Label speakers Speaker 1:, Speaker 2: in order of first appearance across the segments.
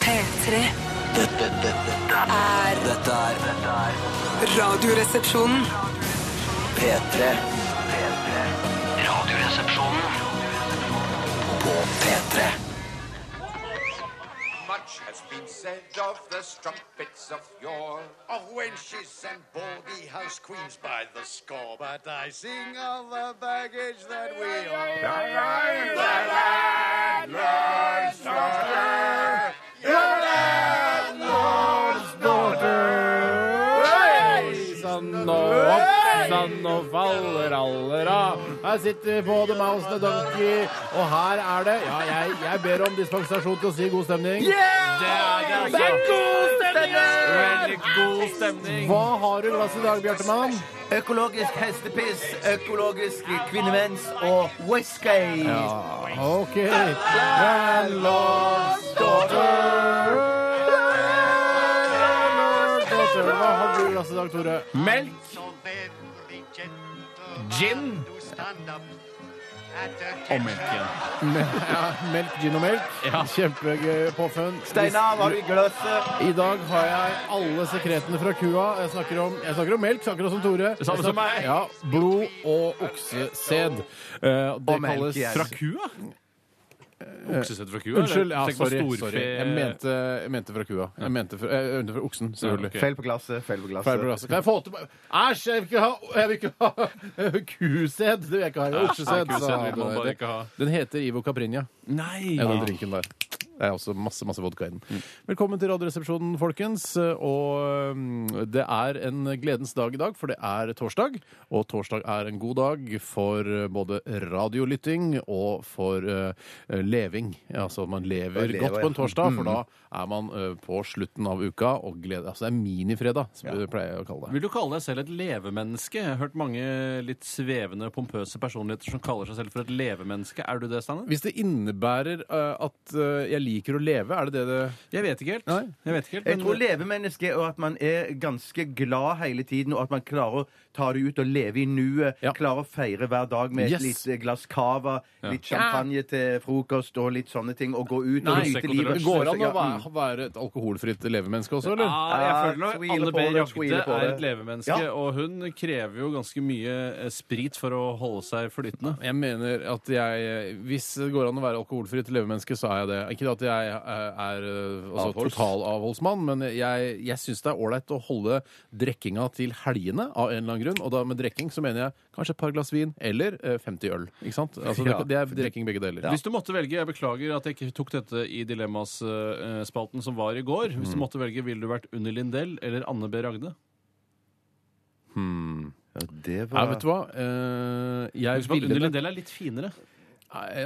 Speaker 1: P3
Speaker 2: Dette, dette, dette,
Speaker 1: er
Speaker 2: dette er dette er
Speaker 1: Radioresepsjonen.
Speaker 2: P3. P3. Radioresepsjonen på P3.
Speaker 3: Much has been said of the strumpets of yore, of wenches and baldy house queens by the score. But I sing of the baggage that we all
Speaker 4: Sann og hopp, sann og faller allera. Her sitter både Mouse og Donkey, og her er det Ja, jeg, jeg ber om dispensasjon til å si god stemning.
Speaker 5: Det er god stemning! Veldig god stemning.
Speaker 4: Hva har du i glasset i dag, Bjartemann?
Speaker 6: Økologisk hestepiss, økologisk kvinnevens og whisky.
Speaker 4: OK. Landlords daughter. Landlords daughter. Hva har du i glasset i dag, Tore?
Speaker 5: Melk, gin og melk igjen.
Speaker 4: Ja, melk, gin og melk.
Speaker 5: Ja.
Speaker 4: Kjempegøy påfunn.
Speaker 6: Steinar, hva har du i glasset?
Speaker 4: I dag har jeg alle sekretene fra kua. Jeg snakker om, jeg snakker om melk, akkurat som Tore.
Speaker 5: Det samme
Speaker 4: Jeg snak-
Speaker 5: som meg.
Speaker 4: Ja, Blod og oksesæd. Eh, og det
Speaker 6: Og melk,
Speaker 4: kalles
Speaker 6: yes.
Speaker 5: Fra kua? Oksesett fra kua?
Speaker 4: Unnskyld. Ja,
Speaker 5: eller? Tenk på
Speaker 4: sorry.
Speaker 5: storfe-
Speaker 4: sorry. Jeg, mente, jeg mente fra kua. Jeg mente fra, jeg mente fra oksen, selvfølgelig.
Speaker 5: Ja, ok.
Speaker 6: Feil på glasset, feil
Speaker 4: Feil på
Speaker 6: på glasset.
Speaker 4: glasset. Kan jeg få tilbake Æsj! Jeg vil ikke ha, jeg vil ikke ha kusæd! Det vil jeg ikke ha. Jeg vil ha Oksesæd.
Speaker 5: Nei, kusæd vil
Speaker 4: sa
Speaker 5: man
Speaker 4: det.
Speaker 5: bare ikke ha.
Speaker 4: Den heter Ivo Caprinia.
Speaker 5: Nei!
Speaker 4: Ja, den drinken der. Det er også masse masse vodka i den. Velkommen til Radioresepsjonen, folkens. Og mm, det er en gledens dag i dag, for det er torsdag. Og torsdag er en god dag for eh, både radiolytting og for eh, leving. Ja, Altså man lever
Speaker 6: lever,
Speaker 4: godt på en
Speaker 6: ja.
Speaker 4: torsdag, for da er man eh, på slutten av uka og gleder Altså det er minifredag, som vi pleier å kalle det.
Speaker 5: Vil du kalle deg selv et levemenneske? Jeg har hørt mange litt svevende, pompøse personligheter som kaller seg selv for et levemenneske. Er du det, Steinar?
Speaker 4: Hvis det innebærer eh, at eh, jeg liker å leve, er det det det
Speaker 5: Jeg vet ikke helt.
Speaker 4: Nei.
Speaker 5: Jeg vet ikke helt
Speaker 6: Jeg
Speaker 5: men-
Speaker 6: tror levemenneske og at man er ganske glad hele tiden, og at man klarer å ta det ut og leve i nuet.
Speaker 4: Ja.
Speaker 6: Klarer å feire hver dag med et
Speaker 4: Yes.
Speaker 6: lite glass cava, litt champagne til frokost og litt sånne ting, og gå ut og
Speaker 5: Nei,
Speaker 6: nyte livet.
Speaker 4: Det går an å
Speaker 6: Ja, mm.
Speaker 4: være, være et alkoholfritt levemenneske også, eller?
Speaker 5: Ja, jeg
Speaker 6: Ah,
Speaker 5: føler nok
Speaker 6: tviler
Speaker 5: Anne
Speaker 6: på
Speaker 5: B.
Speaker 6: det,
Speaker 5: Jagde
Speaker 6: tviler på
Speaker 5: er
Speaker 6: det.
Speaker 5: et levemenneske,
Speaker 6: Ja.
Speaker 5: og hun krever jo ganske mye eh, sprit for å holde seg flytende.
Speaker 4: Jeg mener at jeg Hvis det går an å være alkoholfritt levemenneske, så er jeg det. Ikke at jeg er, er altså, totalavholdsmann, men jeg, jeg syns det er ålreit å holde drikkinga til helgene av en eller annen grunn. Og da med drikking så mener jeg kanskje et par glass vin eller eh, 50 øl. Ikke sant? Altså, det,
Speaker 6: Ja.
Speaker 4: det er drikking begge deler.
Speaker 5: Hvis du måtte velge, Jeg beklager at jeg ikke tok dette i Dilemmas-spalten eh, som var i går.
Speaker 6: Mm.
Speaker 5: Hvis du måtte velge, Ville du vært Unni Lindell eller Anne B. Ragde?
Speaker 6: Ja, det
Speaker 4: Nei,
Speaker 6: var
Speaker 4: vet du hva? Eh, jeg
Speaker 5: Husk på at
Speaker 4: ville
Speaker 5: Unni Lindell er litt finere.
Speaker 4: Nei,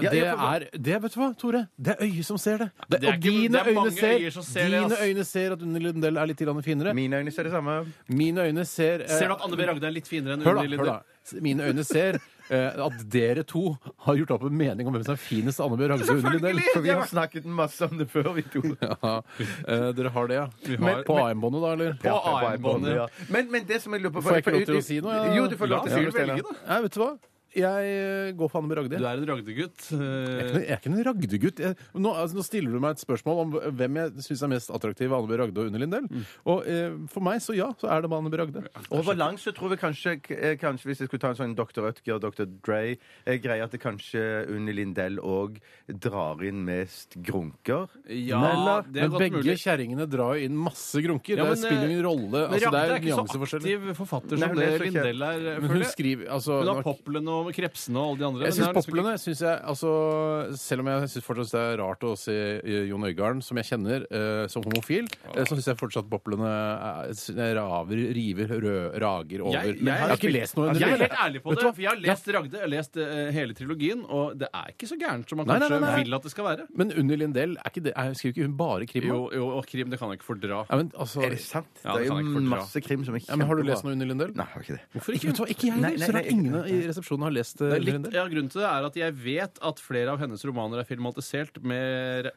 Speaker 6: Ja,
Speaker 4: det
Speaker 6: ja, for-
Speaker 4: er det, Vet du hva, Tore? Det er øyet som ser det.
Speaker 5: Det er
Speaker 4: og
Speaker 5: ikke-
Speaker 4: dine,
Speaker 5: det er mange
Speaker 4: øyne ser,
Speaker 5: øyer som ser det,
Speaker 4: dine
Speaker 5: ass.
Speaker 4: øyne ser at Unni Lindell er litt grann finere.
Speaker 6: Mine øyne ser det samme.
Speaker 4: Mine øyne ser eh,
Speaker 5: Ser du at Anne B. Ragde er litt finere enn
Speaker 4: Hør da,
Speaker 5: Unni
Speaker 4: hør da.
Speaker 5: Lindell?
Speaker 4: Mine øyne ser eh, at dere to har gjort opp en mening om hvem som er finest Anne Bjørg Hagstad Unni Lindell.
Speaker 6: For vi har snakket masse om det før, vi to.
Speaker 4: Ja, eh, dere har det, ja.
Speaker 5: har-
Speaker 4: på AM-båndet, da, eller?
Speaker 5: På
Speaker 4: Ja.
Speaker 5: AM-båndet.
Speaker 6: Ja. Men, men det som jeg lurer på
Speaker 4: Får jeg ikke lov til å si noe? ja?
Speaker 6: Jo, du får lov til å si
Speaker 5: Ja,
Speaker 6: noe. Steinar.
Speaker 5: da.
Speaker 4: Nei, vet du hva? Jeg eh, går for Anne Bjørg
Speaker 5: Du
Speaker 4: Ragde.
Speaker 5: er en Ragde-gutt.
Speaker 4: Jeg er ikke noe- jeg
Speaker 5: eh,
Speaker 4: er ikke en ragdegutt. Jeg- Nå, altså, nå stiller du meg et spørsmål om hvem jeg syns er mest attraktiv av Anne Bjørg Ragde og Unni Lindell. Og eh, for meg, så ja, så er det med Anne Bjørg Ragde.
Speaker 6: Over lang så tror jeg kanskje, eh, kanskje hvis jeg skulle ta en sånn Dr. Rødger, Dr. Dre eh, greie at det kanskje Unni Lindell òg drar inn mest grunker.
Speaker 5: Eh, Ja, det er
Speaker 4: Men
Speaker 5: godt
Speaker 4: begge
Speaker 5: mulig.
Speaker 4: kjerringene drar jo inn masse grunker.
Speaker 5: Ja, men, eh,
Speaker 4: det spiller ingen rolle.
Speaker 5: Men
Speaker 4: Altså, det
Speaker 5: Ragde
Speaker 4: er
Speaker 5: er ikke så
Speaker 4: nyanseforskjeller.
Speaker 5: aktiv
Speaker 6: Nei,
Speaker 5: forfatter som
Speaker 6: hun
Speaker 5: det
Speaker 6: er så kjent.
Speaker 5: Lindell er.
Speaker 4: Men hun
Speaker 5: føler jeg.
Speaker 4: skriver altså,
Speaker 5: Hun har
Speaker 4: nå-
Speaker 5: Poplene og Krepsene og alle de andre.
Speaker 4: Jeg
Speaker 5: men
Speaker 4: syns
Speaker 5: det er liksom
Speaker 4: poplene synes jeg, altså, Selv om jeg synes fortsatt det er rart å se eh, Jon Øigarden, som jeg kjenner eh, som homofil, eh, så syns jeg fortsatt poplene er- synes jeg eh, raver, river, rød, rager over.
Speaker 5: Jeg- jeg-
Speaker 4: Men har ikke lest noe
Speaker 5: ikke-
Speaker 4: under
Speaker 5: Jeg er
Speaker 4: det.
Speaker 5: helt ærlig på
Speaker 4: Vet du
Speaker 5: det.
Speaker 4: hva?
Speaker 5: For jeg har lest Ragde, jeg har lest eh, hele trilogien, og det er ikke så gærent som man
Speaker 4: Nei, nei,
Speaker 5: kanskje
Speaker 4: nei, nei.
Speaker 5: vil at det skal være.
Speaker 4: Men Unni Lindell, er ikke det, er, skriver ikke hun bare krim?
Speaker 5: Jo,
Speaker 4: nå?
Speaker 5: jo, og krim, det kan jeg ikke fordra.
Speaker 4: Ja, men, altså,
Speaker 6: Er det sant?
Speaker 5: Ja,
Speaker 6: det,
Speaker 5: det kan
Speaker 6: er
Speaker 5: jeg
Speaker 6: jo
Speaker 5: ikke fordra.
Speaker 6: masse krim som er
Speaker 4: ja, men har du lest noe Unni Lindell?
Speaker 6: Nei, jeg har ikke det.
Speaker 4: Hvorfor ikke? Vet du hva, ikke jeg
Speaker 6: Nei,
Speaker 4: heller.
Speaker 6: nei,
Speaker 4: Så
Speaker 6: nei,
Speaker 4: rart ingen i resepsjonen har lest eh,
Speaker 5: Det er
Speaker 4: Unni
Speaker 5: litt,
Speaker 4: Lindell.
Speaker 5: ja, grunnen til det er at jeg vet at flere av hennes romaner er filmatisert med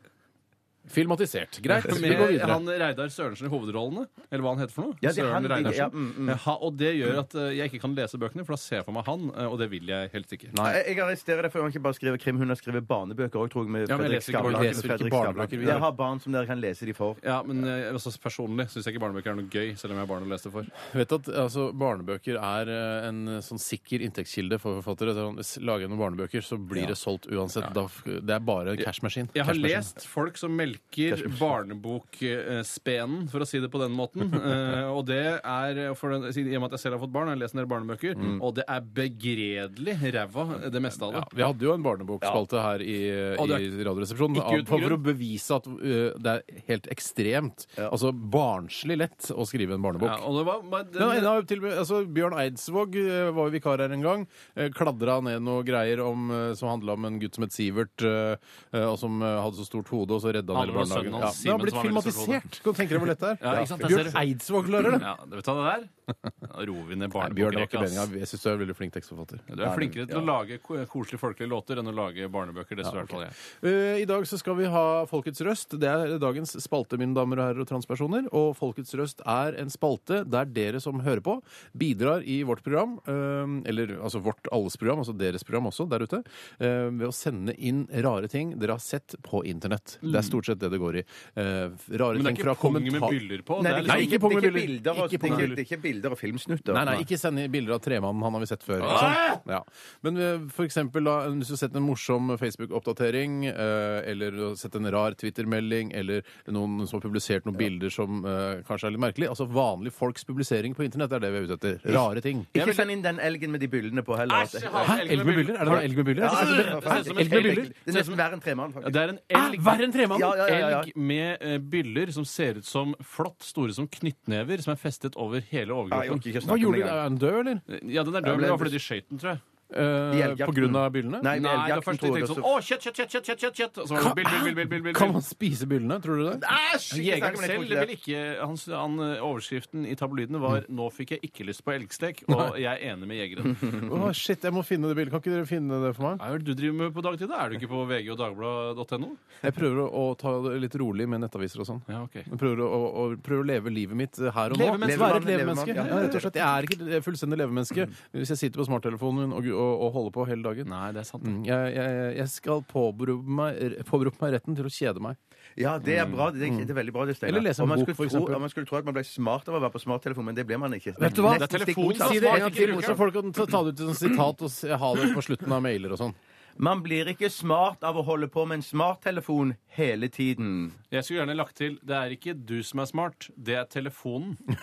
Speaker 4: Filmatisert. Greit. Vi går
Speaker 5: Med
Speaker 4: videre.
Speaker 5: han Reidar Sørensen i hovedrollene, eller hva han heter for noe.
Speaker 6: Ja, det er han,
Speaker 5: Søren Reidarsen.
Speaker 6: ja, mm, mm.
Speaker 5: Ha, og det gjør at eh, jeg ikke kan lese bøkene, for da ser jeg for meg han, eh, og det vil jeg helst ikke.
Speaker 6: Jeg- Jeg arresterer deg for hun ikke bare skriver krim, hun har skrevet barnebøker òg, tror jeg. Med
Speaker 5: Ja, men jeg
Speaker 6: Fredrik
Speaker 5: leser ikke
Speaker 6: Skavlan.
Speaker 5: barnebøker,
Speaker 6: Fredrik
Speaker 4: ikke barnebøker
Speaker 6: Skavlan.
Speaker 4: videre.
Speaker 6: Jeg har barn som dere kan lese de for.
Speaker 5: Ja, men eh, altså, Personlig syns jeg ikke barnebøker er noe gøy, selv om jeg er barn å lese det for.
Speaker 4: Vet at altså, Barnebøker er eh, en sånn sikker inntektskilde for forfattere. Sånn, s- Lager jeg noen barnebøker, så blir det solgt uansett. Da f- det er bare en cashmaskin.
Speaker 5: Jeg har
Speaker 4: Cashmaskin.
Speaker 5: lest folk som melker barnebokspenen, for å si det på den måten. Eh, og det er, eh, for den, siden- I og med at jeg selv har fått barn, har jeg lest en del barnebøker,
Speaker 6: Mm.
Speaker 5: og det er begredelig ræva, det meste av det.
Speaker 4: Ja, vi hadde jo en barnebokspalte her i,
Speaker 5: Og det er
Speaker 4: i Radioresepsjonen
Speaker 5: ikke uten
Speaker 4: av- for å
Speaker 5: grunn.
Speaker 4: bevise at uh, det er helt ekstremt, altså barnslig lett, å skrive en barnebok.
Speaker 5: Ja, og det var, men
Speaker 4: Den ene
Speaker 5: den,
Speaker 4: har jo til og med- altså Bjørn Eidsvåg eh, var jo vikar her en gang. eh, Kladra ned noe greier om, eh, som handla om en gutt som het Sivert, eh, eh, og som eh, hadde så stort hode, og så redda han
Speaker 5: Han
Speaker 4: hele
Speaker 5: var
Speaker 4: barnehagen.
Speaker 5: sønnen
Speaker 4: Ja.
Speaker 5: hans,
Speaker 4: Det har
Speaker 5: Simen,
Speaker 4: blitt
Speaker 5: som har veldig stort
Speaker 4: filmatisert! Kan du tenke deg hvor lett det er?
Speaker 5: Ja, ikke sant, jeg
Speaker 4: Bjørn
Speaker 5: ser det.
Speaker 4: Eidsvåg klarer det!
Speaker 5: ja, vet du hva det der? Da roer vi ned
Speaker 4: Nei, Bjørn, det var
Speaker 5: barnebokrekka.
Speaker 4: ikke
Speaker 5: ass.
Speaker 4: meninga. Jeg syns du er en veldig flink tekstforfatter.
Speaker 5: Du er flinkere til å lage ko- koselige folkelige låter enn å lage barnebøker. Det tror i hvert fall jeg.
Speaker 4: Eh, I dag så skal vi ha Folkets røst. Det er dagens spalte, mine damer og herrer og transpersoner. Og Folkets røst er en spalte der dere som hører på, bidrar i vårt program, eh, eller altså vårt alles program, altså deres program også der ute, eh, ved å sende inn rare ting dere har sett på internett. Det er stort sett det det går i. Eh, Rare
Speaker 5: Mm. Men det
Speaker 4: ting
Speaker 5: er
Speaker 4: fra
Speaker 5: ikke pung med
Speaker 4: kommentar...
Speaker 6: Nei,
Speaker 5: byller på. det er
Speaker 6: det
Speaker 5: liksom-
Speaker 6: er
Speaker 4: Nei,
Speaker 6: ikke,
Speaker 4: ikke pung med
Speaker 6: det er
Speaker 4: bilder.
Speaker 6: ikke bilder og-
Speaker 4: Ikke pung med
Speaker 6: det er
Speaker 4: bilder.
Speaker 6: ikke bilder og filmsnutter.
Speaker 4: Nei, nei, ikke send i bilder av tremannen. Han har vi sett før. Ikke sant? Ja. Men eh, for eksempel, da, hvis du setter en morsom Facebook-oppdatering, eh, eller du har sett en rar Twitter-melding, eller noen som har publisert noen bilder som eh, kanskje er litt merkelig Altså vanlige folks publisering på internett er det vi er ute etter. Rare ting.
Speaker 6: Ikke send inn den elgen med de byllene på heller.
Speaker 5: Æsj, jeg hater
Speaker 4: Hæ? Elg med byller? Er det da elg med byller?
Speaker 6: Ja,
Speaker 4: Jeg synes
Speaker 6: altså, det
Speaker 4: Altså, det-
Speaker 6: er faktisk-
Speaker 4: Elg med byller?
Speaker 6: Det er nesten verre enn tremann,
Speaker 5: Ja,
Speaker 6: faktisk.
Speaker 5: Det er en
Speaker 4: Æ,
Speaker 5: elg,
Speaker 4: verre enn tremannen!
Speaker 6: Ja, ja, ja, ja.
Speaker 5: elg med eh, byller som ser ut som flått, store som knyttnever, som er festet over hele
Speaker 6: Ja, jeg
Speaker 5: overkroppen.
Speaker 6: orker ikke snakke
Speaker 4: Hva
Speaker 6: om det
Speaker 4: gjorde de?
Speaker 6: engang.
Speaker 4: Er han død, eller?
Speaker 5: Ja, den er død,
Speaker 6: Ja,
Speaker 5: men det var
Speaker 6: men-
Speaker 5: fordi de skjøt den, tror jeg.
Speaker 4: Eh,
Speaker 6: elgjakten.
Speaker 4: på grunn av byllene?
Speaker 6: Nei,
Speaker 5: Nei, det var
Speaker 6: elgjakten
Speaker 5: først de
Speaker 6: tror jeg
Speaker 5: tenkte sånn
Speaker 6: også.
Speaker 5: Å, kjøtt, kjøtt, kjøtt, kjøtt, kjøtt, kjøtt, kjøtt! Og så var det bill, bill, bill, bill, bill,
Speaker 4: Kan man
Speaker 5: bill.
Speaker 4: spise byllene, tror du det?
Speaker 5: Æsj!
Speaker 6: ikke snakke
Speaker 5: Jegeren
Speaker 6: om det, jeg tror
Speaker 5: selv
Speaker 6: ikke det.
Speaker 5: vil ikke han, han, eh, Overskriften i tabloidene var
Speaker 4: Mm.
Speaker 5: 'Nå fikk jeg ikke lyst på elgstek', og jeg er enig med jegeren.
Speaker 4: Å, shit, jeg må finne det bildet. Kan ikke dere finne det for meg?
Speaker 5: Hva er det du driver med på dagtid? da? Er du ikke på vg og dagbladet.no?
Speaker 4: Jeg prøver å, å ta det litt rolig med nettaviser og sånn.
Speaker 5: Ja, ok.
Speaker 4: Jeg prøver å, å, å prøver å leve livet mitt her og
Speaker 5: Leve
Speaker 4: nå.
Speaker 5: menneske.
Speaker 4: Være et
Speaker 6: Levemann,
Speaker 4: levemenneske.
Speaker 6: levemann,
Speaker 4: Ja,
Speaker 6: ja.
Speaker 4: rett og slett. Mm. Jeg er ikke et fullstendig levemenneske hvis jeg sitter på smarttelefonen min og, og, og holder på hele dagen.
Speaker 5: Nei, det er sant.
Speaker 4: Mm, Jeg, jeg, jeg skal påberope meg, påberope meg retten til å kjede meg.
Speaker 6: Ja, det er bra. Det er, det er veldig bra, det, Steinar.
Speaker 4: Mm. Eller lese en
Speaker 6: Og man
Speaker 4: bok,
Speaker 6: skulle
Speaker 4: for
Speaker 6: tro-
Speaker 4: eksempel.
Speaker 6: og Man skulle tro at man ble smart av å være på smarttelefon, men det ble man ikke.
Speaker 4: Vet du hva?
Speaker 6: Nesten
Speaker 5: Det er
Speaker 6: stikk
Speaker 5: telefonen som
Speaker 4: Si
Speaker 6: motsatt.
Speaker 4: det
Speaker 5: smart,
Speaker 4: en gang
Speaker 5: ikke
Speaker 4: til,
Speaker 5: bruker
Speaker 4: så
Speaker 5: den.
Speaker 4: folk kan ta ta det ut som sitat og s- ha det på slutten av mailer og sånn.
Speaker 6: Man blir ikke smart av å holde på med en smarttelefon hele tiden.
Speaker 5: Jeg skulle gjerne lagt til det er ikke du som er smart, det er telefonen.
Speaker 4: Mm.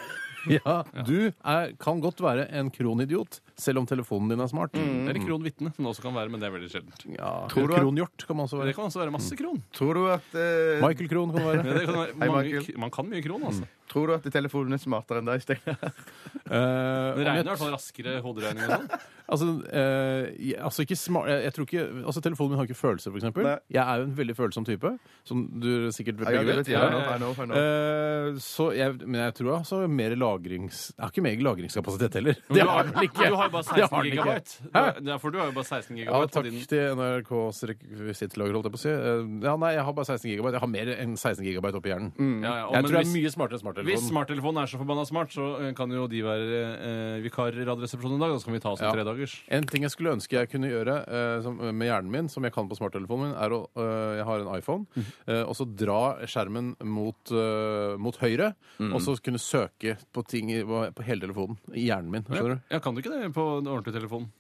Speaker 4: Ja, du er, kan godt være en kronidiot, selv om telefonen din er smart.
Speaker 5: Eller kronvitne, som det også kan være, men det er veldig sjeldent.
Speaker 4: Ja,
Speaker 6: Tror du at-
Speaker 4: kronhjort kan man også være.
Speaker 5: Det kan også være masse kron.
Speaker 6: Tror du at, eh,
Speaker 4: Michael Krohn kan være. Mm.
Speaker 5: Ja, det kan være
Speaker 6: Hei,
Speaker 5: mange,
Speaker 6: Michael.
Speaker 5: man kan mye kron, altså.
Speaker 6: tror du at telefonen er smartere enn deg, Steinar?
Speaker 4: Eh,
Speaker 5: Det
Speaker 4: om jeg-
Speaker 5: regner i hvert fall raskere hoderegning og sånn.
Speaker 4: Altså, eh, jeg, altså ikke smart jeg, jeg tror ikke, altså Telefonen min har ikke følelser, f.eks.
Speaker 6: Nei.
Speaker 4: Jeg er jo en veldig følsom type, som du sikkert begge vet.
Speaker 5: jeg.
Speaker 4: Ja. Eh, så jeg, men jeg tror altså mer lagrings... Jeg har ikke mer lagringskapasitet heller. Det har jeg vel ikke.
Speaker 5: Du har jo bare
Speaker 4: Det har
Speaker 5: 16
Speaker 4: den ikke.
Speaker 5: gigabyte.
Speaker 4: Hæ?
Speaker 5: Ja, for du har jo bare 16
Speaker 4: Ja,
Speaker 5: gigabyte. på
Speaker 4: takk
Speaker 5: din-
Speaker 4: til NRKs rekvisittlager, holdt jeg på å si. Eh, ja, nei, jeg har bare 16 gigabyte. Jeg har mer enn 16 gigabyte oppi hjernen.
Speaker 5: Mm. Ja, ja, og
Speaker 4: Jeg
Speaker 5: men
Speaker 4: tror jeg er
Speaker 5: hvis-
Speaker 4: mye smartere enn smarttelefonen.
Speaker 5: Hvis smarttelefonen er så forbanna smart, så eh, kan jo de være eh, vikarer i Radioresepsjonen i dag. Da så kan vi ta oss en
Speaker 4: Ja.
Speaker 5: tredagers.
Speaker 4: En ting jeg skulle ønske jeg kunne gjøre eh, som, med hjernen min, som jeg kan på smarttelefonen min, er å eh, Jeg har en iPhone.
Speaker 5: Mhm.
Speaker 4: eh, og så dra skjermen mot, eh, mot høyre,
Speaker 5: Mhm.
Speaker 4: og så kunne søke på ting i- på hele telefonen. I hjernen min. skjønner du?
Speaker 5: Ja, kan du ikke det på en ordentlig telefon?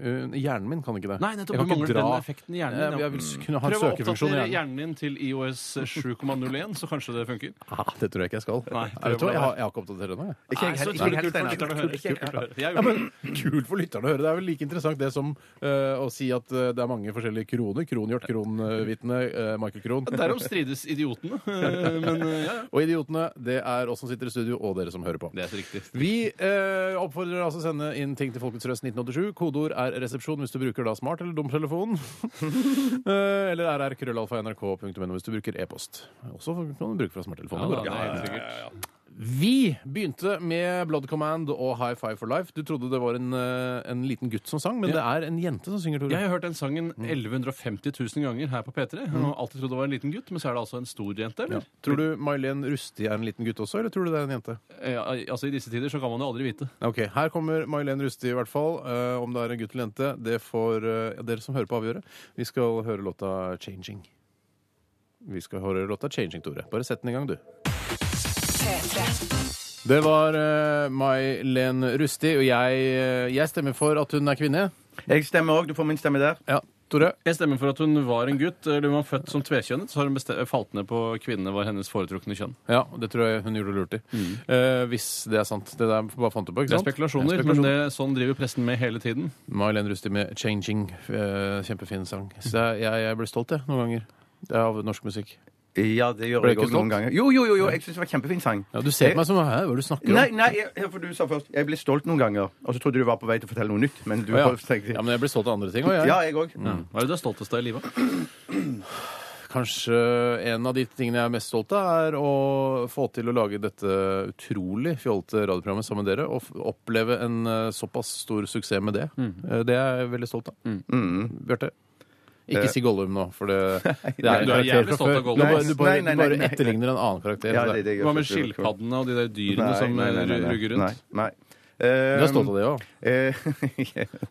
Speaker 4: Eh, hjernen min kan ikke det.
Speaker 5: Nei, nettopp.
Speaker 4: Jeg kan
Speaker 5: Du
Speaker 4: ikke
Speaker 5: mangler
Speaker 4: dra-
Speaker 5: den effekten i hjernen din,
Speaker 4: Jeg,
Speaker 5: ja.
Speaker 4: jeg vil s- kunne ha en
Speaker 5: Prøv å
Speaker 4: søkefunksjon i
Speaker 5: oppdatere
Speaker 4: hjernen.
Speaker 5: hjernen din til IOS 7,01, så kanskje det funker.
Speaker 4: Ah, det tror jeg ikke jeg skal.
Speaker 5: Nei,
Speaker 4: jeg,
Speaker 5: prøv
Speaker 4: vet du hva,
Speaker 5: å la
Speaker 4: jeg, har, jeg har ikke oppdatert det nå. Jeg.
Speaker 6: Ikke jeg heller,
Speaker 5: Nei, så
Speaker 6: ikke jeg
Speaker 5: utrolig kult for
Speaker 6: heller,
Speaker 5: lytterne å høre. Kult for
Speaker 6: Steinar.
Speaker 5: lytterne å høre. Jeg
Speaker 4: Ja,
Speaker 5: gjorde det.
Speaker 4: men Kult for lytterne å høre. Det er vel like interessant det som eh, å si at eh, det er mange forskjellige kroner. Kronhjort, kronvitne, eh, Michael Krohn.
Speaker 5: Derom strides idiotene. eh, Men eh, ja, ja.
Speaker 4: Og idiotene, det er oss som sitter i studio, og dere som hører på.
Speaker 5: det er så riktig.
Speaker 4: Vi eh, oppfordrer dere altså å sende inn ting til Folkets Røst 1987. Kodeord er 'resepsjon' hvis du bruker da smart eller dum telefon. eh, eller rrkrøllalfa.nrk.no hvis du bruker e-post. Også kan du bruke fra smarttelefonen.
Speaker 5: Ja, da,
Speaker 4: det går
Speaker 5: det
Speaker 4: an.
Speaker 5: er helt sikkert.
Speaker 4: Vi begynte med Blood Command og High Five for Life. Du trodde det var en, eh, en liten gutt som sang, men det er en jente som synger,
Speaker 5: Jeg
Speaker 4: Tore.
Speaker 5: har hørt den sangen 1150 000 ganger her på P3. Jeg har alltid trodd det var en liten gutt, men så er det altså en stor jente, eller?
Speaker 4: Tror du May-Len Rustie er en liten gutt også, eller tror du det er en jente?
Speaker 5: Eh, altså, I disse tider så kan man jo aldri vite.
Speaker 4: Ok, Her kommer May-Len Rustie, i hvert fall. Eh, om det er en gutt eller jente, det får eh, dere som hører på, avgjøre. Vi skal høre låta 'Changing'. Vi skal høre låta 'Changing', Tore. Bare sett den i gang, du. Det var eh, May-Len Rustie, og jeg, eh, jeg stemmer for at hun er kvinne.
Speaker 6: Jeg stemmer òg. Du får min stemme der.
Speaker 4: Ja, Tore?
Speaker 5: Jeg stemmer for at hun var en gutt. Eller hun var født som tvekjønnet, så har hun beste- falt ned på kvinnene var hennes foretrukne kjønn.
Speaker 4: Ja, det tror jeg hun gjorde lurt i. Eh, hvis det er sant. Det der bare fant du på,
Speaker 5: Det
Speaker 4: ikke
Speaker 5: er
Speaker 4: sant?
Speaker 5: spekulasjoner, men det, sånn driver pressen med hele tiden.
Speaker 4: May-Len Rustie med 'Changing'. eh, kjempefin sang. Så jeg, jeg, jeg blir stolt, jeg, noen ganger. Det er av norsk musikk.
Speaker 6: Ja, det gjør
Speaker 4: Ble
Speaker 6: jeg
Speaker 4: ikke
Speaker 6: også noen
Speaker 4: stolt?
Speaker 6: ganger. Jo, jo, jo, jo. jeg syns det var en kjempefin sang.
Speaker 4: Ja, Du ser på meg som Hæ, hva er det du snakker om?
Speaker 6: Nei, nei, jeg, for du sa først Jeg ble stolt noen ganger. Og så trodde du var på vei til å fortelle noe nytt. Men du
Speaker 4: Å, ja.
Speaker 6: tenkte
Speaker 4: ja, men jeg blir stolt av andre ting òg, jeg.
Speaker 6: Ja, jeg òg.
Speaker 4: Mm.
Speaker 5: Hva er det du er stoltest av i livet?
Speaker 4: Kanskje en av de tingene jeg er mest stolt av, er å få til å lage dette utrolig fjollete radioprogrammet sammen med dere, og f- oppleve en eh, såpass stor suksess med det.
Speaker 5: Mm.
Speaker 4: Eh, Det er jeg veldig stolt av.
Speaker 6: Mm,
Speaker 4: Bjarte? Ikke
Speaker 6: Eh.
Speaker 4: si Gollum nå, for det, det er en
Speaker 5: Du
Speaker 4: karakter
Speaker 5: er jævlig
Speaker 4: fra
Speaker 5: stolt av
Speaker 4: før.
Speaker 5: Gollum.
Speaker 4: Du bare, du bare,
Speaker 6: Nei, nei,
Speaker 4: du bare
Speaker 6: nei, nei.
Speaker 4: etterligner en annen karakter.
Speaker 6: Ja,
Speaker 4: så
Speaker 6: det,
Speaker 4: det-
Speaker 6: det, jeg
Speaker 5: Hva med
Speaker 6: også.
Speaker 5: skilpaddene og de der dyrene som
Speaker 6: Nei, nei, nei, nei.
Speaker 5: rugger rundt?
Speaker 6: Nei. nei.
Speaker 4: eh, Du er stolt av det òg.
Speaker 6: det?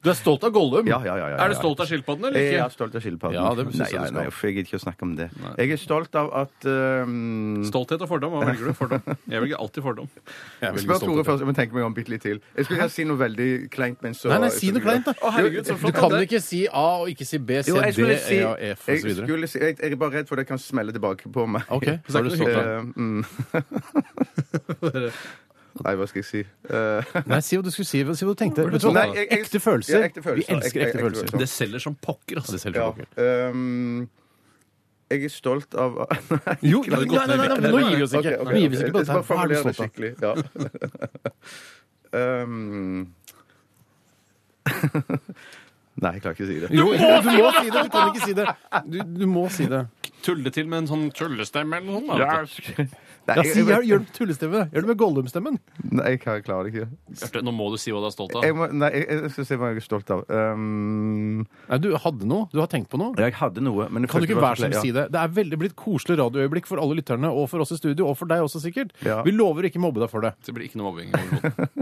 Speaker 4: Du er stolt av Gollum!
Speaker 6: Um, ja, ja, ja, ja.
Speaker 5: Er du stolt av skilpaddene eller
Speaker 6: Jeg
Speaker 5: ikke?
Speaker 6: er stolt av skilpadden.
Speaker 4: Ja, det synes
Speaker 6: nei,
Speaker 4: jeg du
Speaker 6: nei,
Speaker 4: skal.
Speaker 6: nei, uff, jeg gidder ikke å snakke om det. Jeg er stolt av at um,
Speaker 5: Stolthet og fordom. Hva velger du? Fordom. Jeg velger alltid fordom.
Speaker 4: Jeg er veldig
Speaker 6: Spør
Speaker 4: stolt av
Speaker 6: Tore
Speaker 4: det.
Speaker 6: først. Jeg må tenke meg om bitte litt til. Jeg skulle gjerne si noe veldig kleint, men så
Speaker 4: Nei, nei, si noe kleint, da!
Speaker 5: Å, herregud, så
Speaker 4: Du
Speaker 5: flott.
Speaker 4: kan ikke si A og ikke si B, C,
Speaker 6: Jo, jeg
Speaker 4: D,
Speaker 6: skulle si
Speaker 4: E og F
Speaker 6: jeg,
Speaker 4: osv.
Speaker 6: skulle si, jeg, jeg er bare redd for det kan smelle tilbake på meg.
Speaker 4: OK, så er du stolt av det.
Speaker 6: Eh, mm. Nei, hva skal jeg si? Eh,
Speaker 4: Nei, si hva du skulle si. Si hva du tenkte. Vet du hva?
Speaker 6: Nei, jeg- jeg-
Speaker 4: ekte følelser.
Speaker 6: Ja, ekte
Speaker 4: Vi
Speaker 6: følelser.
Speaker 4: elsker
Speaker 6: Ekte-
Speaker 4: ekte
Speaker 6: ekte
Speaker 4: følelser.
Speaker 6: følelser.
Speaker 5: Det selger som pokker, altså.
Speaker 4: Det selv
Speaker 6: ja.
Speaker 4: for dere.
Speaker 6: ehm, jeg er stolt av
Speaker 4: Jo,
Speaker 5: det hadde gått
Speaker 4: nei, nei, nei, nei,
Speaker 5: ned i
Speaker 4: nå
Speaker 5: vekt.
Speaker 4: gir vi oss ikke.
Speaker 6: Ok, ok,
Speaker 4: Nå gir vi oss
Speaker 6: ok.
Speaker 4: ikke på dette.
Speaker 6: Jeg
Speaker 4: her. Hva
Speaker 6: skal
Speaker 4: er du
Speaker 6: formulere det
Speaker 4: stolt av?
Speaker 6: skikkelig. Ja. Ehm, Nei, jeg klarer ikke å si det.
Speaker 4: Jo, du må si det! Du kan ikke si det. Du, du må si det.
Speaker 5: Tulle til med en sånn tullestemme eller noe sånt. da, vet
Speaker 6: Nei,
Speaker 4: Ja,
Speaker 6: jeg,
Speaker 4: si, gjør, gjør det med tullestemme. Gjør det med Gollum-stemmen.
Speaker 6: nei, jeg klarer- jeg klarer det ikke.
Speaker 5: du. Bjarte, Nå må du si hva du er stolt av.
Speaker 6: Jeg, må, nei, jeg, jeg skal se hva jeg er stolt av. Ehm,
Speaker 4: Nei, du hadde noe. Du har tenkt på noe.
Speaker 6: jeg hadde noe, men
Speaker 4: Kan du ikke være snill si det? Det er veldig blitt koselig radioøyeblikk for alle lytterne, og for oss i studio, og for deg også sikkert.
Speaker 6: Ja.
Speaker 4: Vi lover ikke mobbe deg for det.
Speaker 5: Det blir ikke noe mobbing. overhodet.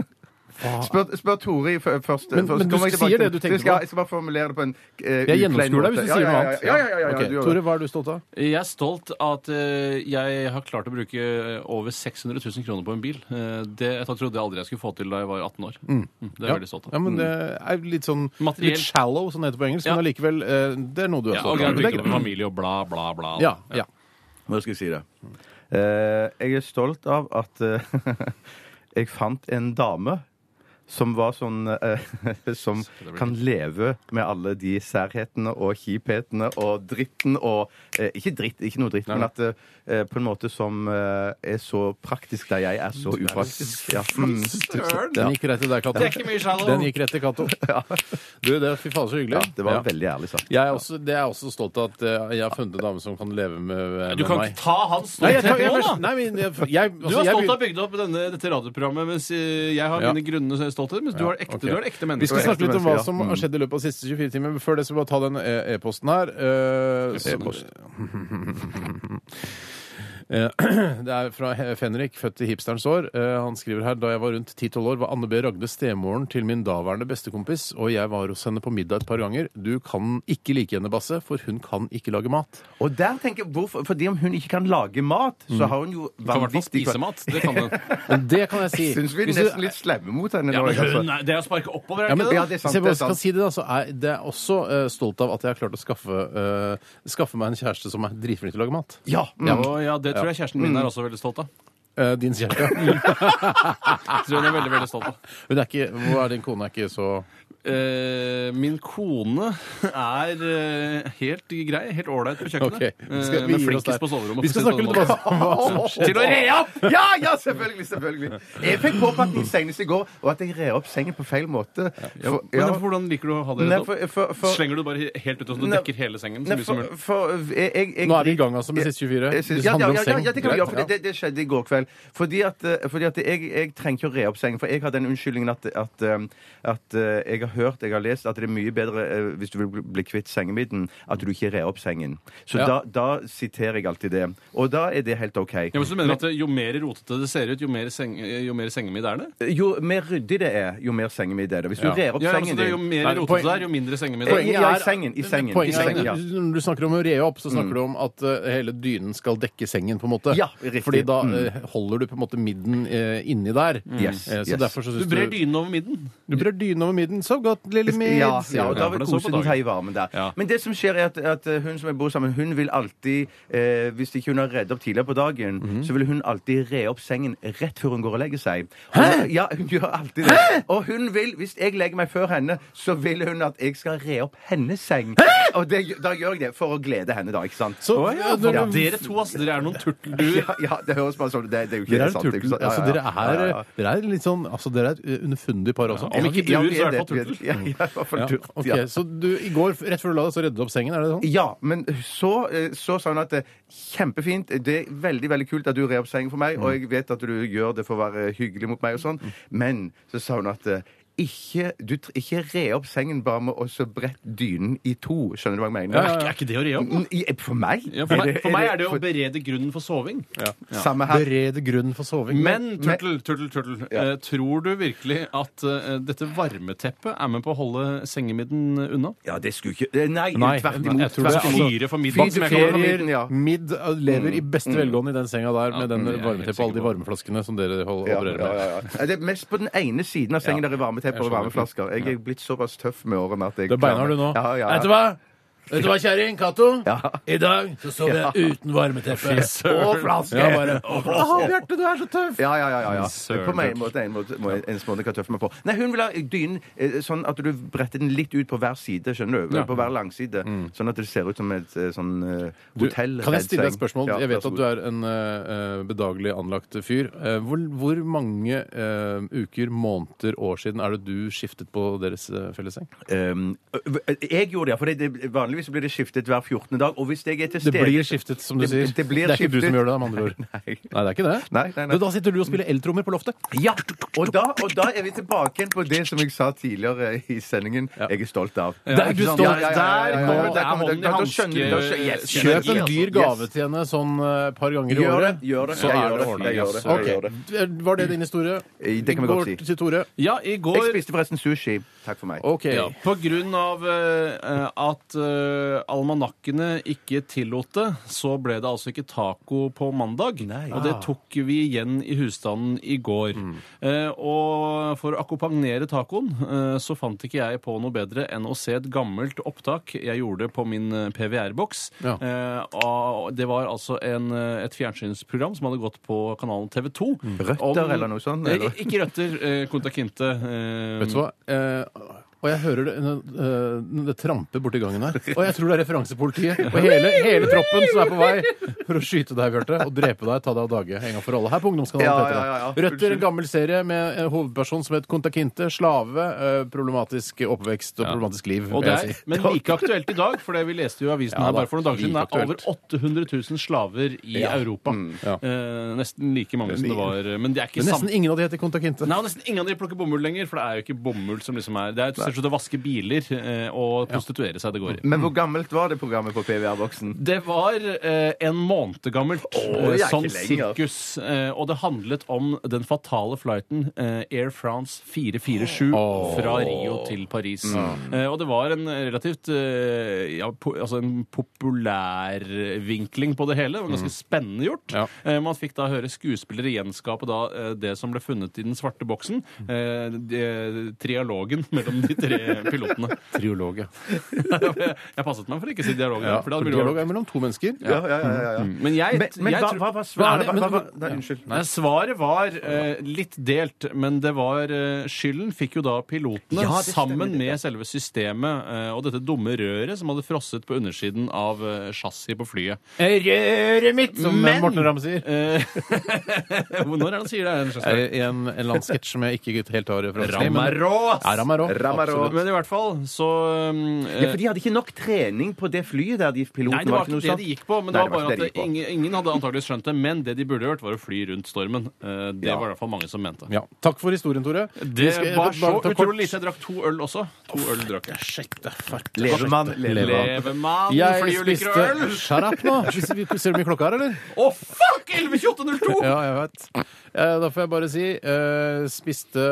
Speaker 6: Spør, spør Tore i f- først.
Speaker 4: Men-
Speaker 6: først
Speaker 4: men du
Speaker 6: kommer jeg
Speaker 4: sier
Speaker 6: tilbake
Speaker 4: det du
Speaker 6: til-
Speaker 4: tenker
Speaker 6: jeg skal,
Speaker 4: på.
Speaker 6: Jeg skal bare formulere det på en uh,
Speaker 4: Jeg gjennomskuer deg hvis du sier noe annet.
Speaker 6: Ja, ja, ja. ja, ja,
Speaker 4: Ok,
Speaker 6: du gjør
Speaker 4: Tore,
Speaker 6: det.
Speaker 4: hva er du stolt av?
Speaker 5: Jeg er stolt av at eh, jeg har klart å bruke eh, over 600 000 kroner på en bil. Eh, Det jeg trodde jeg aldri jeg skulle få til da jeg var 18 år. Mm, Det er jeg veldig stolt av.
Speaker 4: Ja, men det er litt sånn
Speaker 5: Mm. Materiell.
Speaker 4: litt shallow, som det heter på engelsk,
Speaker 5: Ja.
Speaker 4: men allikevel eh, Det er noe du er
Speaker 5: Mm. Ja, og
Speaker 4: stolt av.
Speaker 5: jeg har
Speaker 4: Det er
Speaker 5: bygd opp en
Speaker 4: greit.
Speaker 5: familie og bla, bla, bla.
Speaker 4: Ja, ja.
Speaker 6: Nå skal jeg si det. Eh, jeg er stolt av at eh, jeg fant en dame som var sånn eh, Som kan leve med alle de særhetene og kjiphetene og dritten og eh, Ikke dritt, ikke noe dritt, men at eh, på en måte som eh, er så praktisk der jeg er så upraktisk. Ja. Mm.
Speaker 4: Den gikk rett til deg, Cato.
Speaker 5: Det er ikke mye shallow.
Speaker 4: Den gikk rett til Cato. Du, det er fy faen så hyggelig.
Speaker 6: ja, det var
Speaker 4: Ja.
Speaker 6: veldig ærlig sagt.
Speaker 4: jeg er også, det er jeg også stolt av at eh, jeg har funnet en dame som kan leve med, med
Speaker 5: Du kan
Speaker 4: meg.
Speaker 5: ikke ta hans
Speaker 4: Nei, jeg, tar-
Speaker 5: stolthet
Speaker 4: jeg,
Speaker 5: nå,
Speaker 4: først-
Speaker 5: da!
Speaker 4: nei, men jeg, jeg,
Speaker 5: Du
Speaker 4: altså,
Speaker 5: er
Speaker 4: jeg
Speaker 5: stolt av å
Speaker 4: begynner-
Speaker 5: bygge opp denne, dette radioprogrammet, mens eh, jeg har
Speaker 4: Ja.
Speaker 5: mine grunnene stolthet. Mens du har ekte,
Speaker 4: ok.
Speaker 5: du har ekte
Speaker 4: Vi skal
Speaker 5: mennesker.
Speaker 4: snakke litt om hva
Speaker 6: Ja.
Speaker 4: som har skjedd i løpet av de siste 24 timer. men Før det så bare ta den e- e-posten her. Eh, som-
Speaker 6: E-post.
Speaker 4: Eh, Det er fra He- Fenrik, født i hipsterens år. Eh, Han skriver her da jeg var rundt 10-12 år, var Anne B. Ragde stemoren til min daværende bestekompis, og jeg var hos henne på middag et par ganger. Du kan ikke like henne, Basse, for hun kan ikke lage mat.
Speaker 6: Og der tenker jeg, hvorfor, Fordi om hun ikke kan lage mat, så har hun jo
Speaker 5: Mm. Kan i hvert fall spise mat. Det kan den.
Speaker 4: Men det kan jeg si.
Speaker 6: Syns vi er
Speaker 4: Hvis du-
Speaker 6: nesten litt slemme mot henne.
Speaker 5: Ja,
Speaker 6: nå,
Speaker 5: men
Speaker 6: jeg, altså.
Speaker 5: hun er, det er å sparke oppover, er
Speaker 4: Ja,
Speaker 5: det
Speaker 4: men,
Speaker 5: ikke det?
Speaker 6: Ja,
Speaker 5: da?
Speaker 6: det er sant,
Speaker 4: hvis jeg bare
Speaker 6: det er
Speaker 4: skal
Speaker 6: sant.
Speaker 4: si det, da, så er det er også eh, stolt av at jeg har klart å skaffe, eh, skaffe meg en kjæreste som er dritflink til å lage mat.
Speaker 6: Ja, mm.
Speaker 5: Å, ja, det tror jeg kjæresten
Speaker 4: Mm.
Speaker 5: min er også veldig stolt av.
Speaker 4: Eh, din kjæreste. ja. Ah.
Speaker 5: Jeg tror hun er veldig, veldig stolt av.
Speaker 4: Hun er ikke, hvor er din kone? Er ikke så
Speaker 5: Eh, min kone er eh, helt grei, helt ålreit på kjøkkenet.
Speaker 4: Ok,
Speaker 5: eh,
Speaker 4: skal vi
Speaker 5: men
Speaker 4: gi oss der?
Speaker 5: flinkest på soverommet.
Speaker 4: Vi skal snakke litt om hva som- hva som skjer.
Speaker 5: Til å re opp!
Speaker 6: Ja, ja, selvfølgelig! selvfølgelig Jeg fikk påpakning senest i går, og at jeg red opp sengen på feil måte. For-
Speaker 5: Men
Speaker 6: ja.
Speaker 5: hvordan liker du å ha det?
Speaker 6: Nei,
Speaker 5: rett opp?
Speaker 6: for, for, for,
Speaker 5: Slenger du bare helt ut sånn at du
Speaker 6: Nei,
Speaker 5: dekker hele sengen? Så
Speaker 6: nei,
Speaker 5: mye som
Speaker 6: for,
Speaker 5: mulig?
Speaker 6: for jeg, jeg, jeg,
Speaker 4: Nå er vi i gang altså med sist 24.
Speaker 6: Jeg synes-
Speaker 4: Det
Speaker 6: ja, ja,
Speaker 4: handler om
Speaker 6: ja,
Speaker 4: seng.
Speaker 6: ja, det kan vi
Speaker 4: Greit,
Speaker 6: gjøre, for det, det skjedde i går kveld. fordi at, eh, fordi at jeg, jeg trenger ikke å re opp sengen, for jeg har den unnskyldningen at, at, eh, at eh, jeg har hørt, jeg har lest, at det er mye bedre eh, hvis du vil bli- bli kvitt sengemidden, at du ikke rer opp sengen. Så
Speaker 4: Ja.
Speaker 6: da, da siterer jeg alltid det. Og da er det helt OK.
Speaker 5: Ja, men så mener du at eh, Jo mer rotete det ser ut, jo mer, seng, eh, jo mer sengemidd er det?
Speaker 6: Jo mer ryddig det er, jo mer sengemidd er det. Hvis du
Speaker 4: Ja.
Speaker 6: rer opp
Speaker 5: Ja, altså,
Speaker 6: sengen
Speaker 5: det er jo
Speaker 6: din
Speaker 5: mer
Speaker 4: Nei,
Speaker 5: rotete
Speaker 4: poeng-
Speaker 5: det er, jo mindre sengemidd er det.
Speaker 6: Poenget- Ja, i sengen, i sengen,
Speaker 4: Poenget
Speaker 6: i sengen,
Speaker 4: er
Speaker 6: ja. Mm.
Speaker 4: at Når du snakker om å re opp, så snakker du om at eh, hele dynen skal dekke sengen, på en måte.
Speaker 6: Ja, riktig. Mm.
Speaker 4: Fordi da eh, holder du på en måte midden eh, inni der.
Speaker 6: Yes,
Speaker 4: Eh, så
Speaker 6: yes.
Speaker 4: derfor så
Speaker 5: Du
Speaker 4: syns du
Speaker 5: brer dynen over midden.
Speaker 4: Du brer dynen over midden. Så godt, lille midd.
Speaker 6: Ja, ja, og da
Speaker 5: for
Speaker 6: vil
Speaker 5: det står på
Speaker 6: kose den ta i varmen der.
Speaker 5: Ja.
Speaker 6: Men det som skjer, er at, at eh, hun som jeg bor sammen hun vil alltid, eh, hvis ikke hun har redd opp tidligere på dagen,
Speaker 5: Mhm.
Speaker 6: så vil hun alltid re opp sengen rett før hun går og legger seg. Og, ja, hun gjør alltid det. Og hun vil, hvis jeg legger meg før henne, så vil hun at jeg skal re opp hennes seng. Og det, da gjør jeg det for å glede henne, da, ikke sant?
Speaker 4: Så,
Speaker 5: Å, ja, for
Speaker 4: ja.
Speaker 5: Dere to, altså. Dere er noen turtelduer.
Speaker 6: ja, ja, det høres bare sånn ut. Det, det er jo ikke
Speaker 4: Dere er,
Speaker 6: sant.
Speaker 4: turtel,
Speaker 6: ikke sant? Ja,
Speaker 4: altså,
Speaker 6: ja,
Speaker 4: dere,
Speaker 6: ja, ja,
Speaker 4: er,
Speaker 6: ja.
Speaker 4: dere er litt sånn altså, Dere er et underfundig par også.
Speaker 5: Om ikke
Speaker 6: Ja,
Speaker 5: duer,
Speaker 6: vi
Speaker 5: så
Speaker 6: er
Speaker 5: i hvert fall
Speaker 6: det.
Speaker 5: turtel.
Speaker 6: Ja, ja, i hvert fall
Speaker 4: Ja,
Speaker 6: turtel,
Speaker 4: ok,
Speaker 6: ja.
Speaker 4: Så du, i går, rett før du la deg, så reddet du opp sengen? Er det sånn?
Speaker 6: Ja, men så, eh, så sa hun at det er kjempefint. Det er veldig veldig kult at du rer opp sengen for meg, og jeg vet at du gjør det for å være hyggelig mot meg og sånn, men så sa hun at eh, ikke, du, tr- ikke re opp sengen bare med å så brette dynen i to. Skjønner du hva jeg mener?
Speaker 5: Er ikke- er ikke det å re opp? da?
Speaker 6: Mm, i- For meg?
Speaker 5: Ja, for, meg, for meg er det å berede grunnen for soving.
Speaker 6: Samme her.
Speaker 4: Berede grunnen for soving.
Speaker 5: Men turtle, turtle, turtle, eh, tror du virkelig at eh, dette varmeteppet er med på å holde sengemidden unna?
Speaker 6: Ja, det skulle ikke Nei,
Speaker 4: Nei,
Speaker 6: tvert
Speaker 4: jeg
Speaker 6: imot.
Speaker 4: tror det
Speaker 6: tvert
Speaker 4: er-
Speaker 6: imot.
Speaker 5: Fyre for midden,
Speaker 6: Fyre
Speaker 5: som jeg
Speaker 6: ferier,
Speaker 5: kaller det.
Speaker 6: ja. Mm.
Speaker 4: Midd uh, lever i beste velgående i den senga der med den
Speaker 5: mm, jeg er helt
Speaker 4: varmeteppet og alle de
Speaker 5: sikker på
Speaker 4: varmeflaskene som dere hold-
Speaker 6: Ja,
Speaker 4: opererer
Speaker 6: ja,
Speaker 4: med.
Speaker 6: ja, ja. Det er mest på den ene siden av sengen der er varmetepper og varmeflasker. Jeg er blitt såpass tøff med årene at jeg
Speaker 4: Det beinhard du nå.
Speaker 6: Ja, ja,
Speaker 4: Vet du
Speaker 6: ja.
Speaker 4: hva? Vet du hva, kjerring? Cato?
Speaker 6: Ja.
Speaker 4: I dag så sover jeg uten varmeteppe.
Speaker 6: Og flaske!
Speaker 4: Ja, bare, å,
Speaker 6: Bjarte, du er så tøff! Ja, ja, ja. ja, ja.
Speaker 5: Søren.
Speaker 6: På meg måte, en måte, må jeg- en måte kan tøffe meg på. Nei, hun vil ha dynen eh, sånn at du bretter den litt ut på hver side, skjønner du? På hver langside. Sånn at det ser ut som et eh, sånn eh,
Speaker 4: Mm. Du,
Speaker 6: hotell.
Speaker 4: kan jeg stille deg et
Speaker 6: redd seng.
Speaker 4: spørsmål?
Speaker 6: Ja,
Speaker 4: jeg
Speaker 6: vær
Speaker 4: vet
Speaker 6: så
Speaker 4: at du
Speaker 6: god.
Speaker 4: er en eh, bedagelig anlagt fyr. Eh, hvor, hvor mange eh, uker, måneder, år siden er det du skiftet på deres uh, fellesseng?
Speaker 6: Um, ø- ø- jeg gjorde det, for det, det, vanligvis blir det skiftet hver 14. dag. Og hvis jeg er til
Speaker 4: Det
Speaker 6: stede
Speaker 4: blir skiftet, som du
Speaker 6: Det-
Speaker 4: sier.
Speaker 6: det blir
Speaker 4: er ikke du
Speaker 6: skiftet.
Speaker 4: som gjør det, med andre ord.
Speaker 6: Nei.
Speaker 4: Nei, det er ikke det.
Speaker 6: Nei, nei, nei.
Speaker 4: Men Da sitter du og spiller eltrommer på loftet.
Speaker 6: Ja, og da, og da er vi tilbake igjen på det som jeg sa tidligere i sendingen. Jeg er stolt av.
Speaker 4: Der er du stolt.
Speaker 5: Der
Speaker 4: kommer-
Speaker 6: Der kommer
Speaker 5: er hånden i
Speaker 6: Da- da skjønner du- da
Speaker 5: hanske.
Speaker 6: skjønner- yes,
Speaker 4: Kjøp en
Speaker 6: yes.
Speaker 4: dyr gave til henne sånn et par ganger i
Speaker 6: Gjør det.
Speaker 4: året.
Speaker 6: Gjør det.
Speaker 4: Så
Speaker 6: Jeg
Speaker 4: er
Speaker 6: gjør
Speaker 4: det
Speaker 6: det. Jeg
Speaker 4: ordnet.
Speaker 6: gjør det. Jeg gjør det.
Speaker 4: Ok. Var det din historie?
Speaker 6: Eh, det kan vi
Speaker 4: Går
Speaker 6: godt si.
Speaker 4: til Tore.
Speaker 5: Ja, i
Speaker 6: Jeg
Speaker 5: går
Speaker 6: spiste forresten sushi. Takk for meg.
Speaker 4: Ok.
Speaker 5: Ja, på grunn av eh, at eh, almanakkene ikke tillot det, så ble det altså ikke taco på mandag. Og det tok vi igjen i husstanden i går. Eh, og for å akkompagnere tacoen, eh, så fant ikke jeg på noe bedre enn å se et gammelt opptak jeg gjorde på min eh, PVR-boks.
Speaker 4: Ja.
Speaker 5: Eh, og det var altså en, eh, et fjernsynsprogram som hadde gått på kanalen TV 2.
Speaker 6: Røtter eller noe sånt, eller?
Speaker 5: Eh, ikke Røtter. Eh, Kunta Kinte. Eh,
Speaker 4: Vet du hva? Eh, og jeg hører det, eh, det tramper borti gangen her. Og jeg tror det er referansepolitiet og hele, hele troppen som er på vei for å skyte deg, Bjarte, og drepe deg, ta deg av dage en gang for alle. Her på Ungdomskanalen.
Speaker 6: Ja,
Speaker 4: Petra.
Speaker 6: ja, ja, ja.
Speaker 4: Røtter, en gammel serie med en hovedperson som het Kontakinte, slave, eh, problematisk oppvekst og problematisk liv.
Speaker 5: Og
Speaker 4: vil
Speaker 5: det
Speaker 4: jeg
Speaker 5: er,
Speaker 4: si.
Speaker 5: men like aktuelt i dag, for det vi leste jo i avisen
Speaker 4: Ja da,
Speaker 5: her bare for noen dager siden. Det
Speaker 4: like
Speaker 5: er over 800 000 slaver i Europa.
Speaker 4: ja.
Speaker 5: Eh, nesten like mange som det var eh, Men det er ikke
Speaker 4: Men nesten
Speaker 5: samme
Speaker 4: ingen av de heter Kontakinte.
Speaker 5: Nei, og Nesten ingen av de plukker bomull lenger, for det er jo ikke bomull som liksom er Det er stort sett å vaske biler eh, og prostituere seg det går i.
Speaker 6: Men hvor gammelt var det programmet på PVR-boksen?
Speaker 5: Det var eh, en måned gammelt,
Speaker 6: det er
Speaker 5: eh,
Speaker 6: ikke
Speaker 5: sånn
Speaker 6: lenger.
Speaker 5: sirkus. Eh, og det handlet om den fatale flighten eh, Air France 447 fra Rio til Paris. Eh, og det var en relativt eh, ja, po altså en populærvinkling på det hele. Det var ganske spennende gjort.
Speaker 4: Ja.
Speaker 5: Eh, man fikk da høre skuespillere gjenskape da, eh, det som ble funnet i den svarte boksen. Eh, de, trialogen mellom de tre pilotene.
Speaker 4: Triolog, ja.
Speaker 5: jeg passet meg for ikke å si dialogen.
Speaker 4: Ja,
Speaker 5: for
Speaker 4: for
Speaker 5: det hadde blitt
Speaker 4: dialog er mellom to mennesker.
Speaker 6: Ja, ja, ja, ja, ja.
Speaker 5: men jeg,
Speaker 6: Men, men
Speaker 5: Mm. jeg
Speaker 6: hva,
Speaker 5: tror-
Speaker 6: hva var
Speaker 5: Hva er
Speaker 6: svaret?
Speaker 5: det?
Speaker 6: Hva,
Speaker 5: Men-
Speaker 6: hva, hva, nei, unnskyld.
Speaker 5: Nei, svaret var eh, litt delt, men det var eh, skylden fikk jo da pilotene
Speaker 6: Ja, det stemmer,
Speaker 5: sammen
Speaker 6: det,
Speaker 5: med selve systemet eh, og dette dumme røret som hadde frosset på undersiden av eh, chassis på flyet.
Speaker 6: Eh,
Speaker 4: Røret mitt, som
Speaker 5: Men-
Speaker 4: Morten Ramm sier.
Speaker 5: Eh, Når er det han sier det? Er det en slags-
Speaker 4: Eh, I en, en eller annen sketsj som jeg ikke helt har referansen til,
Speaker 5: Ramarå!
Speaker 4: Ja, Ramarå.
Speaker 6: Ramarå, der òg.
Speaker 5: Men i hvert fall så um,
Speaker 6: Ja, for de hadde ikke nok trening på det flyet der de
Speaker 5: Nei,
Speaker 6: piloten
Speaker 5: det var
Speaker 6: noe
Speaker 5: ikke det
Speaker 6: sånt.
Speaker 5: de gikk på, men
Speaker 6: Nei,
Speaker 5: det var bare
Speaker 6: ikke det
Speaker 5: at
Speaker 6: de gikk på.
Speaker 5: ingen, ingen hadde antakeligvis skjønt det. Men det de burde gjort, var å fly rundt stormen. Eh, Det
Speaker 6: Ja.
Speaker 5: var i hvert fall mange som mente.
Speaker 4: Ja. Takk for historien, Tore. Vi
Speaker 5: Det
Speaker 4: skal-
Speaker 5: var så
Speaker 4: bare ta kort-
Speaker 5: utrolig lite. Jeg drakk to øl også. To øl drakk jeg.
Speaker 4: Sjekte, fuck.
Speaker 6: Levemann. Levemann.
Speaker 5: Levemann,
Speaker 4: Jeg
Speaker 5: flyulykker og
Speaker 4: spiste
Speaker 5: øl!
Speaker 4: Shut up nå! Ser du hvor mye klokka er, eller?
Speaker 5: Å, fuck! 11.28,02!
Speaker 4: Ja, jeg vet. Eh, Da får jeg bare si eh, spiste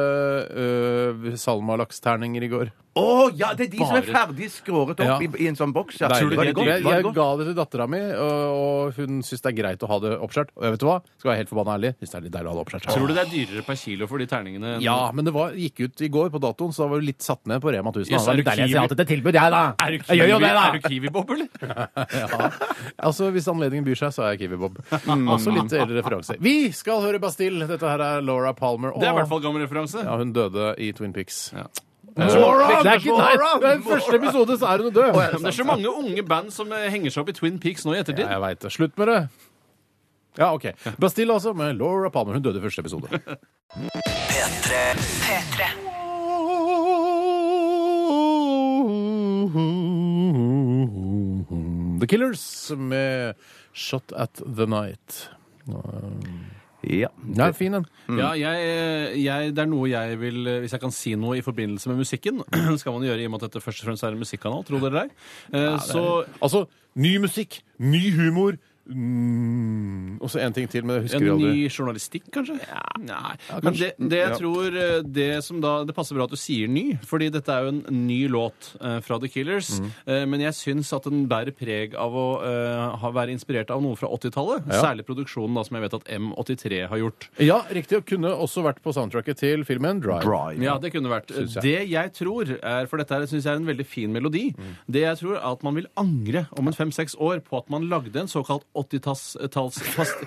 Speaker 4: eh, salmalaksterninger i går.
Speaker 6: Å ja, det er de som er
Speaker 5: Bare-
Speaker 6: ferdig skåret
Speaker 4: Ja.
Speaker 6: opp i, i en sånn boks. Ja.
Speaker 5: Tror du
Speaker 6: Var
Speaker 5: det er
Speaker 6: godt?
Speaker 4: jeg,
Speaker 6: Var
Speaker 4: jeg
Speaker 6: det godt?
Speaker 4: ga det til dattera mi, og, og hun syns det er greit å ha det oppskjært. Og jeg vet du hva? Skal være helt forbanna ærlig, syns det er litt deilig å ha det oppskjært.
Speaker 5: Tror du det er dyrere per kilo for de terningene? enn-
Speaker 4: Ja, men det var, gikk ut i går på datoen, så da var vi litt satt ned på Rema 1000. da. Det
Speaker 5: Yes, er du
Speaker 4: er deilig. Jeg
Speaker 5: kiwi?
Speaker 4: sier alltid til tilbud, jeg, da.
Speaker 5: Er du
Speaker 4: Jeg gjør jo
Speaker 5: kiwi-
Speaker 4: det, da.
Speaker 5: er du kiwi-bob, eller?
Speaker 4: Ja. Altså, Hvis anledningen byr seg, så er jeg Kiwi-Bob. Også litt eldre referanse. Vi skal høre Bastille. Dette her er Laura Palmer.
Speaker 5: Det er i hvert fall gammel referanse.
Speaker 4: Ja, hun døde i Twin Peaks.
Speaker 5: Ja.
Speaker 4: Moron! Det er ikke, nei, det er første episode, så er hun død.
Speaker 5: Men det er så mange unge band som eh, henger seg opp i Twin Peaks nå i ettertid.
Speaker 4: Ja, jeg vet det. Slutt med det. Ja, OK. Bastille altså, med Laura Palmer. Hun døde i første episode.
Speaker 2: P3.
Speaker 1: P3.
Speaker 4: The Killers med Shot at the Night.
Speaker 6: Ja.
Speaker 4: Nei, fin en.
Speaker 6: Mm.
Speaker 5: Ja, jeg, eh, jeg, det er noe jeg vil eh, Hvis jeg kan si noe i forbindelse med musikken, skal man gjøre i og med at dette først og fremst er en musikkanal, tror dere det? er? Eh, Så
Speaker 4: Altså, ny musikk, ny humor mm, Og så en ting til, men det husker vi
Speaker 5: en
Speaker 4: aldri.
Speaker 5: ny journalistikk, kanskje? Nei. Men det, det jeg tror eh, Det som da Det passer bra at du sier ny, fordi dette er jo en ny låt eh, fra The Killers.
Speaker 4: Mhm.
Speaker 5: Eh, Men jeg syns at den bærer preg av å eh, ha- være inspirert av noe fra 80-tallet.
Speaker 4: Ja.
Speaker 5: Særlig produksjonen da som jeg vet at M83 har gjort.
Speaker 4: Ja, riktig. Og kunne også vært på soundtracket til filmen Drive.
Speaker 6: Brian.
Speaker 5: Ja, det kunne vært.
Speaker 4: Synes jeg.
Speaker 5: Det jeg tror er, for dette syns jeg er en veldig fin melodi, det jeg tror er at man vil angre om en fem-seks år på at man lagde en såkalt 80-talls... fast-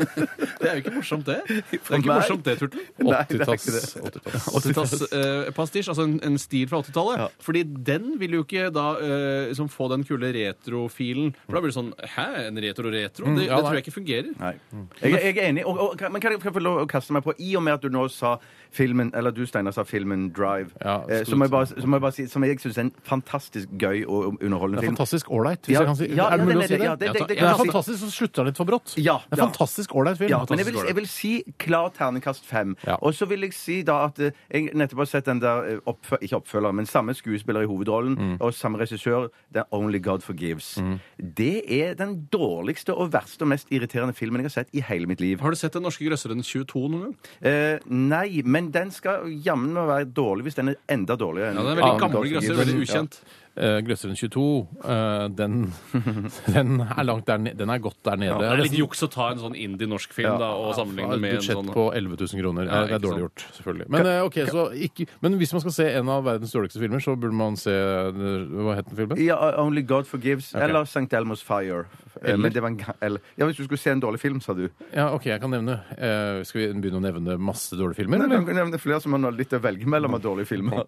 Speaker 5: det er jo ikke morsomt, det. Det er ikke
Speaker 6: meg.
Speaker 5: morsomt, det, Turtle.
Speaker 6: Nei, det er
Speaker 4: 80-talls. 80-talls.
Speaker 5: 80-talls eh, pastisj, altså en, en stil fra 80-tallet. Fordi den vil jo ikke da eh, liksom få den kule retrofilen. For da blir det sånn Hæ, en retro-retro?
Speaker 4: ja,
Speaker 5: Det, det
Speaker 4: nei.
Speaker 5: tror jeg ikke fungerer.
Speaker 6: Nei.
Speaker 4: Mm.
Speaker 6: Jeg, jeg er enig. Og, og, kan- men kan jeg kan jeg få lov å kaste meg på I og med at du nå sa filmen Eller du, Steinar, sa filmen Drive.
Speaker 4: Ja,
Speaker 6: eh, så,
Speaker 4: absolutt.
Speaker 6: må jeg bare, så må jeg bare si Som jeg syns er en fantastisk gøy og
Speaker 4: Det
Speaker 6: underholdende
Speaker 4: er
Speaker 6: film.
Speaker 4: fantastisk ålreit. hvis
Speaker 6: Ja,
Speaker 4: jeg kan si-
Speaker 6: ja,
Speaker 4: Er det
Speaker 6: ja,
Speaker 4: mulig
Speaker 6: den
Speaker 4: å
Speaker 6: er
Speaker 4: si
Speaker 6: det,
Speaker 4: det?
Speaker 6: ja, det- det- det
Speaker 4: Den
Speaker 6: kan
Speaker 4: er
Speaker 6: jeg si.
Speaker 4: fantastisk, så slutter den litt for brått.
Speaker 6: Ja,
Speaker 4: det er
Speaker 6: ja.
Speaker 4: fantastisk ålreit film.
Speaker 6: Ja, men jeg vil,
Speaker 5: Fantastisk
Speaker 6: jeg vil si klar terningkast fem.
Speaker 4: Ja.
Speaker 6: Og så vil jeg si da at eh, jeg nettopp har sett den der eh, oppfø Ikke oppfølger, men samme skuespiller i hovedrollen
Speaker 4: Mm.
Speaker 6: og samme regissør, den Only God Forgives. Det er den dårligste og verste og mest irriterende filmen jeg har sett i hele mitt liv.
Speaker 5: Har du sett Den norske grøsseren 22 noen gang?
Speaker 6: Eh, nei, men den skal jammen meg være dårlig hvis den er enda dårligere. enn-
Speaker 5: Ja, den er veldig
Speaker 6: enn
Speaker 5: gammel
Speaker 6: Only God
Speaker 5: grøsser,
Speaker 6: Forgives.
Speaker 5: veldig ukjent.
Speaker 4: Eh, Grøsseren 22, eh, den, den er langt der nede. Den er godt der nede.
Speaker 5: Det er litt juks å ta en sånn indie-norsk film da, og sammenligne
Speaker 4: Et
Speaker 5: med en
Speaker 4: budsjett
Speaker 5: sånn
Speaker 4: på 11 000 kroner.
Speaker 5: Ja,
Speaker 4: det er
Speaker 5: ikke
Speaker 4: dårlig
Speaker 5: sant.
Speaker 4: gjort, selvfølgelig. Men, eh, ok, så ikke, men hvis man skal se en av verdens dårligste filmer, så burde man se eh, Hva het den filmen?
Speaker 6: Ja, uh, Only God Forgives eller St. Elmos Fire. Eh, Men det var en ga- eller, ja, Hvis du skulle se en dårlig film, sa du.
Speaker 4: Ja, OK, jeg kan nevne. Eh, skal vi begynne å nevne masse dårlige filmer,
Speaker 6: Men
Speaker 4: eller?
Speaker 6: kan du nevne flere som man har litt å velge mellom av dårlige filmer?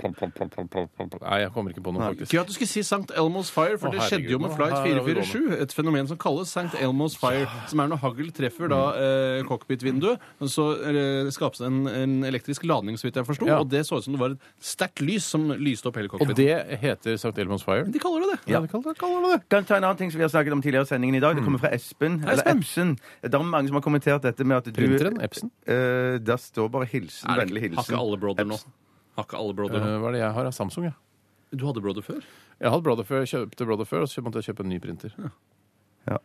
Speaker 4: Nei, jeg kommer ikke på noe, faktisk.
Speaker 5: Gøy at du skulle si St. Elmo's Fire, for
Speaker 4: Å,
Speaker 5: det
Speaker 4: herregud,
Speaker 5: skjedde jo med
Speaker 4: nå-
Speaker 5: Flight
Speaker 4: her er vi
Speaker 5: 447. Et fenomen som kalles St. Elmo's Fire, som er når hagl treffer da eh, cockpit-vinduet, så eh, skapes det en, en elektrisk ladning, så vidt jeg forsto,
Speaker 4: Ja.
Speaker 5: og det så ut som det var et sterkt lys som lyste opp hele
Speaker 4: Og
Speaker 5: cockpiten.
Speaker 4: det heter St. Elmons Fire?
Speaker 5: De kaller det det.
Speaker 4: Ja, det kaller, kaller det det.
Speaker 6: Kan ta en annen ting som vi har snakket om tidligere i sendingen i dag. Det kommer fra Espen. Eller
Speaker 5: Mm. Espen.
Speaker 6: Epsen. Det er mange som har kommentert dette med at du
Speaker 4: Printeren? Epson?
Speaker 6: Eh, der står bare hilsen.
Speaker 5: Er det
Speaker 6: Vennlig hilsen.
Speaker 5: ikke- Har ikke alle broder nå. Har ikke alle broder nå.
Speaker 4: Eh, hva er det jeg har? av Samsung, ja.
Speaker 5: Du hadde broder før?
Speaker 4: Jeg hadde Brother før, jeg kjøpte Brother før, og så måtte jeg kjøpe en ny printer.
Speaker 6: Ja.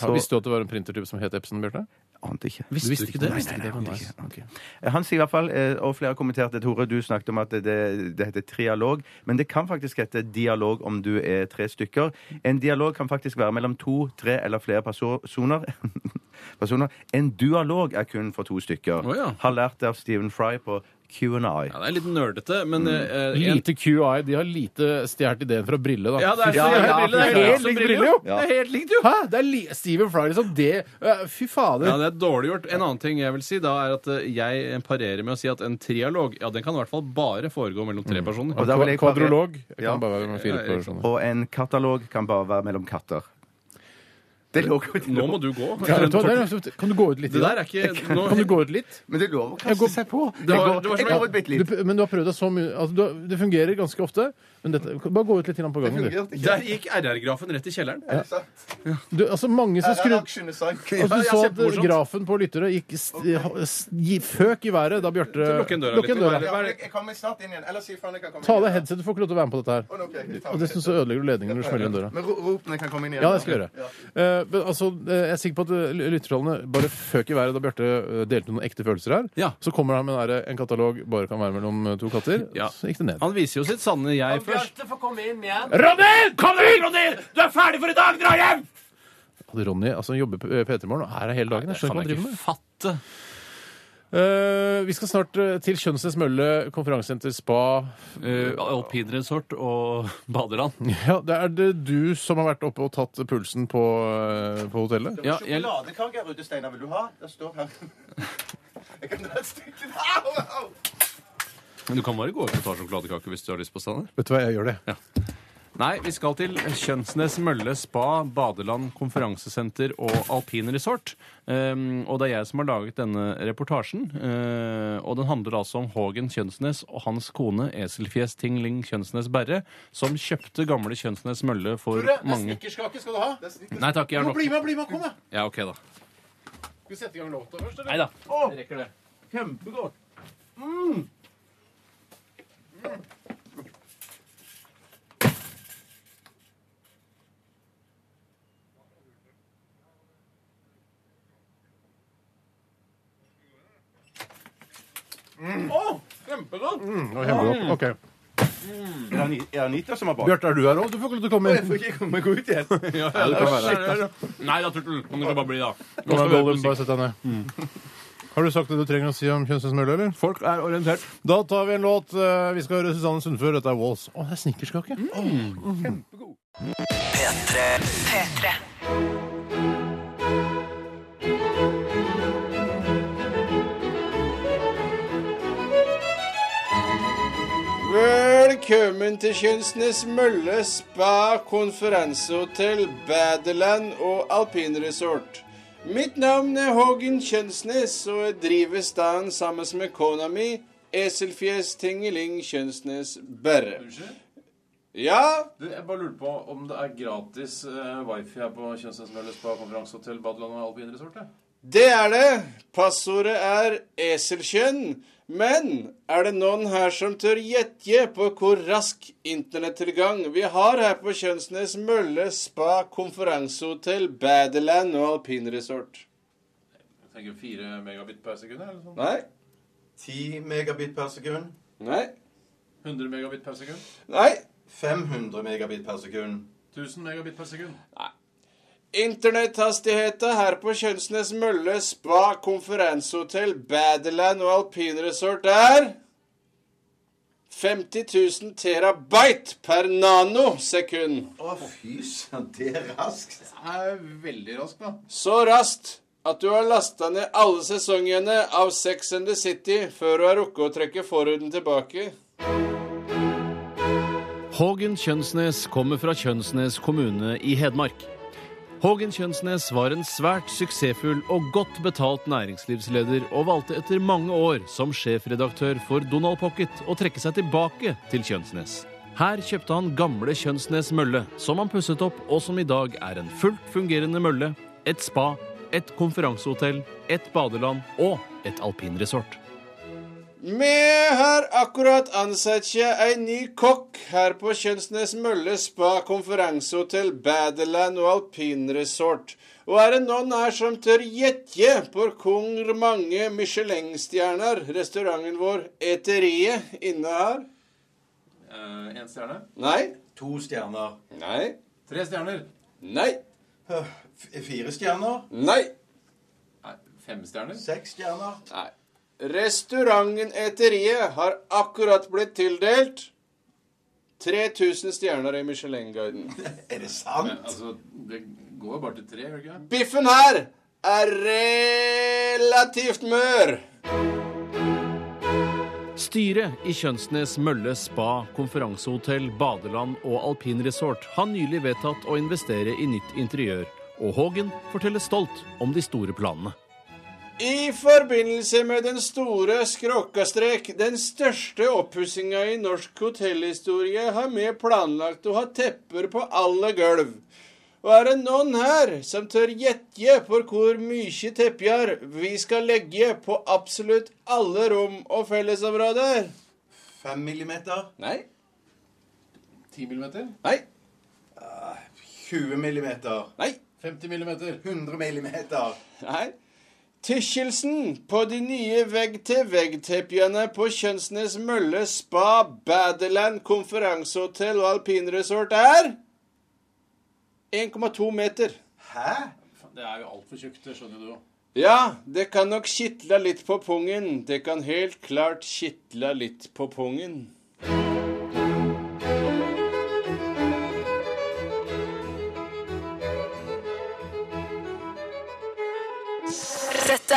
Speaker 4: Har- Visste du at det var en printertype som het Epson, Bjarte?
Speaker 6: Ante ikke.
Speaker 5: Visste du ikke det?
Speaker 6: Nei, nei, nei, ante ikke. Ok. Han sier i hvert fall, eh, og flere har kommentert det, Tore, du snakket om at det, det, det heter trialog, men det kan faktisk hete dialog om du er tre stykker. En dialog kan faktisk være mellom to, tre eller flere perso- personer. personer. En dualog er kun for to stykker.
Speaker 5: Å, ja.
Speaker 6: Har lært det av Stephen Fry på Q&I.
Speaker 5: Ja, det er litt nerdete, men eh, en-
Speaker 4: Lite QI. De har lite stjålet ideen fra Brille, da.
Speaker 5: ja, det er så
Speaker 6: Ja,
Speaker 5: jævlig
Speaker 6: ja,
Speaker 5: brille. Det
Speaker 4: det er
Speaker 5: er
Speaker 4: helt
Speaker 5: helt som
Speaker 4: lik
Speaker 5: brille,
Speaker 4: brille,
Speaker 5: jo.
Speaker 4: jo.
Speaker 5: Det er helt likt, jo.
Speaker 4: Hæ? Det er li Steven Fry, liksom. Det eh, Fy fader.
Speaker 5: Ja, det er dårlig gjort. En annen ting jeg vil si, da er at eh, jeg parerer med å si at en trialog ja, den kan i hvert fall bare foregå mellom
Speaker 4: Mm.
Speaker 5: tre personer.
Speaker 6: Og da vil jeg bare-
Speaker 4: Kvadrolog. Jeg
Speaker 6: Ja.
Speaker 4: kan bare være med
Speaker 5: Ja,
Speaker 4: fire
Speaker 5: ikke sant.
Speaker 4: personer.
Speaker 6: Og en katalog kan bare være mellom katter. Det er lov å-
Speaker 5: Nå må du gå.
Speaker 4: Ja, vet du hva, det er- kan du gå ut litt?
Speaker 5: Det
Speaker 4: i
Speaker 5: der
Speaker 4: dag?
Speaker 5: er ikke nå,
Speaker 4: Kan du gå ut litt?
Speaker 6: Men det er lov å
Speaker 4: Jeg
Speaker 6: kaste
Speaker 4: går-
Speaker 6: seg på.
Speaker 5: Det
Speaker 6: Jeg
Speaker 5: var-
Speaker 6: går,
Speaker 5: det var så
Speaker 6: jeg
Speaker 5: bra.
Speaker 6: går ut bitte
Speaker 4: Du,
Speaker 6: litt.
Speaker 4: pr- men du har prøvd deg så mye altså, du, har- Det fungerer ganske ofte. Men dette, bare gå ut litt grann på gangen, du.
Speaker 5: Der gikk RR-grafen rett i kjelleren.
Speaker 4: du altså, mange som skrur
Speaker 6: Aksjene sank.
Speaker 4: Altså,
Speaker 5: Ja,
Speaker 4: du
Speaker 5: ja,
Speaker 4: så at
Speaker 5: kjempemorsomt.
Speaker 4: grafen på lyttere gikk st- ha- s- gi- føk i været da Bjarte
Speaker 5: Lukk igjen døra
Speaker 4: Lukk
Speaker 5: litt.
Speaker 4: igjen døra.
Speaker 5: Hva er det-
Speaker 1: Jeg kommer snart inn igjen. Eller si fra når jeg kan komme
Speaker 4: Ta av deg
Speaker 1: inn.
Speaker 4: headsetet, du får ikke lov til å være med på dette her. Og dessuten så ødelegger du ledningen når du smeller igjen døra.
Speaker 1: Men ro- rop når jeg kan komme inn igjen.
Speaker 4: Ja, det skal jeg gjøre. Eh, men altså, eh, jeg er sikker på at eh, ly- lyttertallene bare føk i været da Bjarte eh, delte noen ekte følelser her.
Speaker 5: Ja.
Speaker 4: Så kommer han med en, der, en katalog bare kan være mellom eh, to katter.
Speaker 5: Ja.
Speaker 4: Så gikk det ned.
Speaker 5: Han viser jo sitt sanne jeg først.
Speaker 4: Ronny! Kom inn, Ronny! Du er ferdig for i dag! Dra hjem! Hadde Ronny altså, han jobber på eh, P3 Morgen og er her hele dagen. Jeg
Speaker 5: Kan
Speaker 4: skjønner ikke hva han
Speaker 5: jeg
Speaker 4: driver med.
Speaker 5: ikke fatte.
Speaker 4: Eh, vi skal snart eh, til Kjønnsnes Mølle konferansesenter spa.
Speaker 5: Uh, Alpinresort og badeland.
Speaker 4: Ja, det er det du som har vært oppe og tatt pulsen på, eh, på hotellet?
Speaker 5: Ja, jeg,
Speaker 1: Sjokoladekake, Rudde Steinar, vil du ha? Det står her. Jeg kan ta et stykke. Au, au!
Speaker 5: du kan bare gå ut og ta sjokoladekake hvis du har lyst på sånn. Steinar.
Speaker 4: Vet du hva, jeg gjør det.
Speaker 5: Nei, vi skal til Kjønnsnes Mølle spa, badeland, konferansesenter og alpinresort. Um, og det er jeg som har laget denne reportasjen. eh, og den handler altså om Hågen Kjønnsnes og hans kone Eselfjes Tingling Kjønnsnes Berre, som kjøpte gamle Kjønnsnes Mølle for mange
Speaker 4: Snickerskake skal du ha.
Speaker 5: Nei takk, jeg har nok.
Speaker 4: med, bli med, kom da.
Speaker 5: Ja, OK, da.
Speaker 4: Skal vi sette i gang låta først,
Speaker 5: Nei da. Jeg rekker det.
Speaker 4: Kjempegodt. Ok.
Speaker 6: Er det Ani- er det Anita som har bakt?
Speaker 4: Bjarte, er du her òg? Du får ikke lov til å komme inn.
Speaker 6: Får ikke jeg komme ut igjen?
Speaker 4: Ja, du kan være her.
Speaker 5: Nei da, Turtle. Kan du ikke bare bli, da?
Speaker 4: Kom her, Gollum, bare sett deg ned. Mm. Har du sagt det du trenger å si om Kjønnsnes Mølle, eller?
Speaker 5: Folk er orientert.
Speaker 4: Da tar vi en låt. Eh, Vi skal høre Susanne Sundfør. Dette er Walls. Å, det er snickerskake.
Speaker 2: P3.
Speaker 7: P3.
Speaker 8: Velkommen til Kjønnsnes Mølle spa, konferansehotell, badeland og alpinresort. Mitt navn er Hågen Kjønnsnes, og jeg driver staden sammen med kona mi, Eselfjes Tingeling Kjønnsnes Berre. Ja?
Speaker 5: Jeg bare lurer på om det er gratis eh, wifi her på Kjønnsnes Mølle spa, konferansehotell, badeland og alpinresort?
Speaker 8: Det er det. Passordet er eselkjønn. Men er det noen her som tør gjette på hvor rask internettilgang vi har her på Kjønnsnes Mølle spa, konferansehotell, badeland og alpinresort?
Speaker 5: Tenker 4 megabit per sekund? eller sånn?
Speaker 8: Nei?
Speaker 1: 10 megabit per sekund.
Speaker 8: Nei?
Speaker 5: 100 megabit per sekund?
Speaker 8: Nei?
Speaker 1: 500 megabit per sekund.
Speaker 5: 1000 megabit per sekund?
Speaker 8: Internetthastigheten her på Kjønnsnes Mølle spa, konferansehotell, badeland og alpinresort er 50 000 terabyte per nanosekund.
Speaker 1: Å, fy søren, det er raskt.
Speaker 8: så raskt at du har lasta ned alle sesongene av Sex and the City før du har rukket å trekke forhuden tilbake.
Speaker 5: Hågen Kjønnsnes kommer fra Kjønnsnes kommune i Hedmark. Hågen Kjønnsnes var en svært suksessfull og godt betalt næringslivsleder, og valgte etter mange år som sjefredaktør for Donald Pocket å trekke seg tilbake til Kjønnsnes. Her kjøpte han gamle Kjønnsnes mølle, som han pusset opp, og som i dag er en fullt fungerende mølle, et spa, et konferansehotell, et badeland og et alpinresort.
Speaker 8: Vi har akkurat ansatt seg en ny kokk her på Kjønnsnes Mølle spa, konferansehotell, badeland og alpinresort. Og er det noen her som tør gjette på hvor mange Michelin-stjerner restauranten vår Eteriet innehar?
Speaker 5: Én Eh, stjerne.
Speaker 8: Nei?
Speaker 1: To stjerner.
Speaker 8: Nei?
Speaker 5: Tre stjerner.
Speaker 8: Nei?
Speaker 1: Øh, f- Fire stjerner.
Speaker 8: Nei?
Speaker 5: Fem stjerner.
Speaker 1: Seks stjerner.
Speaker 8: Nei. Restauranten Eteriet har akkurat blitt tildelt 3000 stjerner i Michelin-guiden.
Speaker 1: Er det sant?
Speaker 5: Altså, det går jo bare til tre, gjør det ikke det?
Speaker 8: Biffen her er relativt mør.
Speaker 5: Styret i Kjønnsnes Mølle spa, konferansehotell, badeland og alpinresort har nylig vedtatt å investere i nytt interiør. og Hågen forteller stolt om de store planene.
Speaker 8: I forbindelse med den store skråkastrek, den største oppussinga i norsk hotellhistorie, har vi planlagt å ha tepper på alle gulv. Og er det noen her som tør gjette for hvor mye tepper vi skal legge på absolutt alle rom og fellesområder?
Speaker 1: Fem millimeter.
Speaker 8: Nei.
Speaker 4: Ti millimeter?
Speaker 8: Nei.
Speaker 1: 20 millimeter.
Speaker 8: Nei.
Speaker 4: 50 millimeter?
Speaker 1: 100 millimeter.
Speaker 8: Nei. Tykkelsen på de nye vegg-til-vegg-teppene på Kjønnsnes Mølle spa, Badeland konferansehotell og alpinresort er 1,2 meter.
Speaker 1: Hæ?
Speaker 4: Det er jo altfor tjukt, det skjønner du jo.
Speaker 8: Ja, det kan nok kitle litt på pungen. Det kan helt klart kitle litt på pungen.
Speaker 7: Dette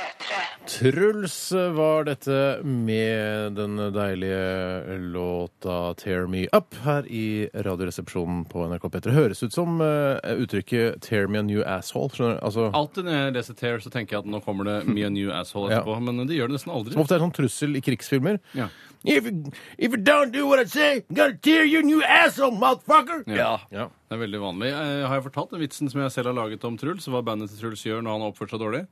Speaker 4: Truls eh, var dette med den deilige låta 'Tear Me Up' her i Radioresepsjonen på NRK P3. Høres ut som eh, uttrykket 'Tear Me A New Asshole'. Skjønner du? Altså,
Speaker 5: Alltid når jeg leser Tear, så tenker jeg at nå kommer det Me and You Asshole etterpå. Men det gjør det nesten
Speaker 4: som
Speaker 5: aldri.
Speaker 4: ofte er sånn trussel i krigsfilmer.
Speaker 5: Ja.
Speaker 4: If, if you don't do what I say, I'm gonna tear your new asshole, motherfucker!
Speaker 5: Ja.
Speaker 4: Ja.
Speaker 5: Det er veldig vanlig. Eh, har jeg fortalt den vitsen som jeg selv har laget om Truls? Hva bandet til Truls gjør når han oppfører seg dårlig?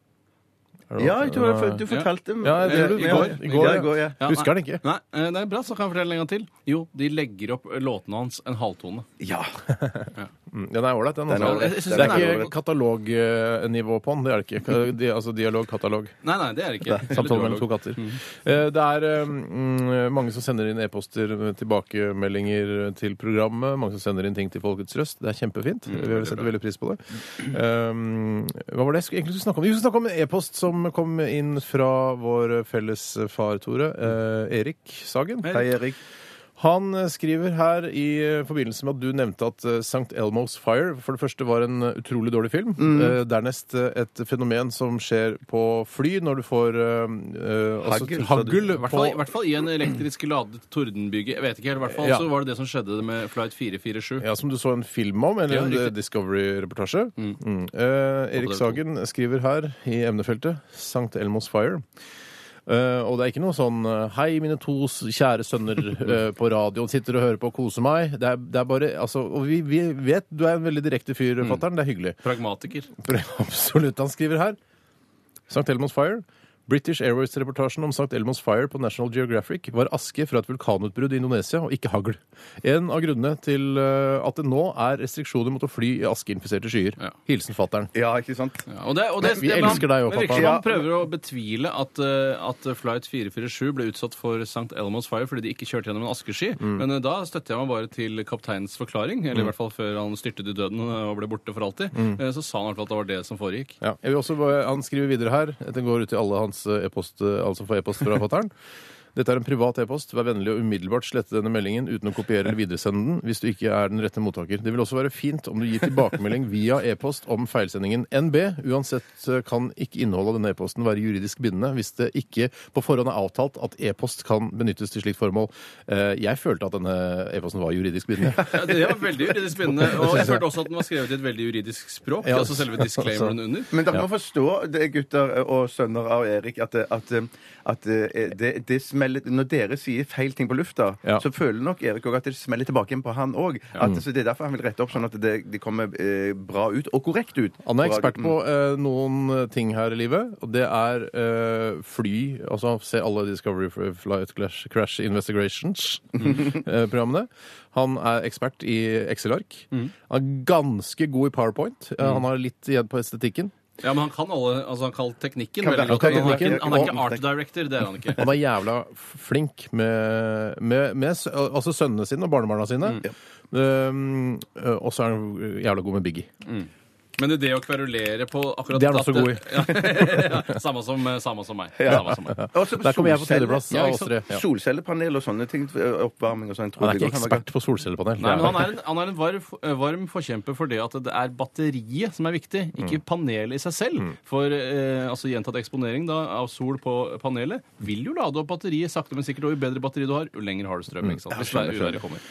Speaker 6: Ja, jeg tror jeg, du fortalte meg
Speaker 4: Ja, jeg tror du- i
Speaker 6: Ja, ja.
Speaker 4: går. I går,
Speaker 6: Ja, i går, ja.
Speaker 5: Ja,
Speaker 4: Husker den
Speaker 5: nei.
Speaker 4: ikke.
Speaker 5: Nei, eh, det er bra, så kan jeg fortelle en gang til. Jo, de legger opp eh, låtene hans en halvtone.
Speaker 6: Ja.
Speaker 4: Mm, Den er ålreit, den.
Speaker 6: Den er
Speaker 4: Altså.
Speaker 6: ålreit.
Speaker 5: Jeg synes
Speaker 4: Det
Speaker 5: den
Speaker 4: er
Speaker 5: er
Speaker 4: ikke katalognivå på den. Det er det ikke. Di- Altså dialogkatalog.
Speaker 5: Nei, nei, det er det ikke.
Speaker 4: Nei, Samtale mellom to katter. Eh, Det er eh, mm, mange som sender inn e-poster, eh, tilbakemeldinger eh, til programmet. Mange som sender inn ting til Folkets Røst. Det er kjempefint. Vi setter veldig pris på det. Um, hva var det jeg skulle- egentlig skulle snakke om? Jo, vi skulle snakke om en e-post som kom inn fra vår felles far, Tore. eh, Erik Sagen.
Speaker 6: Hei, Erik.
Speaker 4: Han eh, skriver her i eh, forbindelse med at du nevnte at eh, St. Elmo's Fire for det første var en eh, utrolig dårlig film. Eh, Dernest eh, et fenomen som skjer på fly når du får eh, eh, altså,
Speaker 6: Hagl, sa du.
Speaker 4: hagl
Speaker 5: I
Speaker 4: på
Speaker 5: hvert, fall, I hvert fall i en elektrisk ladet tordenbyge. Jeg vet ikke helt, i hvert fall
Speaker 4: Ja.
Speaker 5: så var det det som skjedde med Flight 447.
Speaker 4: ja, Som du så en film om, eller
Speaker 5: Mm. Ja,
Speaker 4: en eh,
Speaker 5: riktig.
Speaker 4: Discovery-reportasje. Mm. Eh, Erik
Speaker 5: det er
Speaker 4: Sagen skriver her i emnefeltet St. Elmo's Fire. Eh, og det er ikke noe sånn eh, 'Hei, mine to s- kjære sønner eh, på radioen, sitter og hører på og koser meg'. Det er, det er bare Altså, og vi, vi vet du er en veldig direkte fyr,
Speaker 5: Mm.
Speaker 4: fatter'n. Det er hyggelig.
Speaker 5: Pragmatiker.
Speaker 4: For absolutt. Han skriver her St. Elmo's Fire. British Airways-reportasjen om St. Elmo's Fire på National Geographic var aske fra et vulkanutbrudd i Indonesia, og ikke hagl. En av grunnene til eh, at det nå er restriksjoner mot å fly i askeinfiserte skyer.
Speaker 5: Ja.
Speaker 4: Hilsen fattern.
Speaker 6: Ja, ikke sant?
Speaker 5: Ja, og det, og det,
Speaker 4: Men vi
Speaker 5: det- man-
Speaker 4: elsker deg jo,
Speaker 5: det virker
Speaker 4: pappa.
Speaker 5: som
Speaker 6: Ja.
Speaker 5: Han prøver å betvile at, eh, at Flight 447 ble utsatt for St. Elmo's Fire fordi de ikke kjørte gjennom en askesky.
Speaker 4: Mm.
Speaker 5: Men eh, da støtter jeg meg bare til kapteinens forklaring, eller i hvert fall før han styrtet i døden eh, og ble borte for alltid.
Speaker 4: Mm.
Speaker 5: Eh, Så sa han i hvert fall at det var det som foregikk.
Speaker 4: Ja. Jeg vil også, bare- han skriver videre her. Den går ut til alle hans eh, e-post, eh, alle som får e-post fra fattern. Dette er en privat e-post. Vær vennlig og umiddelbart slette denne meldingen uten å kopiere eller videresende den hvis du ikke er den rette mottaker. Det vil også være fint om du gir tilbakemelding via e-post om feilsendingen NB. Uansett eh, kan ikke innholdet av denne e-posten være juridisk bindende hvis det ikke på forhånd er avtalt at e-post kan benyttes til slikt formål. Eh, Jeg følte at denne e-posten var juridisk bindende.
Speaker 5: Ja, det var veldig juridisk spennende. Og jeg følte også at den var skrevet i et veldig juridisk språk.
Speaker 4: Ja.
Speaker 5: Altså selve disclaimeren under.
Speaker 6: Men dere må forstå, det er gutter eh, og sønner av Erik, at, det- at, eh, at eh, det, det smeller Når dere sier feil ting på lufta,
Speaker 4: Ja. Mm.
Speaker 6: så føler nok Erik òg at det smeller tilbake igjen på han òg. Så Det er derfor han vil rette opp sånn at det, det kommer eh, bra ut, og korrekt ut.
Speaker 4: Han er
Speaker 6: Bra-
Speaker 4: ekspert på eh, noen eh, ting her i livet, og det er eh, fly Altså se alle Discovery Fl- Flight Clash, Crash Investigations-programmene. han er ekspert i Excel-ark.
Speaker 5: Mm.
Speaker 4: Han er ganske god i PowerPoint. Eh, han har litt igjen på estetikken.
Speaker 5: Ja, men han kan alle, altså han kan teknikken
Speaker 6: Kan
Speaker 5: veldig
Speaker 6: være-
Speaker 5: godt.
Speaker 4: kan
Speaker 5: men Han er ikke,
Speaker 4: teknikken,
Speaker 5: han er ikke
Speaker 4: og-
Speaker 5: art director, det er han ikke.
Speaker 4: Han er jævla f- flink med, med, med s- altså sønnene sine og barnebarna sine.
Speaker 5: Mm.
Speaker 4: Um, eh, og så er han jævla god med Biggie.
Speaker 5: Men det å kverulere på akkurat
Speaker 4: Det er han også
Speaker 5: at-
Speaker 4: god i.
Speaker 5: Ja, ja, samme, som, eh, samme som meg. Samme som meg.
Speaker 6: Også
Speaker 4: Der kommer jeg på
Speaker 6: solcelle-
Speaker 4: tredjeplass
Speaker 5: Ja,
Speaker 4: av
Speaker 5: ikke
Speaker 4: oss
Speaker 5: sant?
Speaker 4: tre. Ja.
Speaker 6: Solcellepanel og sånne ting. eh, Oppvarming og sånn. tror
Speaker 4: Han er
Speaker 6: jeg
Speaker 4: ikke
Speaker 6: godt kan være-
Speaker 4: ekspert på solcellepanel.
Speaker 5: Nei, men han er en, han er en varm, eh, varm forkjemper for det at det er batteriet som er viktig,
Speaker 4: Mm.
Speaker 5: ikke panelet i seg selv. For eh, altså gjentatt eksponering da, av sol på panelet
Speaker 4: Mm.
Speaker 5: vil jo lade opp batteriet sakte, men sikkert. Og jo bedre batteri du har, jo lenger har du strøm. ikke sant? Hvis det er uværet kommer.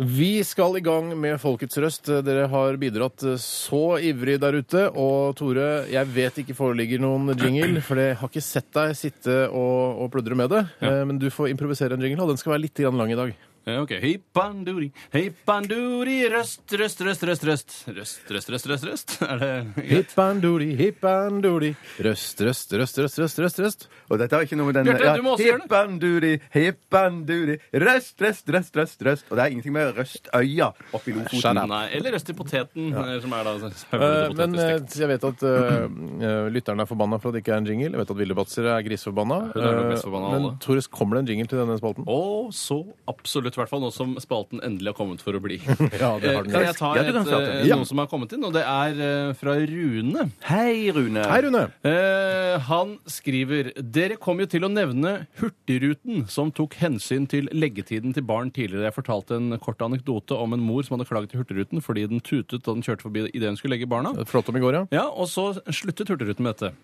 Speaker 4: Vi skal i gang med Folkets røst. Dere har bidratt eh, så ivrig der ute. Og Tore, jeg vet ikke foreligger noen jingle, for jeg har ikke sett deg sitte og, og pludre med det. Eh, Men du får improvisere en jingle, og den skal være litt grann lang i dag.
Speaker 5: Ja, Eh, Ok. Hei panduri, hei panduri, røst, røst, røst, røst, røst. Røst, røst, røst, røst, røst. Er det greit?
Speaker 4: Hippanduri, hippanduri, røst, røst, røst, røst, røst, røst, røst.
Speaker 6: Og dette har ikke noe med den
Speaker 5: Bjarte, du må også gjøre det.
Speaker 6: Hippanduri, hippanduri, røst, røst, røst, røst, røst. Og det er ingenting med røstøya oppi Lofoten.
Speaker 5: Nei, eller røst i poteten, eh, som er da
Speaker 4: Eh,
Speaker 5: høvlete
Speaker 4: Men eh,
Speaker 5: potetstekt.
Speaker 4: jeg vet at eh, eh, lytterne er forbanna for at det ikke er en jingle. Jeg vet at Vilde Batzer er griseforbanna.
Speaker 5: hun er nok
Speaker 4: Eh,
Speaker 5: mest forbanna av
Speaker 4: Men
Speaker 5: alle.
Speaker 4: Tore, kommer det en jingle til denne spalten?
Speaker 5: Og så absolutt, i hvert fall nå som spalten endelig har kommet for å bli.
Speaker 4: Ja, det har den
Speaker 5: Eh, Kan jeg
Speaker 4: gjort.
Speaker 5: ta
Speaker 6: Ja,
Speaker 5: et,
Speaker 6: du kan starte.
Speaker 5: eh,
Speaker 4: Ja.
Speaker 5: noe som har kommet inn, og det er eh, fra Rune.
Speaker 6: Hei, Rune.
Speaker 4: Hei, Rune.
Speaker 5: Eh, han skriver Dere kom jo til å nevne Hurtigruten, som tok hensyn til leggetiden til barn tidligere. Jeg fortalte en kort anekdote om en mor som hadde klaget til Hurtigruten fordi den tutet da den kjørte forbi idet hun skulle legge barna.
Speaker 4: Flott om i går, ja.
Speaker 5: Ja, og så sluttet Hurtigruten med dette.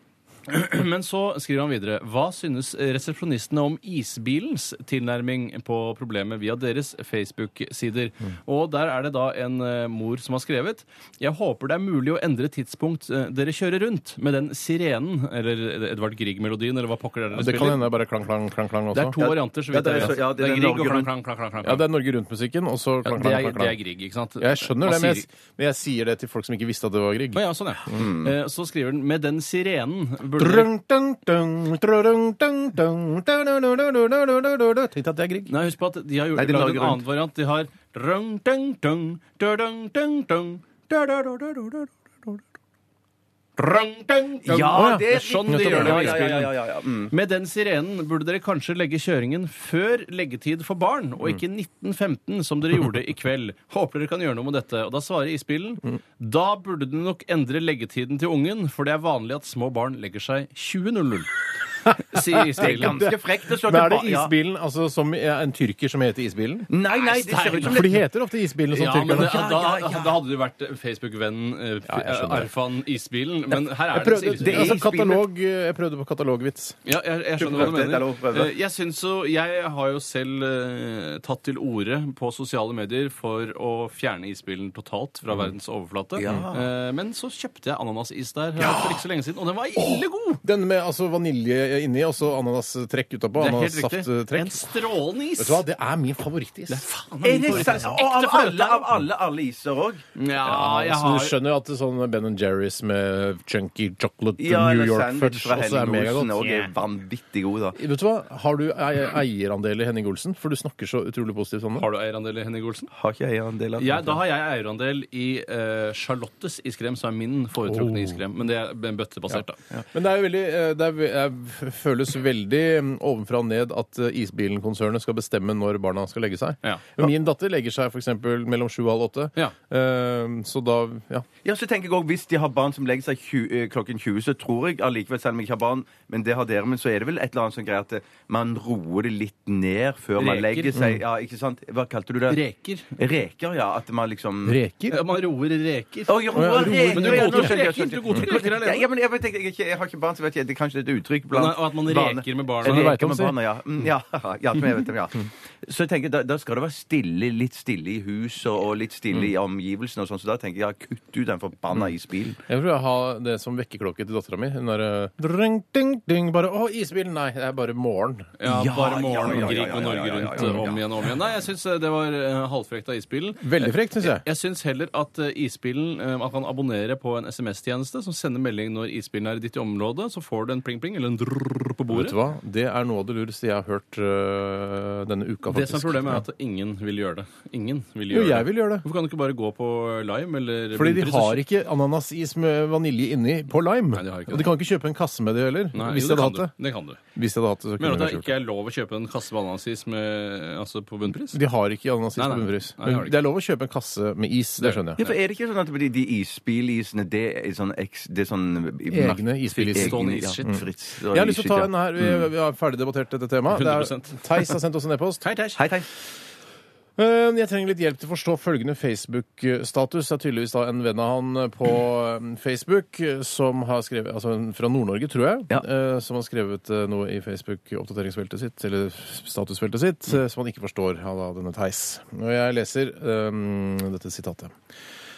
Speaker 5: Men så skriver han videre Hva synes resepsjonistene om isbilens tilnærming på problemet via deres Facebook-sider? Og der er det da en eh, mor som har skrevet Jeg håper det er mulig å endre tidspunkt eh, dere kjører rundt med den sirenen, eller Edvard Grieg-melodien, eller hva pokker det er dere
Speaker 4: Det kan
Speaker 5: spiller.
Speaker 4: hende det er bare klang, klang, klang, klang
Speaker 5: Det
Speaker 4: også.
Speaker 5: er to varianter, så
Speaker 6: ja,
Speaker 5: vidt
Speaker 6: det er
Speaker 5: jeg
Speaker 6: så-
Speaker 5: vet.
Speaker 6: ja, det er
Speaker 5: det er
Speaker 6: den
Speaker 5: Grieg og
Speaker 6: Norge
Speaker 5: klang,
Speaker 6: Rundt.
Speaker 5: klang, klang, klang, klang.
Speaker 4: Ja, det er Norge Rundt-musikken, og så klang,
Speaker 5: Ja, det
Speaker 4: klang,
Speaker 5: er,
Speaker 4: klang,
Speaker 5: det er
Speaker 4: klang.
Speaker 5: Grieg, ikke sant?
Speaker 4: Jeg skjønner det,
Speaker 5: Man
Speaker 4: men jeg,
Speaker 5: sier-
Speaker 4: men jeg sier det til folk som ikke visste at det var Grieg.
Speaker 5: Å ja, sånn, ja. Eh, Så skriver han Med den sirenen burde dere
Speaker 4: Drung, dung, dung, drung, dung, dung, da-da-da-da-da-da-da-da-da. Tenk at det er Grieg.
Speaker 5: Nei, husk på at de har gjort,
Speaker 6: Nei, de
Speaker 5: laget
Speaker 6: lager
Speaker 5: en annen variant. De har Rung, dung, dung, da-dung, dung, dung, da-da-da-da-da-da-da-da-da. Rung, dung, dung.
Speaker 6: Ja,
Speaker 5: Å
Speaker 6: det er
Speaker 5: sånn de
Speaker 4: riktig.
Speaker 5: gjør det
Speaker 6: Ja, ja,
Speaker 5: med
Speaker 6: ja, ja,
Speaker 5: innspillen.
Speaker 6: ja, ja. Mm.
Speaker 5: Med den sirenen burde dere kanskje legge kjøringen før leggetid for barn, og ikke
Speaker 6: Mm.
Speaker 5: 1915 som dere gjorde i kveld. Håper dere kan gjøre noe med dette. Og da svarer
Speaker 6: Mm.
Speaker 5: isbilen da burde du nok endre leggetiden til ungen, for det er vanlig at små barn legger seg 20.00. Sier isbilen.
Speaker 6: Ganske frekt å slå
Speaker 4: Men er det
Speaker 6: tilba- ja.
Speaker 4: Isbilen, altså som er en tyrker som heter Isbilen?
Speaker 6: Nei, nei, det ser ut som
Speaker 4: For de heter ofte Isbilen som
Speaker 5: Mm, Ja, men det,
Speaker 4: tyrkerne.
Speaker 5: da, da hadde du vært Facebook-vennen eh,
Speaker 4: jeg skjønner det.
Speaker 5: Arfan Isbilen, men her
Speaker 4: Jeg
Speaker 5: er det
Speaker 4: prøvde,
Speaker 5: en
Speaker 4: altså,
Speaker 5: sivilsyn.
Speaker 4: katalog, jeg prøvde på katalogvits.
Speaker 5: Ja, jeg, jeg skjønner hva
Speaker 6: prøvde,
Speaker 5: du
Speaker 6: det er lov å
Speaker 5: mener.
Speaker 6: prøve.
Speaker 5: Eh, Jeg synes jo, jeg har jo selv eh, tatt til orde på sosiale medier for å fjerne isbilen
Speaker 4: Mm.
Speaker 5: totalt fra verdens overflate. Eh, men så kjøpte jeg ananasis der eh, for ikke så lenge siden, og den var ille god!
Speaker 4: Den med altså, vanilje inni og så ananastrekk utapå.
Speaker 5: Det er helt riktig. En
Speaker 4: Ananasafttrekk.
Speaker 5: strålende is!
Speaker 4: Vet du hva, det er min favorittis.
Speaker 6: Er det sant? Og av alle, av alle, alle iser òg.
Speaker 5: Ja, jeg
Speaker 4: Altså,
Speaker 5: har...
Speaker 4: du skjønner jo at det er sånn Ben Jerry's med chunky chocolate
Speaker 6: Ja,
Speaker 4: New
Speaker 6: eller
Speaker 4: York
Speaker 6: sandwich
Speaker 4: fudge
Speaker 6: fra
Speaker 4: også er
Speaker 6: Henning Olsen
Speaker 4: megagodt.
Speaker 6: òg er vanvittig god, da.
Speaker 4: Vet du hva? Har du ei- eierandel i Henning Olsen? For du snakker så utrolig positivt om det.
Speaker 5: Har du eierandel i Henning Olsen?
Speaker 6: Har ikke jeg en del av
Speaker 5: Ja, da har jeg eierandel i eh, Charlottes iskrem, som er min foretrukne
Speaker 4: Oh.
Speaker 5: iskrem. Men det er en bøttebasert, da.
Speaker 4: Men det er jo veldig eh, det er, jeg føles veldig mm, ovenfra og ned at eh, Isbilen-konsernet skal bestemme når barna skal legge seg.
Speaker 5: Ja.
Speaker 4: Men min datter legger seg f.eks. mellom sju og halv åtte.
Speaker 5: Ja.
Speaker 4: Eh, så da ja.
Speaker 6: Ja, så tenker jeg også, Hvis de har barn som legger seg 20, eh, klokken 20, så tror jeg allikevel, selv om jeg ikke har barn, men det har dere, men så er det vel et eller annet sånn greie at eh, man roer det litt ned før man
Speaker 5: Reker. Mm.
Speaker 6: legger seg. Ja, ikke sant? Hva kalte du det?
Speaker 5: Reker.
Speaker 6: Reker, ja. At man liksom
Speaker 4: Reker?
Speaker 5: Ja, man roer reker.
Speaker 6: Å, jo, reker,
Speaker 5: Men du
Speaker 6: ja, nå
Speaker 5: godtar
Speaker 6: skjønner jeg,
Speaker 5: reker, du godtar reker
Speaker 6: Ja,
Speaker 5: alene.
Speaker 6: ja, men jeg, vet ikke, jeg, er ikke- jeg har ikke barn, så vet jeg, det er kanskje et uttrykk blant
Speaker 5: Nei, og at man
Speaker 6: barne-
Speaker 5: reker med barna.
Speaker 4: du vet
Speaker 6: Reker
Speaker 4: om,
Speaker 6: med
Speaker 4: sier.
Speaker 6: barna, ja. Mm, ja. ja, men jeg vet om, ja. Så jeg tenker, da, da skal det være stille, litt stille i huset og, og litt stille i omgivelsene og sånn, så da tenker jeg, ja, kutt ut den forbanna isbilen.
Speaker 4: Jeg tror jeg har det som vekkerklokke til dattera mi. Hun derre dring, ding, ding, bare Å, isbilen! Nei, det er bare morgen.
Speaker 5: Ja,
Speaker 6: Ja,
Speaker 5: bare morgen
Speaker 6: ja, ja, ja,
Speaker 5: Grieg og
Speaker 6: ja, ja,
Speaker 5: Norge
Speaker 6: ja, ja, ja,
Speaker 5: rundt eh,
Speaker 6: ja, ja.
Speaker 5: om igjen og om igjen. Nei, jeg syns det var eh, halvfrekt av isbilen.
Speaker 4: Veldig frekt, syns jeg.
Speaker 5: Jeg syns heller at eh, isbilen eh, Man kan abonnere på en SMS-tjeneste som sender melding når isbilen er i ditt område. Så får du en pling-pling eller en drrrr på
Speaker 4: Vet
Speaker 5: bordet.
Speaker 4: du hva? Det er noe av det lureste jeg har hørt øh, denne uka,
Speaker 5: Det
Speaker 4: faktisk.
Speaker 5: som er problemet, er at ingen vil gjøre det. Ingen vil
Speaker 4: Jo,
Speaker 5: gjøre
Speaker 4: jeg vil gjøre det.
Speaker 5: Hvorfor kan du ikke bare gå på Lime eller
Speaker 4: Fordi de
Speaker 5: Bunnpris og
Speaker 4: har ikke ananasis med vanilje inni på lime.
Speaker 5: Nei, de har ikke
Speaker 4: og de kan ikke kjøpe en kasse med det heller.
Speaker 5: Nei,
Speaker 4: hvis
Speaker 5: jo,
Speaker 4: de
Speaker 5: det
Speaker 4: hadde hatt
Speaker 5: kan
Speaker 4: det.
Speaker 5: Du. Det kan du.
Speaker 4: Hvis de hadde hatt det, så kunne
Speaker 5: Mener du
Speaker 4: de
Speaker 5: at
Speaker 4: kanskje
Speaker 5: det
Speaker 4: gjort
Speaker 5: ikke er lov å kjøpe en kasse bananas med- altså på bunnpris?
Speaker 4: De har ikke ananasis
Speaker 5: Nei,
Speaker 4: på
Speaker 5: nei.
Speaker 4: bunnpris.
Speaker 5: Nei, det har de
Speaker 4: Men det er lov å kjøpe en kasse med is, det skjønner
Speaker 6: Ja,
Speaker 4: jeg.
Speaker 6: for er det ikke sånn at de, de isbilisene, det er sånn eks... Det er sånn
Speaker 4: Egne isbilis.
Speaker 5: Stående
Speaker 6: ja.
Speaker 5: isskitt.
Speaker 6: Mm. Fritz.
Speaker 4: Jeg har lyst til å ta en
Speaker 5: Mm.
Speaker 4: her. Vi, vi har ferdig debattert dette temaet. Det er-
Speaker 5: 100%.
Speaker 4: Theis har sendt oss en e-post.
Speaker 5: Hei, Teis.
Speaker 6: Hei, hei.
Speaker 4: Eh, Jeg trenger litt hjelp til å forstå følgende Facebook-status. Det er tydeligvis da en venn av han på eh, Facebook eh, som har skrevet Altså en fra Nord-Norge, tror jeg.
Speaker 6: Ja.
Speaker 4: eh, Som har skrevet eh, noe i Facebook-oppdateringsfeltet sitt, eller statusfeltet sitt, eh, som han ikke forstår av da denne Theis. Og jeg leser eh, dette sitatet.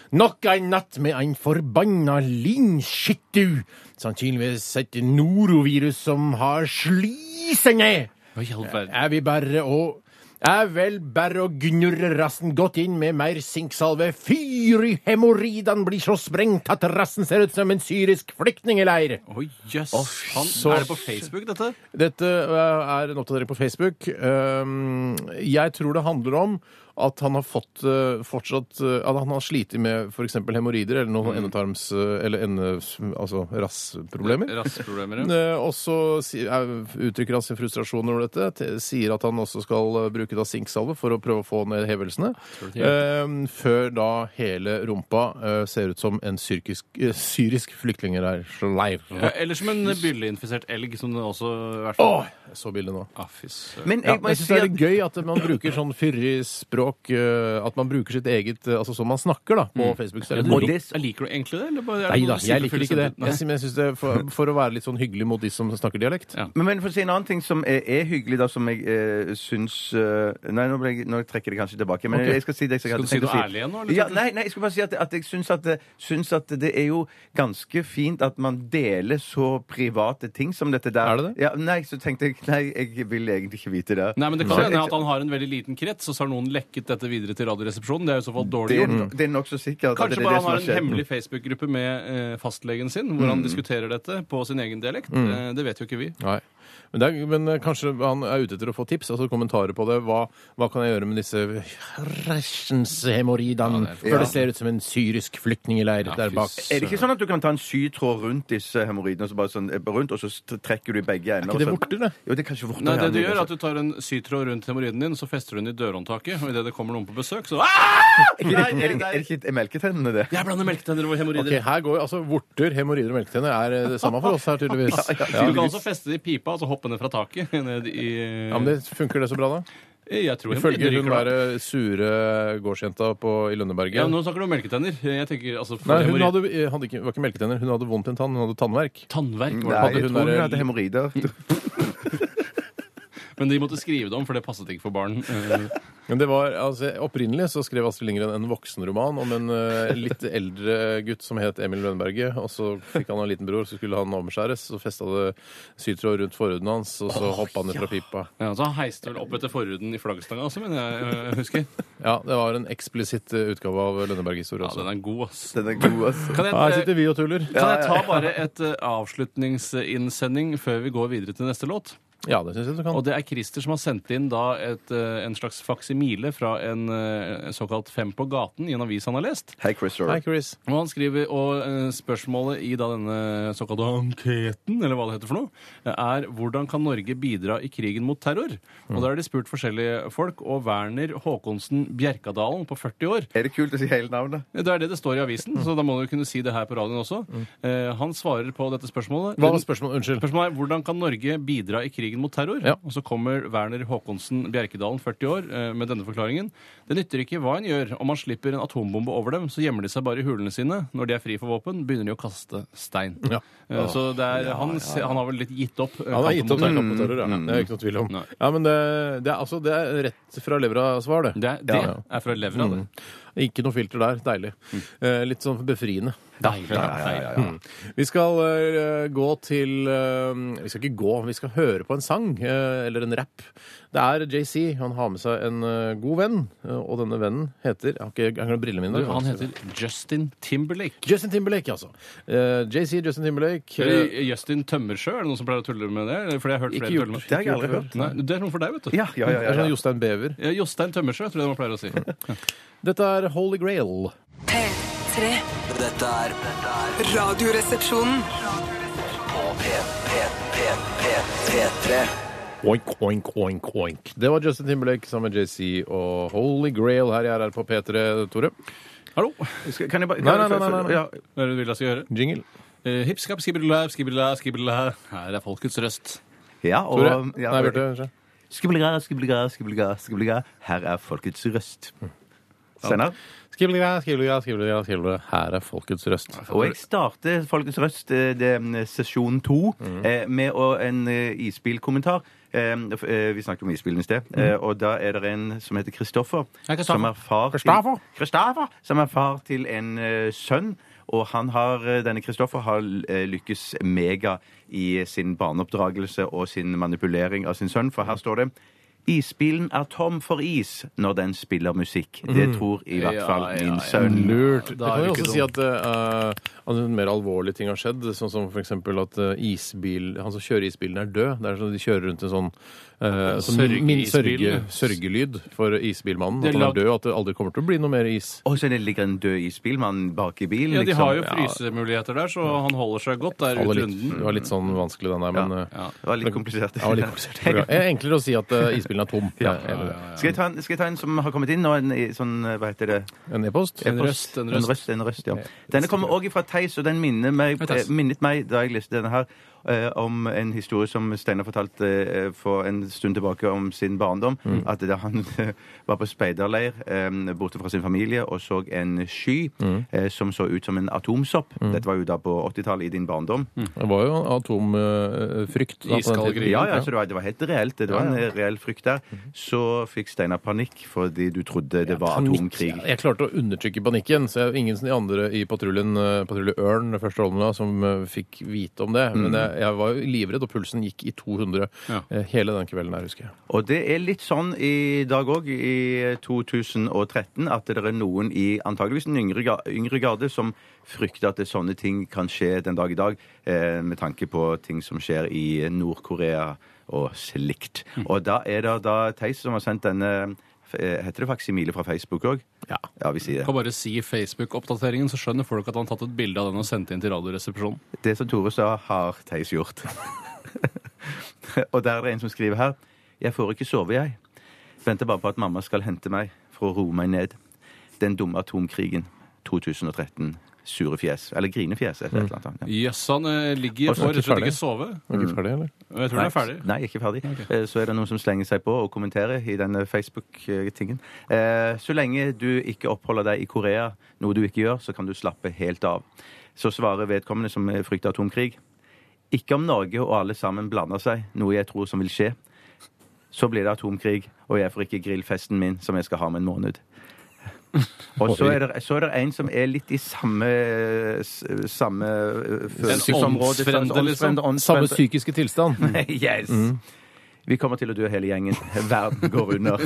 Speaker 4: Nok en natt med en forbanna linskyttu. Sannsynligvis et norovirus som har slise ned.
Speaker 5: Hva i all verden?
Speaker 4: Er vi bare å er vel bare å gnurre rassen godt inn med mer sinksalve. Fyr i hemoroidene blir så sprengt at rassen ser ut som en syrisk flyktningeleir.
Speaker 5: Oi, jøss. Han-
Speaker 4: så-
Speaker 5: Er det på Facebook, dette?
Speaker 4: Dette eh, er en oppdatering på Facebook. Um, Jeg tror det handler om at han har fått eh, fortsatt eh, At han har slitt med f.eks. hemoroider eller noen endetarms... eh, Eller ende... Altså rassproblemer.
Speaker 5: Rasseproblemer, ja.
Speaker 4: Eh, Og så si- er- uttrykker han sin frustrasjon over dette. te- Sier at han også skal eh, bruke da sinksalve for å prøve å få ned hevelsene.
Speaker 5: det
Speaker 4: eh, Før da hele rumpa eh, ser ut som en syrkisk, eh, syrisk flyktningeleir. Å!
Speaker 5: Ja, Eller som en bylleinfisert elg, som det også i hvert fall
Speaker 4: Åh, jeg så bildet nå.
Speaker 5: Ah, fy søren.
Speaker 6: Men
Speaker 4: Ja,
Speaker 6: jeg, må
Speaker 4: jeg
Speaker 6: jeg
Speaker 4: syns
Speaker 6: si
Speaker 4: det er
Speaker 6: at
Speaker 4: litt gøy at man bruker sånn fyrig språk. eh, At man bruker sitt eget eh, Altså som man snakker, da, på Facebook. Så er det
Speaker 5: Men
Speaker 4: moro.
Speaker 5: du- Liker du egentlig det? Eller bare, er det
Speaker 4: Nei
Speaker 5: noe
Speaker 4: da,
Speaker 5: du sier
Speaker 4: jeg
Speaker 5: for
Speaker 4: liker
Speaker 5: full
Speaker 4: ikke det.
Speaker 5: sending?
Speaker 4: Jeg, sy- men jeg synes det er for, for å være litt sånn hyggelig mot de som snakker dialekt.
Speaker 5: Ja.
Speaker 6: men, men for å si en annen ting som er, er hyggelig, da, som jeg eh, syns eh, Nei, nå, ble jeg, nå trekker jeg det kanskje tilbake. Men
Speaker 4: Ok.
Speaker 6: jeg skal si det jeg
Speaker 5: Skal
Speaker 6: hadde
Speaker 5: du si
Speaker 6: tenkt å
Speaker 5: noe ærlig igjen nå, eller?
Speaker 6: Ja, nei, nei, jeg skulle bare si at, at jeg syns at, det- syns at det er jo ganske fint at man deler så private ting som dette der.
Speaker 4: Er det det?
Speaker 6: Ja, nei, så tenkte jeg Nei, jeg vil egentlig ikke vite det.
Speaker 5: Nei, men Det kan
Speaker 6: Så
Speaker 5: hende
Speaker 6: jeg-
Speaker 5: at han har en veldig liten krets, og så har noen lekket dette videre til Radioresepsjonen. Det er jo i så fall dårlig
Speaker 6: det,
Speaker 5: gjort.
Speaker 6: er- det er nokså sikkert. at det
Speaker 5: Kanskje
Speaker 6: er
Speaker 5: bare
Speaker 6: det
Speaker 5: han
Speaker 6: som
Speaker 5: har en
Speaker 6: skjedd.
Speaker 5: hemmelig Facebook-gruppe med eh, fastlegen sin, hvor han diskuterer dette på sin egen dialekt. Eh, det vet jo ikke vi.
Speaker 4: Nei. Men, det er, men eh, kanskje han er ute etter å få tips, altså kommentarer på det. Hva, hva kan jeg gjøre med disse rassens hemoroidene? Før det ser ut som en syrisk flyktningeleir der bak.
Speaker 6: Er det ikke sånn at du kan ta en sytråd rundt disse hemoroidene, og så bare sånn eh, rundt, og så st- trekker du i begge ender?
Speaker 4: ikke det
Speaker 6: og så-
Speaker 4: vorter, det?
Speaker 6: Jo, det er kanskje vorter.
Speaker 5: Nei,
Speaker 6: ja,
Speaker 5: det du
Speaker 6: er
Speaker 5: gjør er
Speaker 6: kanskje-
Speaker 5: at du tar en sytråd rundt hemoroiden din, og så fester du den i dørhåndtaket, og idet det kommer noen på besøk, så ah!
Speaker 6: Er det, er det, er det ikke melketennene, det?
Speaker 5: Jeg blander melketenner og
Speaker 4: Ok,
Speaker 5: hemoroider.
Speaker 4: her går altså Vorter, hemoroider og melketenner er eh, det samme for oss her, tydeligvis.
Speaker 5: Du
Speaker 4: Ja,
Speaker 5: kan altså- også feste det i pipa, og så hoppe ned fra taket. Ned i eh,
Speaker 4: ja, men det, Funker det så bra, da?
Speaker 5: Jeg tror
Speaker 4: Ifølge
Speaker 5: hemoroider
Speaker 4: hun
Speaker 5: ryker da.
Speaker 4: derre sure gårdsjenta på, i Lønneberget.
Speaker 5: Ja, Nå snakker du om melketenner. Jeg tenker altså for
Speaker 4: Nei, hun
Speaker 5: hemoroid-
Speaker 4: hadde, eh, hadde ikke, var ikke melketenner, hun hadde vondt i en tann, hun hadde tannverk.
Speaker 5: Tannverk.
Speaker 6: Nei,
Speaker 5: var det.
Speaker 4: hadde
Speaker 6: jeg
Speaker 4: Mm, hun
Speaker 6: tror hun
Speaker 4: der-
Speaker 6: hadde hemoroider.
Speaker 5: Men de måtte skrive det om, for det passet ikke for barn. Eh,
Speaker 4: Men det var, altså, Opprinnelig så skrev Astrid Lindgren en voksenroman om en eh, litt eldre gutt som het Emil Lønneberget. Og så fikk han en liten bror, så skulle han omskjæres. Så festa det sytråd rundt forhuden hans, og så hoppa han ut fra pipa.
Speaker 5: Ja, så Han heiste vel opp etter forhuden i flaggstanga også, men jeg, eh, husker.
Speaker 4: Ja, Det var en eksplisitt eh, utgave av Lønneberg-historie
Speaker 5: Ja,
Speaker 4: også.
Speaker 5: den er god, ass.
Speaker 6: Den er god, altså.
Speaker 5: Kan jeg, eh,
Speaker 4: Ja, her sitter vi og tuller.
Speaker 5: kan jeg ta bare et eh, avslutningsinnsending før vi går videre til neste låt?
Speaker 4: Ja, det syns jeg du kan.
Speaker 5: Og det er Christer som har sendt inn da et, eh, en slags faksimile fra en eh, såkalt Fem på gaten i en avis han har lest.
Speaker 6: Hei, Chris Rock.
Speaker 4: Hei, Chris.
Speaker 5: Og han skriver, og eh, spørsmålet i da denne såkalte anketen, eller hva det heter for noe, er hvordan kan Norge bidra i krigen mot terror? Og da er de spurt forskjellige folk, og Werner Håkonsen Bjerkadalen på 40 år,
Speaker 6: Er det kult å si hele navnet?
Speaker 5: det er det det står i avisen, så da må du kunne si det her på radioen også. Eh, Han svarer på dette spørsmålet.
Speaker 4: Mm. Hva var spørsmålet? Unnskyld.
Speaker 5: Spørsmålet er hvordan kan Norge bidra i krigen mot terror?
Speaker 4: Ja.
Speaker 5: Og så kommer Werner Håkonsen Bjerkedalen, 40 år, eh, med denne forklaringen. Det nytter ikke hva en gjør. Om man slipper en atombombe over dem, så gjemmer de seg bare i hulene sine. Når de er fri for våpen, begynner de å kaste stein.
Speaker 4: Ja.
Speaker 5: Eh, Så det er, han, se- han har vel litt gitt opp. eh,
Speaker 4: Han har
Speaker 5: kampen
Speaker 4: gitt
Speaker 5: mot
Speaker 4: opp
Speaker 5: terror.
Speaker 4: kampen mot terror, ja. Det er ikke noe tvil om.
Speaker 5: Nei.
Speaker 4: Ja, men det, det, er, altså, det er rett fra levra-svar, det.
Speaker 5: Det, er- det
Speaker 4: Ja, Mm. ja.
Speaker 5: er fra levra, det.
Speaker 4: Ikke noe filter der. Deilig.
Speaker 5: Mm.
Speaker 4: Eh, litt sånn befriende.
Speaker 5: Deilig. deilig.
Speaker 4: Mm. Vi skal eh, gå til eh, Vi skal ikke gå, vi skal høre på en sang eh, eller en rap. Det er JC. Han har med seg en eh, god venn, eh, og denne vennen heter Jeg har ikke jeg har glemt brillene mine.
Speaker 5: Du, Han heter Justin Timberlake.
Speaker 4: Justin Timberlake, altså. Eh, JC Justin Timberlake. eh,
Speaker 5: Eller Justin Tømmersjø, er det noen som pleier å tulle med det? Eller- Fordi jeg har hørt
Speaker 4: Ikke
Speaker 5: flere
Speaker 4: gjort.
Speaker 5: tulle med
Speaker 6: Det har jeg aldri hørt.
Speaker 5: Nei, det er noe for deg, vet du.
Speaker 6: Ja, ja, ja.
Speaker 4: det er
Speaker 6: ja,
Speaker 4: sånn
Speaker 6: ja.
Speaker 4: Jostein Bever.
Speaker 5: Ja, Jostein Tømmersjø, tror jeg man pleier å si.
Speaker 4: Dette er Holy Grail.
Speaker 7: P3.
Speaker 2: Dette er dette er
Speaker 7: Radioresepsjonen.
Speaker 2: på P, P, P, P, P3.
Speaker 4: Oink, oink, oink, oink. Det var Justin Timberlake sammen med JC og Holy Grail her i RR på P3, Tore.
Speaker 5: Hallo.
Speaker 6: Skal- Kan jeg bare
Speaker 4: Nei, nei, nei, nei, nei.
Speaker 6: Ja.
Speaker 5: Hva er det du vil jeg skal gjøre?
Speaker 4: Jingle.
Speaker 5: Eh, Hipp, skapp, skibidula, skibidula, skibidula. Her er folkets røst.
Speaker 6: Ja,
Speaker 4: Tore.
Speaker 6: og, ja,
Speaker 4: Nei, Bjarte. kanskje.
Speaker 6: Skibbliga, skibbliga, skibbliga, skibbliga. Her er folkets røst. Steinar?
Speaker 4: Skribliga, skribliga, skribliga, skribliga. Her er folkets røst.
Speaker 6: Og jeg starter Folkets Røst eh, det, er, mm, sesjon to eh, med å, en eh, isbilkommentar. Eh, f- eh, vi snakket om isbilen i sted, eh, og da er det en som heter Kristoffer. Som er far
Speaker 4: Kristoffer.
Speaker 6: til, Kristoffer, som er far til en eh, sønn. Og han har, eh, denne Kristoffer har eh, lykkes mega i sin barneoppdragelse og sin manipulering av sin sønn, for her står det Isbilen er tom for is når den spiller musikk. Det tror i hvert fall min sønn.
Speaker 4: Lurt. Det
Speaker 5: Da
Speaker 4: kan
Speaker 5: er
Speaker 4: jo
Speaker 5: det
Speaker 4: også
Speaker 5: ikke
Speaker 4: si at, eh, at mer alvorlige ting har skjedd, sånn som for eksempel at eh, isbil, han som kjører isbilen, er død. Det er sånn De kjører rundt en sånn eh, sånn
Speaker 5: Sørge-
Speaker 4: min, sørge,
Speaker 5: isbilen.
Speaker 4: sørgelyd for isbilmannen.
Speaker 5: Det
Speaker 4: At han
Speaker 5: lag-
Speaker 4: er død, og at det aldri kommer til å bli noe mer is.
Speaker 6: Og så det ligger en død isbilmann bak i bilen.
Speaker 5: Ja, de
Speaker 6: liksom.
Speaker 5: har jo frysemuligheter der, så han holder seg godt der
Speaker 4: Det
Speaker 5: ute
Speaker 4: var
Speaker 5: i
Speaker 4: litt,
Speaker 5: runden.
Speaker 4: det var litt sånn vanskelig, den der, men eh,
Speaker 6: Ja, Det var litt
Speaker 4: ja,
Speaker 6: komplisert.
Speaker 4: det var litt komplisert. Det er enklere å si at eh, isbilen er tom. Eh, Ja, ja,
Speaker 6: skal, jeg ta en, skal jeg ta en som har kommet inn nå? En i- sånn, eh, hva heter det?
Speaker 4: En e-post.
Speaker 5: En røst, en røst.
Speaker 6: En røst, en røst ja. Denne kommer også fra Theis, og den minner meg, eh, minnet meg da jeg leste denne her. eh, om en historie som Steinar fortalte eh, for en stund tilbake om sin barndom. At da han eh, var på speiderleir eh, borte fra sin familie og så en sky eh, som så ut som en atomsopp. Dette var jo da på 80-tallet, i din barndom.
Speaker 4: Det var jo atomfrykt. da, på den
Speaker 5: Iskald
Speaker 4: tiden.
Speaker 5: gris.
Speaker 6: Ja, ja, så det var, det var helt reelt. Det var en reell frykt der.
Speaker 4: Mhm.
Speaker 6: Så fikk Steinar panikk fordi du trodde det var
Speaker 4: Panikk.
Speaker 6: atomkrig.
Speaker 4: Ja, Jeg klarte å undertrykke panikken, så jeg, ingen av de andre i patruljen, eh, patrulje Ørn, det første rollen da, som eh, fikk vite om det.
Speaker 6: Mm.
Speaker 4: Men jeg, jeg var jo livredd, og pulsen gikk i 200
Speaker 5: Ja.
Speaker 4: eh, hele den kvelden her, husker jeg.
Speaker 6: Og det er litt sånn i dag òg, i 2013, at det er noen i antageligvis den yngre, ga- yngre garde som frykter at det, sånne ting kan skje den dag i dag, eh, med tanke på ting som skjer i Nord-Korea og slikt.
Speaker 4: Mhm.
Speaker 6: Og da er det da Theis som har sendt denne eh, Heter det faksimile fra Facebook òg? Ja. ja, vi sier det.
Speaker 5: Kan bare si Facebook-oppdateringen, så skjønner folk at han har tatt et bilde av den og sendt inn til Radioresepsjonen.
Speaker 6: Det som Tore sa, har Theis gjort. og der er det en som skriver her. Jeg får ikke sove, jeg. Venter bare på at mamma skal hente meg for å roe meg ned. Den dumme atomkrigen. 2013. Sure fjes. Eller grinefjes, eller et eller annet. Ja.
Speaker 5: Jøss, han eh, ligger
Speaker 6: Og så er
Speaker 5: for rett og slett
Speaker 4: ferdig.
Speaker 5: ikke sove.
Speaker 4: Var
Speaker 6: Mm.
Speaker 4: ikke ferdig, eller?
Speaker 5: Jeg tror han er ferdig.
Speaker 6: Nei, ikke ferdig. Eh, Så er det noen som slenger seg på og kommenterer i denne Facebook-tingen. Eh, Så lenge du ikke oppholder deg i Korea, noe du ikke gjør, så kan du slappe helt av. Så svarer vedkommende som eh, frykter atomkrig. Ikke om Norge og alle sammen blander seg, noe jeg tror som vil skje. Så blir det atomkrig, og jeg får ikke grillfesten min som jeg skal ha om en måned. Og så er, det, så er det en som er litt i samme, s- samme eh, følelsesområde.
Speaker 5: åndsfremde, liksom.
Speaker 4: Samme
Speaker 6: åndsfremde.
Speaker 4: psykiske tilstand.
Speaker 6: Yes! Mm. Vi kommer til å dø hele gjengen. Verden går under.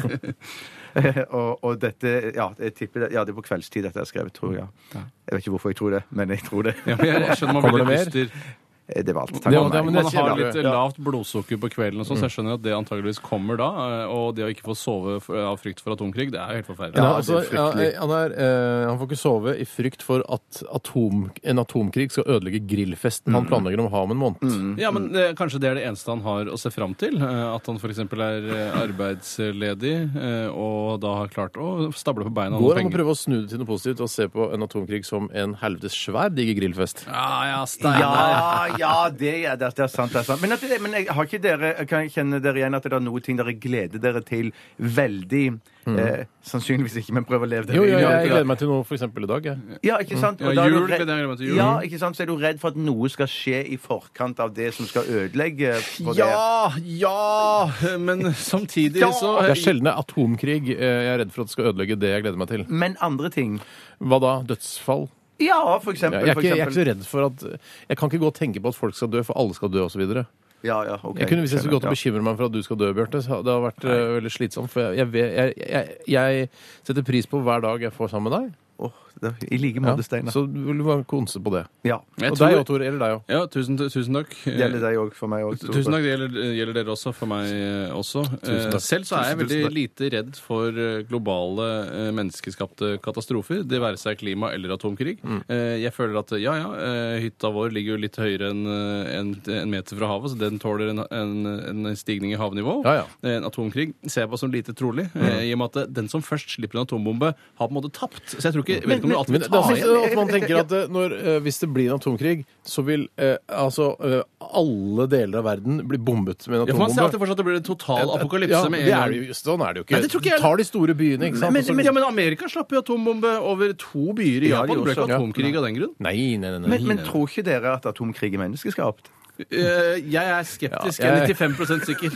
Speaker 6: og, og dette ja, jeg tipper det, ja, det er på kveldstid dette er skrevet, tror jeg. Jeg vet ikke hvorfor jeg tror det, men jeg tror det.
Speaker 5: Ja, men jeg skjønner man
Speaker 4: Kommer
Speaker 5: blir
Speaker 4: det
Speaker 5: litt
Speaker 4: mer?
Speaker 5: dyster.
Speaker 6: Eh, Det var alt.
Speaker 4: Det
Speaker 6: Takk
Speaker 4: var-
Speaker 6: for
Speaker 4: ja,
Speaker 6: meg.
Speaker 4: men det
Speaker 5: Man
Speaker 4: sier
Speaker 5: har
Speaker 4: jeg.
Speaker 5: litt
Speaker 4: Ja.
Speaker 5: lavt blodsukker på kvelden, og sånn, så jeg skjønner at det antageligvis kommer da. eh, Og det å ikke få sove f- av frykt for atomkrig, det er jo helt forferdelig.
Speaker 4: Ja,
Speaker 6: det er
Speaker 4: altså, ja,
Speaker 6: fryktelig.
Speaker 4: han, er, eh, han får ikke sove i frykt for at atom, en atomkrig skal ødelegge grillfesten
Speaker 6: Mm.
Speaker 4: han planlegger om å ha om en måned.
Speaker 5: Ja, men eh, kanskje det er det eneste han har å se fram til. eh, At han f.eks. er eh, arbeidsledig eh, og da har klart å stable på beina. og
Speaker 4: Går an å
Speaker 5: penger.
Speaker 4: prøve å snu det til noe positivt og se på en atomkrig som en helvetes svær diger grillfest?
Speaker 5: Ja, ja, Steinar.
Speaker 6: Ja, ja, det er, det er sant. det er sant. Men, at det, men jeg har ikke dere, kan jeg kjenne dere igjen at det er noe ting dere gleder dere til veldig? Eh, sannsynligvis ikke, men prøv å leve det
Speaker 4: Jo, jo,
Speaker 6: livet.
Speaker 4: jeg gleder meg til noe for eksempel i dag. Jeg.
Speaker 6: Ja, ikke sant?
Speaker 5: Ja,
Speaker 6: Og da er du
Speaker 5: jul,
Speaker 6: redd-
Speaker 5: gleder jeg meg til jul.
Speaker 6: Ja, ikke sant? Så er du redd for at noe skal skje i forkant av det som skal ødelegge for det.
Speaker 5: Ja, ja, men samtidig så
Speaker 4: Det er sjelden det er atomkrig. eh, Jeg er redd for at det skal ødelegge det jeg gleder meg til.
Speaker 6: Men andre ting.
Speaker 4: Hva da? Dødsfall?
Speaker 6: Ja, for eksempel.
Speaker 4: Ja, Jeg er,
Speaker 6: for
Speaker 4: ikke, jeg er ikke så
Speaker 6: eksempel.
Speaker 4: redd for at Jeg kan ikke gå og tenke på at folk skal dø, for alle skal dø, osv.
Speaker 6: Ja, ja, ok.
Speaker 4: Hvis jeg skulle gått og
Speaker 6: Skjønner,
Speaker 4: bekymre meg for at du skal dø, Bjarte, så hadde det har vært eh, veldig slitsomt. For jeg, jeg, vet- jeg, jeg, jeg setter pris på hver dag jeg får sammen med deg.
Speaker 6: ja. Åh, det- I like
Speaker 4: Ja.
Speaker 6: måte, Steinar.
Speaker 4: Så vil du bare konse på det.
Speaker 6: Ja.
Speaker 5: Jeg
Speaker 4: Og
Speaker 5: tror-
Speaker 4: deg òg, Tore. Eller deg òg.
Speaker 5: Ja, tusen, tusen takk.
Speaker 6: Det gjelder deg òg, for meg òg.
Speaker 5: Tusen takk, det gjelder, gjelder dere også, for meg eh, også. Eh,
Speaker 4: takk.
Speaker 5: Selv så
Speaker 6: Tusen,
Speaker 5: er jeg veldig
Speaker 6: tusen takk.
Speaker 5: lite redd for eh, globale eh, menneskeskapte katastrofer, det være seg klima eller atomkrig. Eh, Jeg føler at ja, ja, eh, hytta vår ligger jo litt høyere enn eh, en, en meter fra havet, så den tåler en, en, en stigning i havnivå.
Speaker 4: Ja, ja.
Speaker 5: Eh, En Mm. eh, atomkrig ser jeg på som lite trolig, eh, i og med at den som først slipper en atombombe, har på en måte tapt. Så jeg tror ikke
Speaker 6: Men
Speaker 5: vet ikke om du alltid
Speaker 4: Men det
Speaker 5: vil ta
Speaker 4: er
Speaker 5: igjen.
Speaker 4: sånn at man tenker at eh, når, eh, hvis det blir en atomkrig, så vil eh, altså eh, alle deler av verden bli bombet med en
Speaker 5: Ja, for man
Speaker 4: atombombe.
Speaker 5: ser alltid fortsatt at det blir en total apokalypse
Speaker 4: Ja,
Speaker 5: med
Speaker 4: det
Speaker 5: en
Speaker 4: er
Speaker 5: gang.
Speaker 4: det jo, sånn er det jo ikke.
Speaker 5: Nei, det tror ikke jeg-
Speaker 4: Du tar de store byene, ikke sant?
Speaker 5: Men,
Speaker 4: og så- liksom-
Speaker 5: men, ja, men Amerika slapp jo atombombe over to byer i
Speaker 4: Ja,
Speaker 5: Japan.
Speaker 4: de
Speaker 5: Det ble ikke
Speaker 4: også, ja.
Speaker 5: atomkrig av den grunn.
Speaker 4: Nei, nei, nei. nei.
Speaker 6: Men, men tror ikke dere at atomkrig er menneskeskapt?
Speaker 5: Eh, Jeg er skeptisk.
Speaker 4: Ja, jeg-
Speaker 5: Jeg er 95 sikker.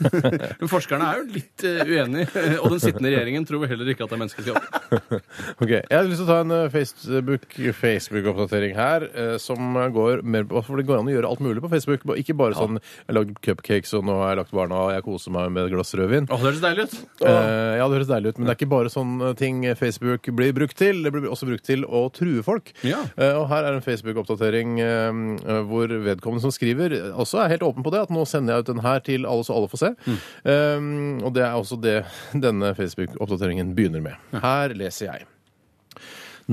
Speaker 5: Men forskerne er jo litt eh, uenige. Og den sittende regjeringen tror heller ikke at det er menneskeskap.
Speaker 4: Ok, Jeg har lyst til å ta en eh, Facebook- Facebook-oppdatering her, eh, som går mer på For det går an å gjøre alt mulig på Facebook. ba- Ikke bare sånn jeg har lagd cupcakes, og nå har jeg lagt barna, og jeg koser meg med et glass rødvin.
Speaker 5: Å, det høres deilig ut.
Speaker 4: Eh, ja, det høres deilig ut, men det er ikke bare sånne ting Facebook blir brukt til. Det blir også brukt til å true folk.
Speaker 5: Ja.
Speaker 4: Eh, og her er en Facebook-oppdatering eh, hvor vedkommende som skriver, også er helt åpen på det, at nå sender jeg ut den her til alle så alle får se. Eh, og det er også det denne Facebook-oppdateringen begynner med. Her leser jeg.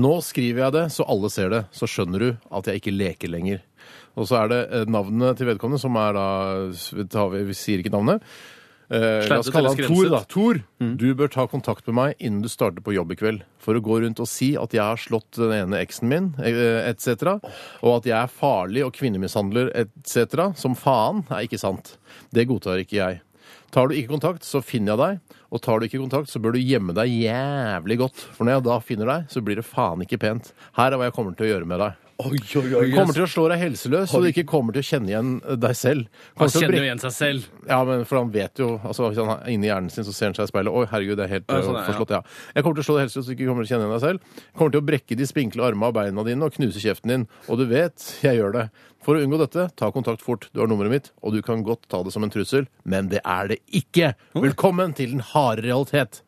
Speaker 4: Nå skriver jeg det, så alle ser det. Så skjønner du at jeg ikke leker lenger. Og så er det eh, navnet til vedkommende, som er da vi, tar, vi sier ikke navnet. Eh, la oss
Speaker 5: Sladdet
Speaker 4: kalle
Speaker 5: eller
Speaker 4: han Tor, da.
Speaker 5: skrenset?
Speaker 4: Tor, du bør ta kontakt med meg innen du starter på jobb i kveld. For å gå rundt og si at jeg har slått den ene eksen min, etc. Og at jeg er farlig og kvinnemishandler, etc. Som faen er ikke sant. Det godtar ikke jeg. Tar du ikke kontakt, så finner jeg deg. Og tar du ikke kontakt, så bør du gjemme deg jævlig godt. For når jeg da finner deg, så blir det faen ikke pent. Her er hva jeg kommer til å gjøre med deg. Kommer til å slå deg helseløs, så du ikke kommer til å kjenne igjen eh, deg selv. Kommer
Speaker 5: Han
Speaker 4: til å
Speaker 5: kjenner
Speaker 4: brekke-
Speaker 5: jo igjen seg selv.
Speaker 4: ja, men for han vet jo altså, hvis han er Inni hjernen sin så ser han seg i speilet. Oi, herregud, det er helt
Speaker 5: Ja, sånn er
Speaker 4: eh,
Speaker 5: det,
Speaker 4: forslått, ja. Jeg kommer til å slå deg helst ut, så du ikke kommer til å kjenne igjen deg selv. Kommer til å brekke de spinkle armene og beina dine og knuse kjeften din. Og du vet, jeg gjør det. For å unngå dette, ta kontakt fort. Du har nummeret mitt, og du kan godt ta det som en trussel, men det er det ikke. Velkommen til den harde realitet.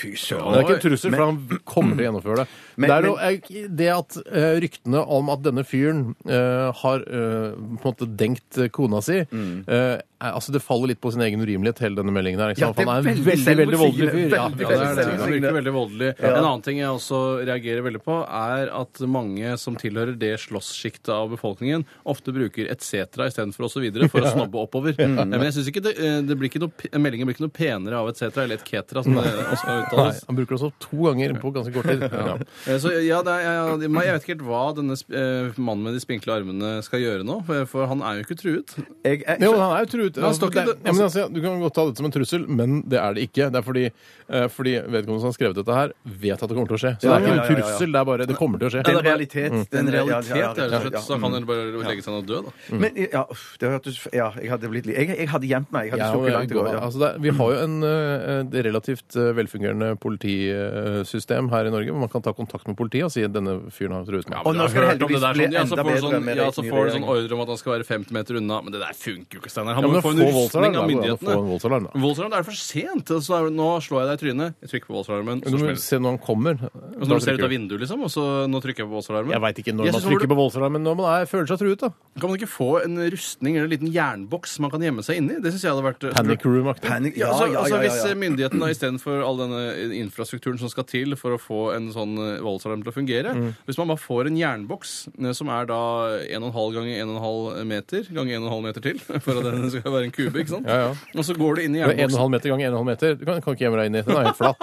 Speaker 6: Fy
Speaker 4: Men det er ikke en
Speaker 6: søren.
Speaker 4: trussel, for han kommer til å gjennomføre det.
Speaker 6: Men-
Speaker 4: det, er jo, er, det at eh, ryktene om at denne fyren eh, har eh, på en måte denkt eh, kona si
Speaker 6: Mm.
Speaker 4: eh, er, altså Det faller litt på sin egen urimelighet, hele denne meldingen her. Ikke
Speaker 6: Ja,
Speaker 4: sant? han er
Speaker 6: det
Speaker 4: en
Speaker 6: er
Speaker 4: veldig, veldig,
Speaker 6: veldig
Speaker 4: voldelig fyr. Ja,
Speaker 6: selvmotsigende.
Speaker 4: ja,
Speaker 5: Ja,
Speaker 4: det
Speaker 5: det,
Speaker 4: er
Speaker 5: er det.
Speaker 4: det.
Speaker 5: det virker veldig voldelig. En annen ting jeg også reagerer veldig på, er at mange som tilhører det slåsssjiktet av befolkningen, ofte bruker etc. istedenfor osv. for å snobbe oppover. Ja, men jeg synes ikke det, eh, det blir ikke noe, pe- meldingen blir ikke noe penere av etc. eller et ketra, som det også
Speaker 4: Nei,
Speaker 5: uttales.
Speaker 4: han bruker det også to ganger på ganske kort tid. Ja.
Speaker 5: Eh, Så ja, det er, jeg, jeg vet ikke helt hva denne sp- eh, mannen med de spinkle armene skal gjøre nå, for- for han er jo ikke truet.
Speaker 6: Jeg, jeg,
Speaker 4: Jo, han er jo truet.
Speaker 5: han
Speaker 4: Altså,
Speaker 5: står ikke-
Speaker 4: det, ja, men altså, du kan godt ta dette som en trussel, men det er det ikke. Det er fordi, eh, fordi vedkommende som har skrevet dette her, vet at det kommer til å skje. Så
Speaker 6: Ja,
Speaker 4: det er
Speaker 6: ja,
Speaker 4: ikke
Speaker 6: ja,
Speaker 4: en
Speaker 6: ja, ja.
Speaker 4: trussel, det er bare Det kommer til å skje.
Speaker 6: det er en realitet. Det er
Speaker 5: En
Speaker 6: real-
Speaker 5: realitet,
Speaker 6: eh, ja,
Speaker 5: rett og
Speaker 6: ja, Mm.
Speaker 5: slett.
Speaker 6: ja.
Speaker 5: Så kan han bare legge seg ned og dø, da.
Speaker 6: Men ja, uff, det hørtes Ja, jeg hadde blitt litt Jeg, jeg hadde gjemt meg. Jeg hadde
Speaker 4: Ja,
Speaker 6: stukket
Speaker 4: men
Speaker 6: langt i
Speaker 4: går
Speaker 6: går.
Speaker 4: an.
Speaker 6: Ja.
Speaker 4: altså det, er- vi har jo en eh, et relativt eh, velfungerende politisystem her i Norge, hvor man kan ta kontakt med politiet og si at denne fyren har truet meg.
Speaker 6: Og nå skal det
Speaker 5: hørt om det
Speaker 6: heldigvis
Speaker 5: der
Speaker 6: bli
Speaker 5: sånn, ja, så
Speaker 6: enda
Speaker 5: får
Speaker 6: bedre
Speaker 5: du sånn,
Speaker 6: med
Speaker 5: ja,
Speaker 6: rett
Speaker 5: så
Speaker 6: ny
Speaker 5: får du sånn
Speaker 6: regjering.
Speaker 5: ordre om at han skal være 50 meter unna. Men det der funker jo ikke, Steinar.
Speaker 4: Ja,
Speaker 5: Han
Speaker 4: men
Speaker 5: må få en
Speaker 4: få voldsalarm,
Speaker 5: rustning
Speaker 4: da.
Speaker 5: av
Speaker 4: Hvordan
Speaker 5: myndighetene.
Speaker 4: får han voldsalarm, da?
Speaker 5: Voldsalarm, det er for sent. Så er det- nå slår jeg deg i trynet. Jeg trykker på voldsalarmen. Så
Speaker 4: Du må
Speaker 5: smeller det.
Speaker 4: se når han kommer.
Speaker 5: Og så når du ser ut av vinduet, liksom, og så nå trykker jeg på voldsalarmen.
Speaker 4: Jeg veit ikke når
Speaker 5: Jeg
Speaker 4: man
Speaker 5: synes hvor
Speaker 4: trykker på voldsalarm, men når man er, føler seg truet, da.
Speaker 5: du- Kan man ikke få en rustning eller en liten jernboks man kan gjemme seg inni? Det syns jeg hadde vært
Speaker 4: Panic room-aktig.
Speaker 6: Panic-
Speaker 5: Ja,
Speaker 6: Ja,
Speaker 5: altså,
Speaker 6: ja, ja,
Speaker 5: altså
Speaker 6: ja,
Speaker 5: Hvis
Speaker 6: ja.
Speaker 5: eh, myndighetene da, istedenfor all denne eh, infrastrukturen som skal til for å få en sånn eh, voldsalarm til å fungere
Speaker 4: Mm.
Speaker 5: Hvis man bare får en jernboks eh, som er da 1,5 ganger 1,5 eh, meter ganger 1,5 meter til for at den skal være en kube, ikke sant?
Speaker 4: Ja, ja.
Speaker 5: Og så går det inn i
Speaker 4: Det er
Speaker 5: jernboksen.
Speaker 4: 1,5 meter ganger 1,5 meter. Du kan, kan ikke gjemme deg inn i den. er helt flatt.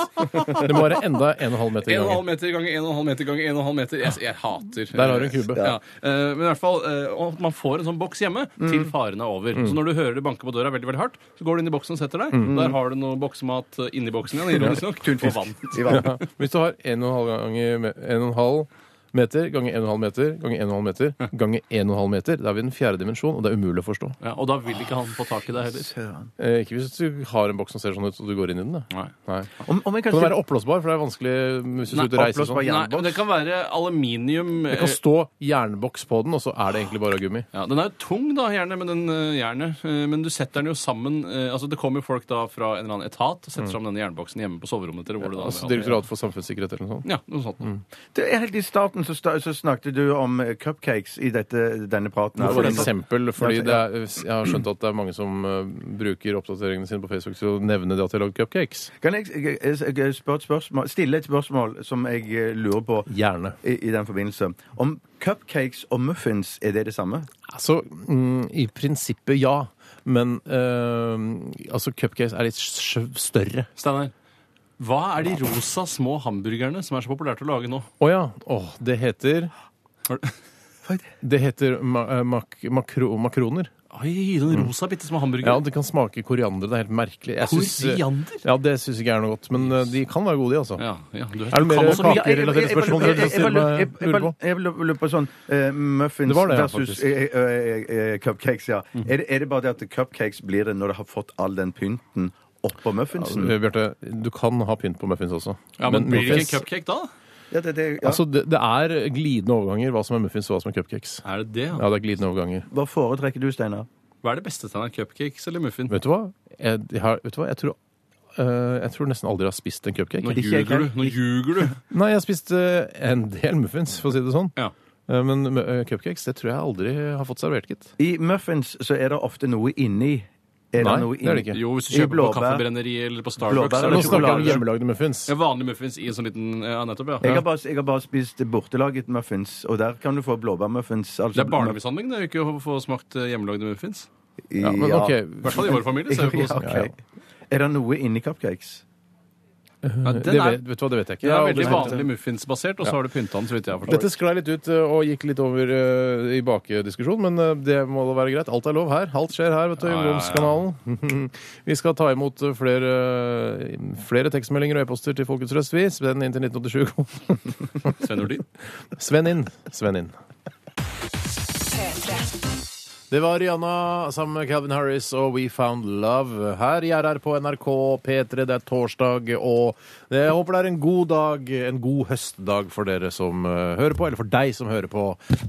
Speaker 4: Det må være enda 1,5 meter
Speaker 5: 1,5
Speaker 4: ganger.
Speaker 5: meter ganger 1,5 meter ganger 1,5 meter. Jeg, jeg hater
Speaker 4: Der har du en kube.
Speaker 5: Ja. Eh, Men i hvert fall, eh, og at man får en sånn boks hjemme
Speaker 4: Mm.
Speaker 5: til faren er over. Så når du hører det banke på døra veldig veldig hardt, så går du inn i boksen og setter deg.
Speaker 4: Mm.
Speaker 5: Der har du noe boksemat eh, inni boksen igjen, ironisk nok, og vann.
Speaker 6: I vann.
Speaker 4: Ja. Hvis du har 1,5 ganger me- 1,5 meter ganger 1,5 meter ganger 1,5 meter ganger 1,5 meter, da er vi i den fjerde dimensjon, og det er umulig å forstå.
Speaker 5: Ja, og da vil ikke han få tak i deg heller.
Speaker 6: Søren.
Speaker 4: Eh, ikke hvis du har en boks som ser sånn ut, og du går inn i den. Da.
Speaker 5: Nei.
Speaker 4: Nei.
Speaker 6: Om, om jeg
Speaker 4: Kan den
Speaker 6: kanskje
Speaker 4: være oppblåsbar, for det er vanskelig hvis du
Speaker 5: Nei,
Speaker 4: skal ut og reise og
Speaker 6: oppblåsbar
Speaker 4: sånn.
Speaker 6: jern-
Speaker 5: Nei, men det kan være aluminium.
Speaker 4: Det kan stå jernboks på den, og så er det egentlig bare gummi.
Speaker 5: eh, Ja, den er jo tung, da, gjerne, men den eh, jernet. Eh, Men du setter den jo sammen eh, altså Det kommer jo folk da fra en eller annen etat og setter sammen denne jernboksen hjemme på soverommet. Til, hvor det
Speaker 4: Mm.
Speaker 5: da,
Speaker 4: Altså Mm. Direktoratet for samfunnssikkerhet eller noe sånt.
Speaker 5: Ja, noe sånt.
Speaker 6: Du, Helt i starten så, sta- så snakket du om eh, cupcakes i dette, denne praten. her.
Speaker 4: For
Speaker 6: Og-
Speaker 4: eksempel, fordi
Speaker 6: Ja,
Speaker 4: det er, jeg har skjønt at det er mange som eh, bruker oppdateringene sine på Facebook til å nevne det at de har lagd cupcakes.
Speaker 6: Kan jeg, jeg, jeg, jeg spørre et spørsmål, stille et spørsmål som jeg eh, lurer på
Speaker 4: Gjerne.
Speaker 6: i, i den forbindelse? Om cupcakes og muffins, er det det samme?
Speaker 4: Altså, mm, i prinsippet ja. Men eh, altså, cupcakes er litt sj- større.
Speaker 5: Steinar, Hva er de rosa små hamburgerne som er så populært å lage nå?
Speaker 4: Å ja. Åh, det heter
Speaker 5: Har du-
Speaker 4: Det heter ma eh, mak makro makroner.
Speaker 5: Oi, noen rosa bitte små hamburgere.
Speaker 4: Mm. Ja, det kan smake koriander. Det er helt merkelig. Jeg syns-
Speaker 5: Koriander?
Speaker 4: Ja, det syns ikke jeg er noe godt. Men eh, de kan være gode, de, altså.
Speaker 5: ja, ja, du vet,
Speaker 4: Er det
Speaker 5: du kan
Speaker 4: mer
Speaker 5: også
Speaker 4: kake?
Speaker 5: mye-
Speaker 4: Kakerelaterte spørsmål dere vil stille meg- lurer på?
Speaker 6: Jeg lurer på sånn eh, muffins
Speaker 4: Det var det, ja,
Speaker 6: versus
Speaker 4: faktisk.
Speaker 6: eh, eh, eh, cupcakes, ja. Er, det, er det bare det at cupcakes blir det når det har fått all den pynten oppå muffinsen?
Speaker 4: Eh, Bjarte, du kan ha pynt på muffins også.
Speaker 5: Ja, men blir det
Speaker 4: muffins-
Speaker 5: ikke en cupcake da?
Speaker 6: Ja, det, det, ja.
Speaker 4: Altså, det, det er glidende overganger hva som er muffins og hva som er cupcakes.
Speaker 5: Er det det?
Speaker 4: Ja, det er glidende overganger.
Speaker 6: Hva foretrekker du, Steinar?
Speaker 5: Hva er det beste stedet? Cupcakes eller muffin?
Speaker 4: Vet du hva? Jeg, jeg, har- vet du hva? jeg tror eh, jeg tror nesten aldri jeg har spist en
Speaker 5: Nå
Speaker 4: cupcake.
Speaker 6: Ikke jeg
Speaker 5: ljuger du. Nå ljuger du.
Speaker 4: Nei, jeg har spist eh, en del muffins, for å si det sånn.
Speaker 5: Ja.
Speaker 4: Eh, Men eh, cupcakes det tror jeg aldri har fått servert, gitt.
Speaker 6: I muffins så er det ofte noe inni. Er
Speaker 4: Nei,
Speaker 6: noe
Speaker 4: det er det ikke.
Speaker 5: Jo, hvis du
Speaker 6: I
Speaker 5: kjøper på
Speaker 6: blåbær.
Speaker 5: kaffebrenneriet eller på Starbucks
Speaker 6: Blåbær
Speaker 5: så er
Speaker 6: eller
Speaker 4: Nå
Speaker 5: det
Speaker 4: snakker jeg om
Speaker 5: sjokolade.
Speaker 4: hjemmelagde muffins.
Speaker 5: Ja, vanlig muffins i en sånn liten Ja, nettopp,
Speaker 6: Jeg
Speaker 5: ja.
Speaker 6: har, bare, jeg har bare spist bortelaget muffins, og der kan du få blåbærmuffins. Altså,
Speaker 5: Det er barnemishandling det er jo ikke å få smakt eh, hjemmelagde muffins.
Speaker 4: Ja, men
Speaker 6: Ja.
Speaker 4: ok,
Speaker 5: I hvert fall i vår familie. Så er vi på
Speaker 6: Ja, ok. Er det noe inni cupcakes?
Speaker 5: ja,
Speaker 4: det
Speaker 5: den er,
Speaker 4: vet, vet du hva, det vet jeg ikke. Jeg
Speaker 5: den er
Speaker 4: har aldri
Speaker 5: veldig
Speaker 4: smakt
Speaker 5: vanlig
Speaker 4: den.
Speaker 5: muffinsbasert, og så har du pynta den, så vidt jeg har
Speaker 4: Dette
Speaker 5: forstått.
Speaker 4: sklei litt ut eh, og gikk litt over eh, i bakediskusjon, men eh, det må da være greit. Alt er lov her. Alt skjer her, vet du.
Speaker 5: Ja, ja, ja.
Speaker 4: Ungdomskanalen. Vi skal ta imot eh, flere, eh, flere tekstmeldinger og e-poster til Folkets Røst, vi. Sven inn til 1987.
Speaker 5: Sven Nordin.
Speaker 4: Sven inn. Sven inn.
Speaker 7: P3.
Speaker 4: Det var Rihanna sammen med Calvin Harris og We Found Love her i RR på NRK P3. Det er torsdag, og jeg håper det er en god dag, en god høstdag for dere som eh, hører på, eller for deg som hører på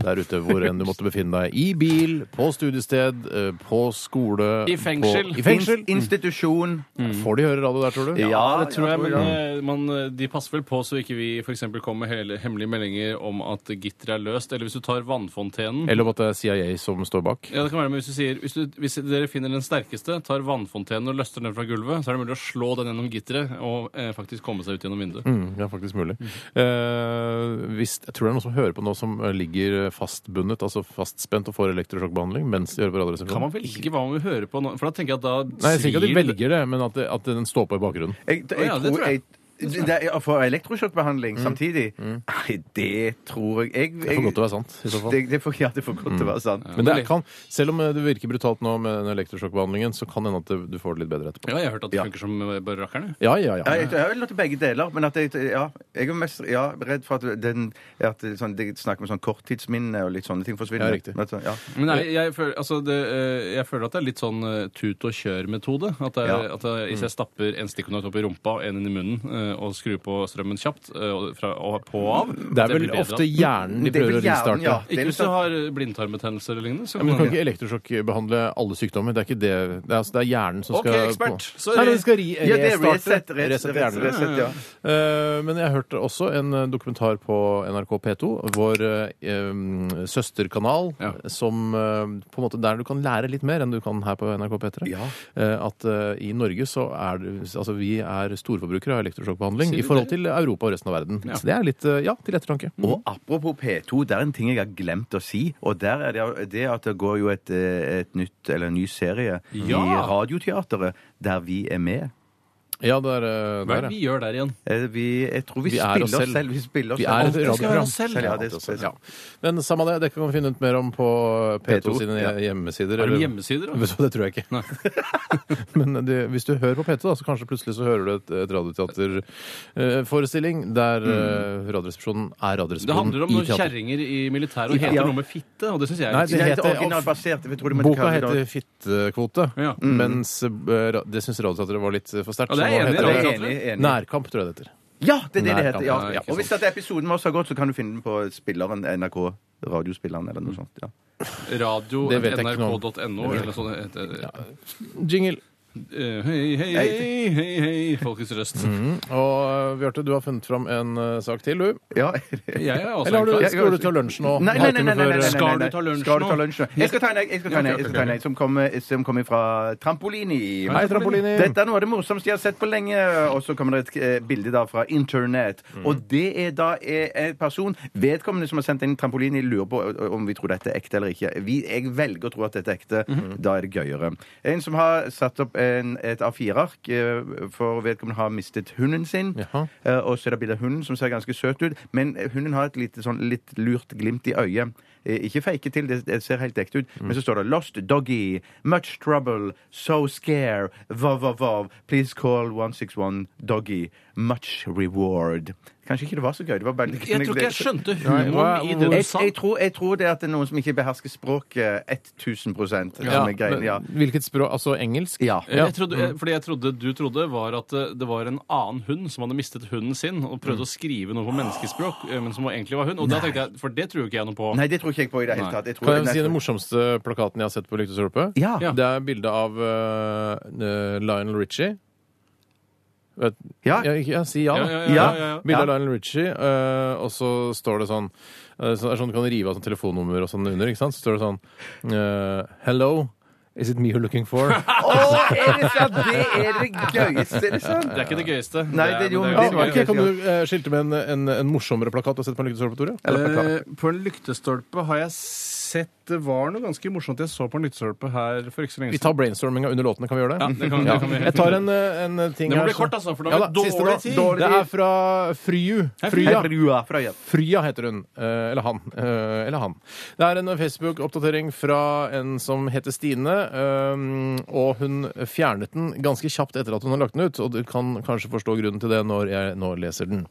Speaker 4: der ute hvor enn du måtte befinne deg. I bil, på studiested, eh, på skole
Speaker 5: I fengsel.
Speaker 4: På, I fengsel.
Speaker 6: Inst- Institusjon.
Speaker 4: Får de høre radio der, tror du?
Speaker 5: Ja, det tror jeg, men
Speaker 6: ja.
Speaker 5: eh, man, eh, de passer vel på så ikke vi f.eks. kommer med hele, hemmelige meldinger om at gitteret er løst. Eller hvis du tar vannfontenen
Speaker 4: Eller om at det er CIA som står bak?
Speaker 5: ja, det kan være, men hvis, du sier, hvis, du, hvis dere finner den sterkeste, tar vannfontenen og løster den fra gulvet, så er det mulig å slå den gjennom gitteret og eh, faktisk komme seg ut gjennom vinduet.
Speaker 4: Mm, det er faktisk mulig.
Speaker 6: Mm.
Speaker 4: Eh, hvis, jeg tror det er noen som hører på nå som eh, ligger fastbundet, altså fastspent og får elektrosjokkbehandling mens de hører på
Speaker 5: Kan
Speaker 4: Radioresepsjonen.
Speaker 5: man velge hva man vil høre på nå? For da tenker jeg at da
Speaker 4: Nei, jeg sier ikke at de
Speaker 5: svir-
Speaker 4: velger det, men at, det, at den står på i bakgrunnen.
Speaker 6: Jeg, jeg,
Speaker 5: Å ja, det
Speaker 6: tror
Speaker 5: tror
Speaker 6: jeg.
Speaker 5: jeg.
Speaker 6: Det er for elektrosjokkbehandling samtidig? Nei, det tror jeg, jeg,
Speaker 4: Det er for godt til å være sant, i så fall.
Speaker 6: Det, det er for, ja, det er for godt til å være sant.
Speaker 4: Men det kan, selv om eh, det virker brutalt nå med den elektrosjokkbehandlingen, så kan det hende at det- du får det litt bedre etterpå.
Speaker 5: Ja, jeg har hørt at det
Speaker 6: Ja.
Speaker 5: funker som eh, bare rakkerne.
Speaker 4: Ja, ja,
Speaker 6: Ja,
Speaker 4: ja.
Speaker 6: jeg, jeg vil nå til begge deler, men at jeg, ja, jeg er mest ja, redd for at, den, at det, sånn, det snakker om sånn korttidsminne og litt sånne ting forsvinner.
Speaker 4: Ja, riktig.
Speaker 6: Men at sånn, ja.
Speaker 5: Men nei, jeg, føler, altså det, eh, jeg føler at det er litt sånn eh, tut og kjør-metode. At, det er-
Speaker 6: Ja.
Speaker 5: at det-
Speaker 4: Mm.
Speaker 5: hvis jeg stapper en stikkontakt opp i rumpa og en inn i munnen, eh, og skrur på strømmen kjapt eh, og fra, og på og av
Speaker 4: Mm. Det er
Speaker 5: blir
Speaker 4: vel
Speaker 5: bedre.
Speaker 4: ofte hjernen de
Speaker 6: Det er
Speaker 4: prøver
Speaker 6: vel
Speaker 4: å
Speaker 6: hjernen, ja.
Speaker 4: ristarte.
Speaker 6: Det er
Speaker 5: Ikke hvis
Speaker 6: liksom-
Speaker 5: du har eh, blindtarmbetennelse eller lignende. Så
Speaker 4: Men du kan
Speaker 5: kan
Speaker 4: ikke elektrosjokkbehandle alle sykdommer. Det er ikke det. Det er, altså, det er hjernen som
Speaker 5: Ok,
Speaker 4: skal
Speaker 5: ekspert.
Speaker 4: På.
Speaker 5: Sorry.
Speaker 4: Nei, men det skal ri
Speaker 6: ja, det er
Speaker 4: restarte.
Speaker 6: reset. Reset,
Speaker 4: Resette
Speaker 6: reset,
Speaker 4: hjernen.
Speaker 6: reset, ja.
Speaker 4: Eh, men jeg hørte også en eh, dokumentar på NRK P2, vår eh, em, søsterkanal,
Speaker 5: Ja.
Speaker 4: som eh, på en måte der du kan lære litt mer enn du kan her på NRK P3.
Speaker 6: Ja.
Speaker 4: Eh, at eh, i Norge så er det Altså vi er storforbrukere av elektrosjokkbehandling
Speaker 5: Sier
Speaker 4: i
Speaker 5: du
Speaker 4: forhold
Speaker 5: det?
Speaker 4: til Europa og resten av verden.
Speaker 5: Ja. Mm.
Speaker 4: Så det er litt eh, Ja, til ettertanke.
Speaker 6: Og apropos P2, det er en ting jeg har glemt å si. Og der er det, det at det går jo et, eh, et nytt, eller en ny serie i
Speaker 5: Ja.
Speaker 6: Radioteateret der vi er med.
Speaker 4: Ja, det er eh,
Speaker 5: Hva er
Speaker 4: der,
Speaker 5: det
Speaker 4: ja.
Speaker 5: vi gjør der igjen?
Speaker 6: Eh, Vi, jeg tror vi,
Speaker 4: Vi er
Speaker 6: spiller
Speaker 4: oss
Speaker 6: oss
Speaker 4: selv.
Speaker 6: selv. Vi spiller oss
Speaker 4: Vi er et
Speaker 6: selv.
Speaker 4: radioprogram.
Speaker 5: selv.
Speaker 6: Ja, det er
Speaker 4: Ja. Men samme det, det kan man finne ut mer om på P2,
Speaker 6: P2,
Speaker 4: sine
Speaker 6: ja.
Speaker 4: hjemmesider.
Speaker 5: Har de
Speaker 4: eller-
Speaker 5: hjemmesider? da?
Speaker 4: Vet du, hva, det tror jeg ikke. Men det, hvis du hører på P2, da, så kanskje plutselig så hører du et, et radioteaterforestilling der eh, Radioresepsjonen er
Speaker 5: Mm. Det
Speaker 4: Radioresepsjonen
Speaker 5: handler om
Speaker 4: i
Speaker 5: noen
Speaker 4: teater.
Speaker 5: kjerringer i militæret og heter
Speaker 6: Ja.
Speaker 5: noe med fitte, og det syns jeg
Speaker 4: Nei,
Speaker 5: er
Speaker 4: det
Speaker 6: Det
Speaker 4: heter-
Speaker 6: heter originalbasert. jeg tror det må
Speaker 4: Boka
Speaker 6: kalle det-
Speaker 4: heter Fittekvote,
Speaker 5: Ja.
Speaker 6: Mm.
Speaker 4: mens eh, ra- det syns Radioteatret var litt eh, for sterkt.
Speaker 5: Ja, det er
Speaker 4: så nå
Speaker 5: jeg enig i.
Speaker 4: heter
Speaker 6: Ja, det er
Speaker 5: Radioteatret.
Speaker 6: enig, enig.
Speaker 4: Nærkamp, tror jeg det heter.
Speaker 6: Ja, det er sånn. det det heter.
Speaker 4: Nærkamp,
Speaker 6: Ja.
Speaker 5: ja, ikke
Speaker 6: Og hvis
Speaker 5: sant.
Speaker 6: dette episoden vår har gått, så kan du finne den på spilleren NRK. Radiospilleren eller noe sånt. ja.
Speaker 4: Det vet jeg ikke noe om.
Speaker 5: radio.nrk.no eller sånn. heter-
Speaker 4: Jingle.
Speaker 5: Eh, Hei, hei,
Speaker 6: Hei.
Speaker 5: hei, hei, hei, folkets røst.
Speaker 4: Og eh, Bjarte, du har funnet fram en eh, sak til, du.
Speaker 6: Ja.
Speaker 5: Jeg er også
Speaker 4: Eller har
Speaker 5: en
Speaker 4: du,
Speaker 5: klar-
Speaker 6: Jeg-
Speaker 4: skal du ta lunsj nå?
Speaker 6: Nei, nei, nei, nei, nei, nei, nei, nei.
Speaker 5: Skal du ta lunsj
Speaker 6: Skal du
Speaker 5: nå?
Speaker 6: ta lunsj nå? Jeg skal ta en, jeg jeg skal ta en, jeg skal ta en, jeg, som kommer som kommer fra Trampolini.
Speaker 4: Hei, Trampolini.
Speaker 6: Dette er noe av det morsomste jeg har sett på lenge. Og så kommer det et eh, bilde da fra Internett.
Speaker 4: Mm.
Speaker 6: Og det er da eh, en person Vedkommende som har sendt inn Trampolini, lurer på eh, om vi
Speaker 4: Mhm.
Speaker 6: tror dette er ekte eller ikke. Vi, jeg velger å tro at dette er ekte. Da er det gøyere. En som har satt opp en, et A4-ark, eh, for vedkommende har mistet hunden sin.
Speaker 4: Jaha.
Speaker 6: Eh, Og så er det bilde av hunden, som ser ganske søt ut, men hunden har et lite, sånn, litt lurt glimt i øyet. Eh, Ikke fake til, det det ser helt ekte ut, men så står det 'Lost doggy', 'Much trouble', 'So scare', vov, vov, vov, 'Please call 161 doggy', 'Much reward'. Kanskje ikke det var så gøy. det var bare...
Speaker 5: Jeg tror ikke jeg skjønte
Speaker 4: Nei, hva-
Speaker 5: humoren i
Speaker 6: Jeg,
Speaker 5: det du sa.
Speaker 6: jeg, tror, jeg tror det er at det er noen som ikke behersker språket 1000
Speaker 4: Ja,
Speaker 6: denne greien, ja.
Speaker 4: men Hvilket språk? Altså engelsk?
Speaker 6: Ja.
Speaker 5: Jeg trodde, jeg, fordi jeg trodde du trodde var at eh, det var en annen hund som hadde mistet hunden sin og prøvde å skrive noe på menneskespråk, eh, men som egentlig var hund. Og da tenkte jeg, For det tror jo ikke jeg noe på.
Speaker 6: Nei, det tror ikke jeg på i det hele tatt. Jeg tror
Speaker 4: Kan jeg
Speaker 6: nei,
Speaker 4: si den
Speaker 6: tror-
Speaker 4: morsomste plakaten jeg har sett på Lyktestolpe?
Speaker 6: Ja.
Speaker 4: Det er bilde av øh, øh, Lionel Richie. Vet-
Speaker 6: Ja.
Speaker 4: Ja, ikke- ja, si ja, da.
Speaker 5: Ja, ja, ja, ja, ja, ja.
Speaker 4: Bilde av
Speaker 6: Ja.
Speaker 4: Lionel Richie, øh, og så står det sånn øh, så, det er sånn Du kan rive av sånn telefonnummer og sånn under. ikke sant? Så står det sånn øh, Hello, is it me you're looking for?
Speaker 6: Å, er det sant? Det er det gøyeste, er det sant?
Speaker 5: Det er ikke det gøyeste.
Speaker 6: Nei, det er jo-
Speaker 5: men
Speaker 4: Ja,
Speaker 6: det var
Speaker 5: gøy.
Speaker 4: ok, kan du øh, skilte med en, en, en morsommere plakat du har sett på en Lyktestolpe, Tore?
Speaker 6: Eller plakat.
Speaker 5: Eh, På en lyktestolpe har jeg sett Det var noe ganske morsomt jeg så på en lyktestolpe her for ikke så lenge
Speaker 4: Vi tar brainstorminga under låtene, kan vi gjøre det?
Speaker 5: Ja, det kan- det kan vi gjøre.
Speaker 4: Jeg tar en, eh, en ting
Speaker 5: Det må
Speaker 4: her
Speaker 5: bli
Speaker 4: så-
Speaker 5: kort, altså, for nå har vi
Speaker 4: da, siste
Speaker 5: dårlig
Speaker 4: nå.
Speaker 5: tid.
Speaker 4: Dårlig tid. Det er fra Fryu. Frya.
Speaker 6: Herrua fra Jø-
Speaker 4: Frya heter hun. Eh, Eller han. Eh, Eller han. Det er en Facebook-oppdatering fra en som heter Stine. eh, Og hun fjernet den ganske kjapt etter at hun har lagt den ut, og du kan kanskje forstå grunnen til det når jeg nå leser den.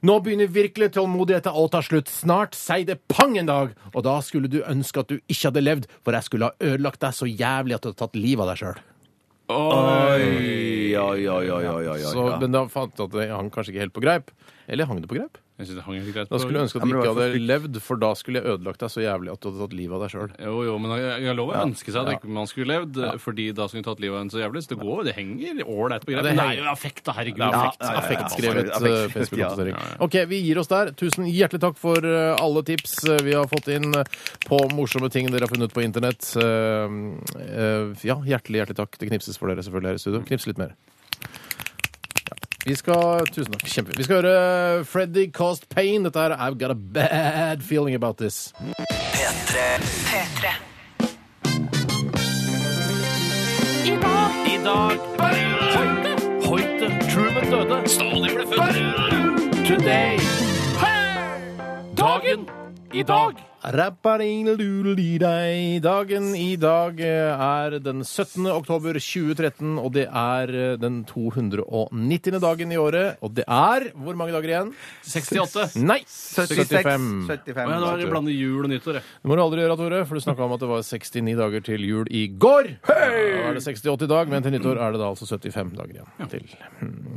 Speaker 4: Nå begynner virkelig tålmodigheten å ta slutt. Snart sier det pang en dag, og da skulle du ønske at du ikke hadde levd, for jeg skulle ha ødelagt deg så jævlig at du hadde tatt livet av deg sjøl.
Speaker 6: Oi, oi, oi, oi, oi, oi,
Speaker 4: Så,
Speaker 6: oi.
Speaker 4: Men da fant jeg at det hang kanskje ikke helt på greip. Eller hang det på greip?
Speaker 5: Jeg synes det hang helt greit
Speaker 4: Da skulle
Speaker 5: på.
Speaker 4: jeg ønske at du
Speaker 6: Ja, men det
Speaker 4: ikke
Speaker 6: var for
Speaker 4: hadde levd, for da skulle jeg ødelagt deg så jævlig at du hadde tatt livet av deg sjøl.
Speaker 5: Jo, jo, men jeg, jeg lover å ønske seg at ikke man skulle levd, fordi da skulle hun tatt livet av en så jævlig. Så det går, det henger ålreit på
Speaker 4: Ja, det
Speaker 5: greit. Men det er
Speaker 4: henger.
Speaker 5: jo affekt, da. Herregud.
Speaker 4: Ja,
Speaker 5: affekt.
Speaker 4: affekt- Affektskrevet
Speaker 6: Affekt-
Speaker 4: eh,
Speaker 6: affekt-
Speaker 4: Facebook-oppdatering. OK, vi gir oss der. Tusen hjertelig takk for eh, alle tips eh, vi har fått inn eh, på morsomme ting dere har funnet på internett. Eh, eh, Ja, hjertelig, hjertelig takk. Det knipses for dere selvfølgelig her i studio. Knips litt mer. Vi skal, tusen takk, kjempe. Vi skal høre Freddy Caused Pain. Dette her er I've Got a Bad Feeling About This.
Speaker 2: P3
Speaker 7: P3.
Speaker 5: I dag Hoite. Hoite. Truman døde. Stalin ble født. Today. Dagen i dag.
Speaker 4: Rapparingeludelidei. Dagen i dag eh, er den 17. oktober 2013, og det er eh, den 290. dagen i året. Og det er hvor mange dager igjen?
Speaker 5: 68.
Speaker 4: Nei!
Speaker 6: 76,
Speaker 4: 75.
Speaker 6: 75.
Speaker 5: Og jeg da blander jul og nyttår, jeg.
Speaker 4: Det må du aldri gjøre, Tore, for du snakka om at det var 69 dager til jul i går. Da er det 68 i dag, men til nyttår er det da altså 75 dager igjen til.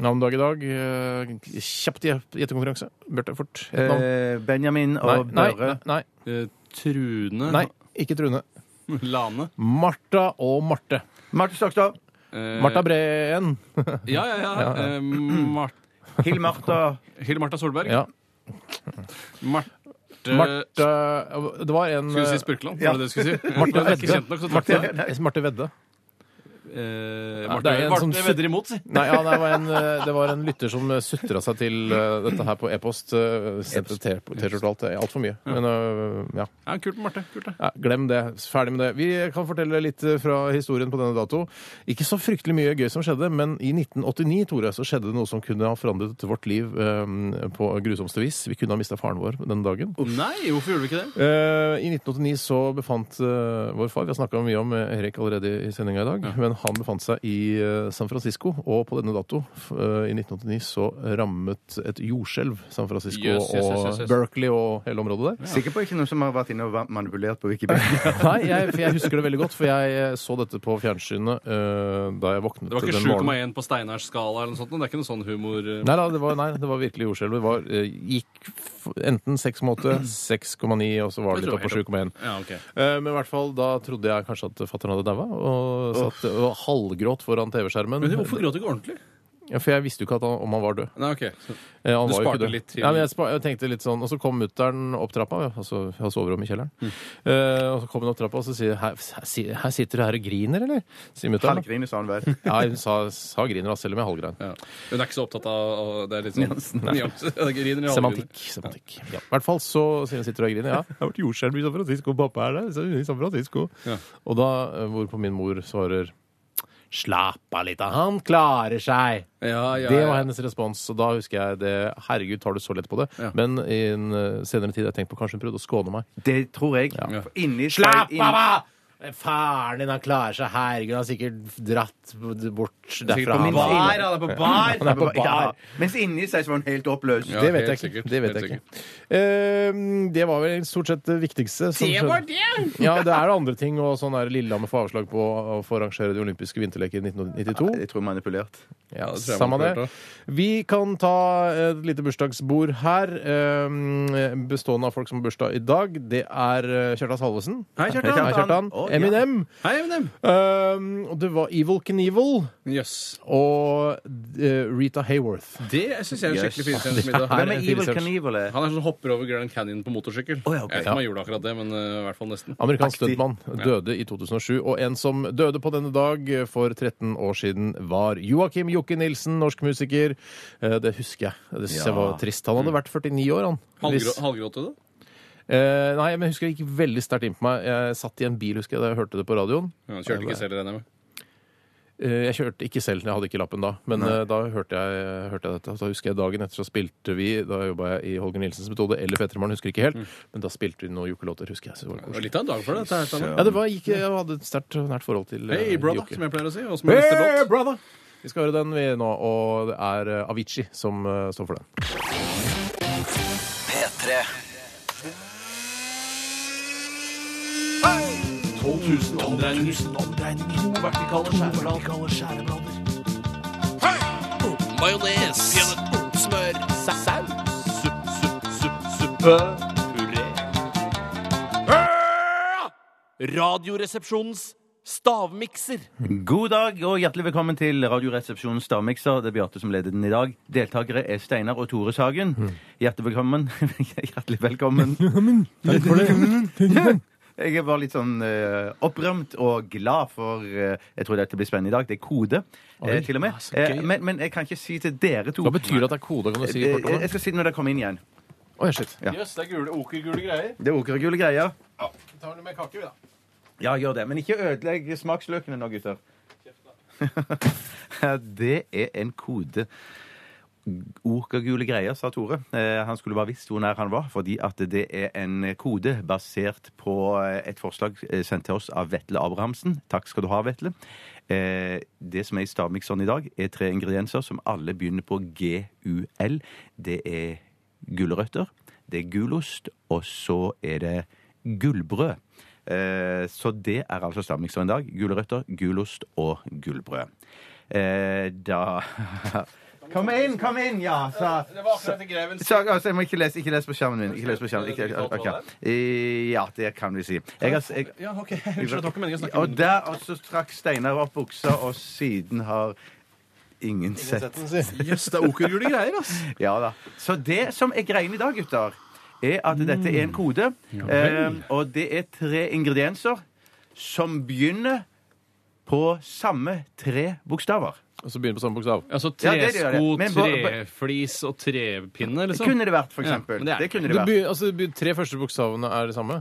Speaker 4: Navnedag i dag. eh, Kjapt gjett- gjettekonkurranse. Bjarte, fort. Et navn.
Speaker 6: Eh, Benjamin
Speaker 4: Nei,
Speaker 6: og
Speaker 4: nei,
Speaker 6: Børre.
Speaker 4: nei,
Speaker 5: Eh, Trune
Speaker 4: nei. Ikke Trune.
Speaker 5: Lane.
Speaker 4: Martha og Marte.
Speaker 6: Marte Stokstad.
Speaker 5: Eh,
Speaker 4: Martha Breen.
Speaker 5: Ja, ja, ja. Eh, Mar
Speaker 6: Hill Martha.
Speaker 5: Hilde Martha Solberg.
Speaker 4: Ja.
Speaker 5: Marte
Speaker 4: Marte Det var en
Speaker 5: Eh, Skulle du si Spurkeland? Var det det du skulle si?
Speaker 4: Marte
Speaker 5: Jeg er ikke
Speaker 4: Vedde.
Speaker 5: kjent nok, så takk
Speaker 4: Marte,
Speaker 5: for det.
Speaker 4: Marte Vedde.
Speaker 5: Eh,
Speaker 4: Ja,
Speaker 5: Marte,
Speaker 4: det er en
Speaker 5: Marte
Speaker 4: som
Speaker 5: vedder imot, si.
Speaker 4: Nei, ja, det, var en, eh, det var en lytter som sutra seg til eh, dette her på e-post. eh, Sendte T- T-skjorte og alt. Altfor mye. Men eh, ja.
Speaker 5: Ja, kult med Marte. Kult, det.
Speaker 4: ja. Glem det. Ferdig med det. Vi kan fortelle litt eh, fra historien på denne dato. Ikke så fryktelig mye gøy som skjedde, men i 1989 Tore, så skjedde det noe som kunne ha forandret vårt liv eh, på grusomste vis. Vi kunne ha mista faren vår den dagen.
Speaker 5: Nei, hvorfor gjorde vi ikke det?
Speaker 4: Eh, I 1989 så befant eh, vår far Vi har snakka mye om eh, Erik allerede i sendinga i dag. Men han befant seg i eh, San Francisco, og på denne dato, f- eh, i 1989, så rammet et jordskjelv San Francisco
Speaker 5: Yes, yes, yes, yes, yes.
Speaker 4: og Berkeley og hele området der.
Speaker 6: Sikker på ikke noen som har vært inne og va- manipulert på Wikipedia?
Speaker 4: Nei, jeg, for jeg husker det veldig godt, for jeg eh, så dette på fjernsynet eh, da jeg våknet
Speaker 5: Det var ikke
Speaker 4: den morgenen.
Speaker 5: 7,1 på Steinars skala eller noe sånt? Det er ikke noe sånn humor eh.
Speaker 4: Nei, da, det var, nei, det var virkelig jordskjelv. Det var, eh, gikk f enten 6,8, 6,9, og så var det litt
Speaker 5: Jeg tror
Speaker 4: opp på
Speaker 5: helt
Speaker 4: 7,1.
Speaker 5: Ja, ok.
Speaker 4: Eh, Men i hvert fall, da trodde jeg kanskje at fatter'n hadde daua, og satt og halvgråt foran TV-skjermen.
Speaker 5: Men hvorfor gråt du ikke ordentlig?
Speaker 4: Ja, for jeg visste jo ikke at han, om han var død.
Speaker 5: Nei, ok.
Speaker 4: Eh, Han var jo
Speaker 5: Du
Speaker 4: ikke
Speaker 5: sparte
Speaker 4: død.
Speaker 5: litt til-
Speaker 4: Ja, men jeg, spa- jeg tenkte litt sånn, Og så kom mutter'n opp trappa. ja, Altså, jeg har soverom i kjelleren.
Speaker 5: Mm.
Speaker 4: Eh, og så kom hun opp trappa og så sier her, her si- her sitter du her og griner, eller? Sier mutter'n.
Speaker 6: Halvgriner, sa han vel.
Speaker 4: Ja, hun sa, sa griner, da, selv om jeg halvgrein.
Speaker 5: Ja. Hun er ikke så opptatt av av- Det er litt sånn nyanser. Det griner i alle
Speaker 4: Semantikk. semantikk. Ja. I hvert fall så sier hun sitter og griner. Ja, det har vært jordskjelv i San Francisco, pappa er der. så er hun i San Francisco.
Speaker 5: Ja.
Speaker 4: Og da, eh, hvorpå min mor svarer Slapp av litt, han klarer seg.
Speaker 5: Ja, ja,
Speaker 4: Det
Speaker 5: ja.
Speaker 4: var hennes respons, og da husker jeg det. Herregud, tar du så lett på det?
Speaker 5: Ja.
Speaker 4: Men i en eh, senere tid har jeg tenkt på kanskje hun prøvde å skåne meg.
Speaker 6: Det tror jeg. For Inni seg-
Speaker 4: Slapp
Speaker 6: inn-
Speaker 4: av! da! Faren din, han klarer seg. Herregud, han har sikkert dratt bort derfra.
Speaker 6: på
Speaker 4: han.
Speaker 6: min side.
Speaker 5: han er på bar!
Speaker 4: Han er på
Speaker 6: Ja.
Speaker 4: bar.
Speaker 6: Mens inni seg så var hun helt oppløst.
Speaker 5: Ja.
Speaker 4: det vet
Speaker 5: helt
Speaker 4: jeg ikke.
Speaker 5: sikkert,
Speaker 4: Det, vet
Speaker 5: helt
Speaker 4: jeg ikke. Eh, det var vel stort sett det viktigste. som
Speaker 5: Det var
Speaker 4: skjedde. Ja, det er andre ting, og sånn er Lillehammer får avslag på å få arrangere de olympiske vinterleker i 1992.
Speaker 6: Jeg tror manipulert.
Speaker 4: Ja,
Speaker 5: det tror jeg
Speaker 4: Samme
Speaker 5: man
Speaker 4: det.
Speaker 5: klarte.
Speaker 4: Vi kan ta et lite bursdagsbord her, eh, bestående av folk som har bursdag i dag. Det er eh, Kjartan Salvesen.
Speaker 5: Hei, Kjartan.
Speaker 4: Hei, Kjartan.
Speaker 6: Å, ja.
Speaker 4: Eminem.
Speaker 5: Hei, Eminem.
Speaker 4: Eh, og det var Evil Knievel
Speaker 5: Jøss.
Speaker 4: og eh, Rita Hayworth.
Speaker 5: Det syns jeg er en
Speaker 6: Jøss.
Speaker 5: skikkelig finsendt middag.
Speaker 6: Hvem
Speaker 4: en
Speaker 6: er
Speaker 4: fin
Speaker 6: Evil
Speaker 4: research.
Speaker 6: Knievel? er?
Speaker 5: Han er sånn som hopper over Grand Canyon på motorsykkel.
Speaker 6: Å, ja, ok.
Speaker 5: Jeg vet ikke om han gjorde akkurat det, men eh, i hvert fall nesten.
Speaker 4: Amerikansk
Speaker 6: Aktiv.
Speaker 4: stuntmann døde i 2007. Og en som døde på denne dag for 13 år siden, var Joakim Jokke Nilsen, norsk musiker. Eh, Det husker jeg. Det synes jeg var trist. Han
Speaker 5: Mm.
Speaker 4: hadde vært 49 år, han.
Speaker 5: Halvgrå,
Speaker 4: Hvis-
Speaker 5: halvgråt du det?
Speaker 4: Eh, nei, men jeg husker det gikk veldig sterkt inn på meg. Jeg satt i en bil, husker jeg, da jeg hørte det på radioen.
Speaker 5: Ja, han kjørte ikke selv, regner jeg med.
Speaker 4: Eh, jeg kjørte ikke selv, jeg hadde ikke lappen da, men eh, da hørte jeg, hørte jeg dette. Da husker jeg dagen etter så spilte vi, da jobba jeg i Holger Nilsens metode, eller Fettermann, husker ikke helt, men da spilte vi noen jokkelåter, husker jeg. Så det var
Speaker 5: Mm. Det var
Speaker 4: koselig.
Speaker 5: litt av en dag for det. dette her, Steinar.
Speaker 4: Ja, det var, gikk, jeg hadde et sterkt og nært forhold til eh,
Speaker 5: Hey, brother,
Speaker 4: Jokke.
Speaker 5: som jeg pleier å si. Og som er neste
Speaker 4: Hey,
Speaker 5: låt.
Speaker 4: brother! Vi skal høre den vi nå, og det er eh, Avicii som eh, står for den.
Speaker 2: P3
Speaker 6: God dag og hjertelig velkommen til Radioresepsjonens stavmikser. Det er Bjarte som leder den i dag. Deltakere er Steinar og Tore Sagen.
Speaker 4: Mm.
Speaker 6: Hjertelig velkommen. hjertelig velkommen.
Speaker 4: Takk for det.
Speaker 6: Jeg var litt sånn eh, opprømt og glad for eh, Jeg tror dette blir spennende i dag. Det er kode, eh, til og med. Eh, men, men jeg kan ikke si til dere to
Speaker 4: ah, Hva betyr det at det er kode? Kan du si
Speaker 6: Eh,
Speaker 4: kort om
Speaker 6: Jeg
Speaker 4: det?
Speaker 6: skal si det når dere kommer inn igjen.
Speaker 4: Oi, shit.
Speaker 5: Jøss, det er gule, okergule greier.
Speaker 6: Det er okergule greier.
Speaker 4: Tar du med kake, vi, da?
Speaker 6: Ja, gjør det. Men ikke ødelegg smaksløkene nå, gutter. det er en kode. Okergule greier, sa Tore. Eh, han skulle bare visst hvor nær han var, fordi at det er en kode basert på eh, et forslag eh, sendt til oss av Vetle Abrahamsen. Takk skal du ha, Vetle. Eh, det som er i stavmikseren i dag, er tre ingredienser som alle begynner på GUL. Det er gulrøtter, det er gulost, og så er det gullbrød. Eh, så det er altså stavmikseren i dag. Gulrøtter, gulost og gullbrød. Eh, da Kom inn, kom inn, ja! Så, så, altså, jeg må ikke lese, ikke lese på skjermen min. Ikke lese på skjermen. Ikke, ok. Eh, Ja, det kan vi si. Jeg har, jeg,
Speaker 5: Ja, ok. Unnskyld, det var ikke meningen å snakke
Speaker 6: og der også trakk Steinar opp buksa, og siden har ingen sett.
Speaker 5: Jøss, det er okergule greier, ass.
Speaker 6: Ja da. Så det som er greien i dag, gutter, er at dette er en kode. eh, og det er tre ingredienser som begynner på samme tre bokstaver.
Speaker 4: Og så begynner på samme bokstav.
Speaker 5: Altså
Speaker 6: Ja, det er det, det er det.
Speaker 5: tresko,
Speaker 6: Men bare- bare-
Speaker 5: treflis og trepinne,
Speaker 6: Det
Speaker 5: liksom?
Speaker 6: kunne det vært, for
Speaker 5: Ja,
Speaker 6: eksempel.
Speaker 5: men det er
Speaker 6: det
Speaker 5: det
Speaker 4: Du
Speaker 6: kunne det vært.
Speaker 4: begy- altså, de be- tre første bokstavene er det samme?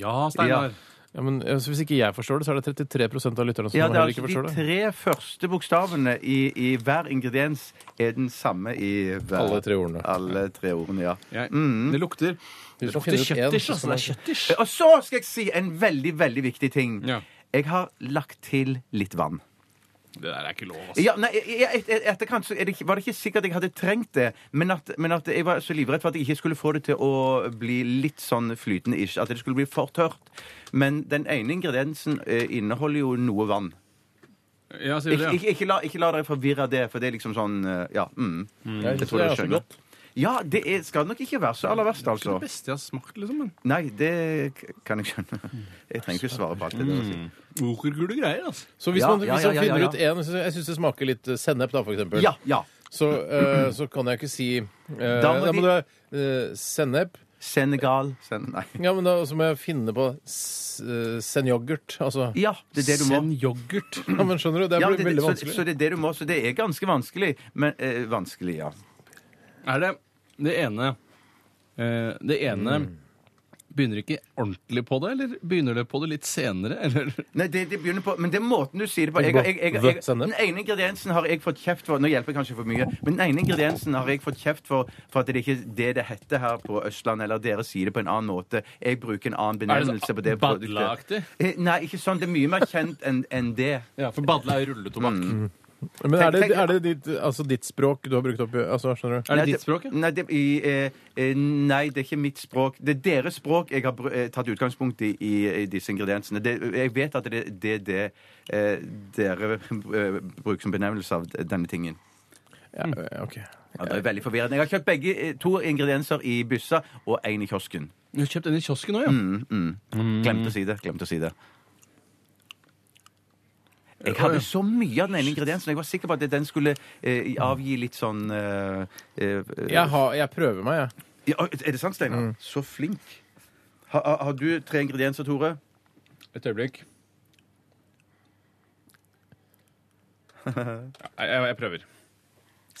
Speaker 5: Ja, Steinar.
Speaker 4: Ja, men altså, Hvis ikke jeg forstår det, så er det 33 av lytterne som
Speaker 6: Ja, det er
Speaker 4: heller
Speaker 6: altså
Speaker 4: ikke
Speaker 6: De
Speaker 4: forstår det.
Speaker 6: tre første bokstavene i, i hver ingrediens er den samme i hver,
Speaker 4: Alle tre ordene.
Speaker 6: alle tre ordene. ja.
Speaker 5: Jeg, Det lukter
Speaker 4: Du skal
Speaker 5: Det lukter
Speaker 4: finne ut en,
Speaker 5: kjøttisj,
Speaker 4: så skal
Speaker 5: altså. Det
Speaker 4: man-
Speaker 5: er kjøttisj.
Speaker 6: Og så skal jeg si en veldig, veldig viktig ting.
Speaker 5: Ja.
Speaker 6: Jeg har lagt til litt vann.
Speaker 5: Det der er ikke lov, altså. ass.
Speaker 6: Ja, nei, i- i- i- etterkant så er det, ikke- var det ikke sikkert jeg hadde trengt det, men at, men at jeg var så livredd for at jeg ikke skulle få det til å bli litt sånn flytende ish. At det skulle bli for tørt. Men den ene ingrediensen eh, inneholder jo noe vann.
Speaker 5: Ja, altså, sier du
Speaker 6: Ikke,
Speaker 5: det? ja.
Speaker 6: ikke, ikke, la, ikke la dere forvirre av det, for det er liksom sånn eh, Ja. Mm.
Speaker 4: Jeg
Speaker 6: Jeg
Speaker 4: synes det
Speaker 6: tror dere
Speaker 4: er så
Speaker 6: skjønner.
Speaker 4: godt.
Speaker 6: Ja, det er, skal nok ikke være så aller verst,
Speaker 5: Det
Speaker 6: altså.
Speaker 5: beste jeg har smakt, liksom. men
Speaker 6: Nei, det k- kan jeg skjønne. Jeg trenger ikke svare på alt det dere sier.
Speaker 5: Okergule greier, altså. ass.
Speaker 4: Så hvis
Speaker 6: Ja,
Speaker 4: man,
Speaker 6: ja,
Speaker 4: hvis
Speaker 6: ja,
Speaker 4: man
Speaker 6: ja,
Speaker 4: finner
Speaker 6: ja.
Speaker 4: ut en hvis Jeg syns det smaker litt eh, sennep, da, for eksempel.
Speaker 6: Ja, ja.
Speaker 4: Så, eh, så kan jeg ikke si eh, Da
Speaker 6: må
Speaker 4: må,
Speaker 6: de-
Speaker 4: du ha eh, sennep.
Speaker 6: Senegal Sen Nei.
Speaker 4: Ja, men da så må jeg finne på s- eh, senjoghurt. Altså
Speaker 6: Ja, det er det du må.
Speaker 5: Send yoghurt.
Speaker 4: Ja, men skjønner du? Det
Speaker 6: Ja,
Speaker 4: blir
Speaker 6: det, det,
Speaker 4: veldig
Speaker 6: så,
Speaker 4: vanskelig.
Speaker 6: så det er det du må. Så det er ganske vanskelig. Men eh, vanskelig, ja.
Speaker 5: Er det det ene eh, Det ene Begynner ikke ordentlig på det, eller begynner det på det litt senere? Eller?
Speaker 6: Nei, det, det begynner på, men det er måten du sier det på. Jeg, jeg, jeg, jeg,
Speaker 4: The sender.
Speaker 6: den ene ingrediensen har jeg fått kjeft for Nå hjelper jeg kanskje for mye, men den ene ingrediensen har jeg fått kjeft for for at det ikke er det det heter her på Østlandet, eller dere sier det på en annen måte. Jeg bruker en annen
Speaker 5: Er det
Speaker 6: benevnelse
Speaker 5: så
Speaker 6: på det
Speaker 5: badla-aktig?
Speaker 6: Eh, Nei, ikke sånn. Det er mye mer kjent enn enn det. Mm.
Speaker 5: Ja, for badla er rulletobakk.
Speaker 4: Men er det,
Speaker 6: Tenk- Mm. tenk-
Speaker 4: er det ditt, altså ditt språk du har brukt opp i altså, Skjønner du?
Speaker 5: Er
Speaker 6: Nei,
Speaker 5: det ditt språk? ja?
Speaker 6: Nei det, i, eh, eh, nei, det er ikke mitt språk. Det er deres språk jeg har br eh, tatt utgangspunkt i, i, i disse ingrediensene. Det, jeg vet at det er det, det eh, dere eh, bruker som benevnelse av denne tingen.
Speaker 4: Ja, ok.
Speaker 6: Ja, det er veldig forvirrende. Jeg har kjøpt begge eh, to ingredienser i byssa og én i kiosken. Mm,
Speaker 5: Du har kjøpt den i kiosken òg, ja.
Speaker 6: Glemte å si det. Glemte å si det. Jeg hadde så mye av den ene ingrediensen. Jeg var sikker på at den skulle eh, avgi litt sånn eh, eh,
Speaker 4: Jeg, har, jeg prøver meg, jeg.
Speaker 6: ja, Er det sant, Steinar? Så flink. Ha, ha, har du tre ingredienser, Tore?
Speaker 5: Et øyeblikk. Ja, Jeg, jeg prøver.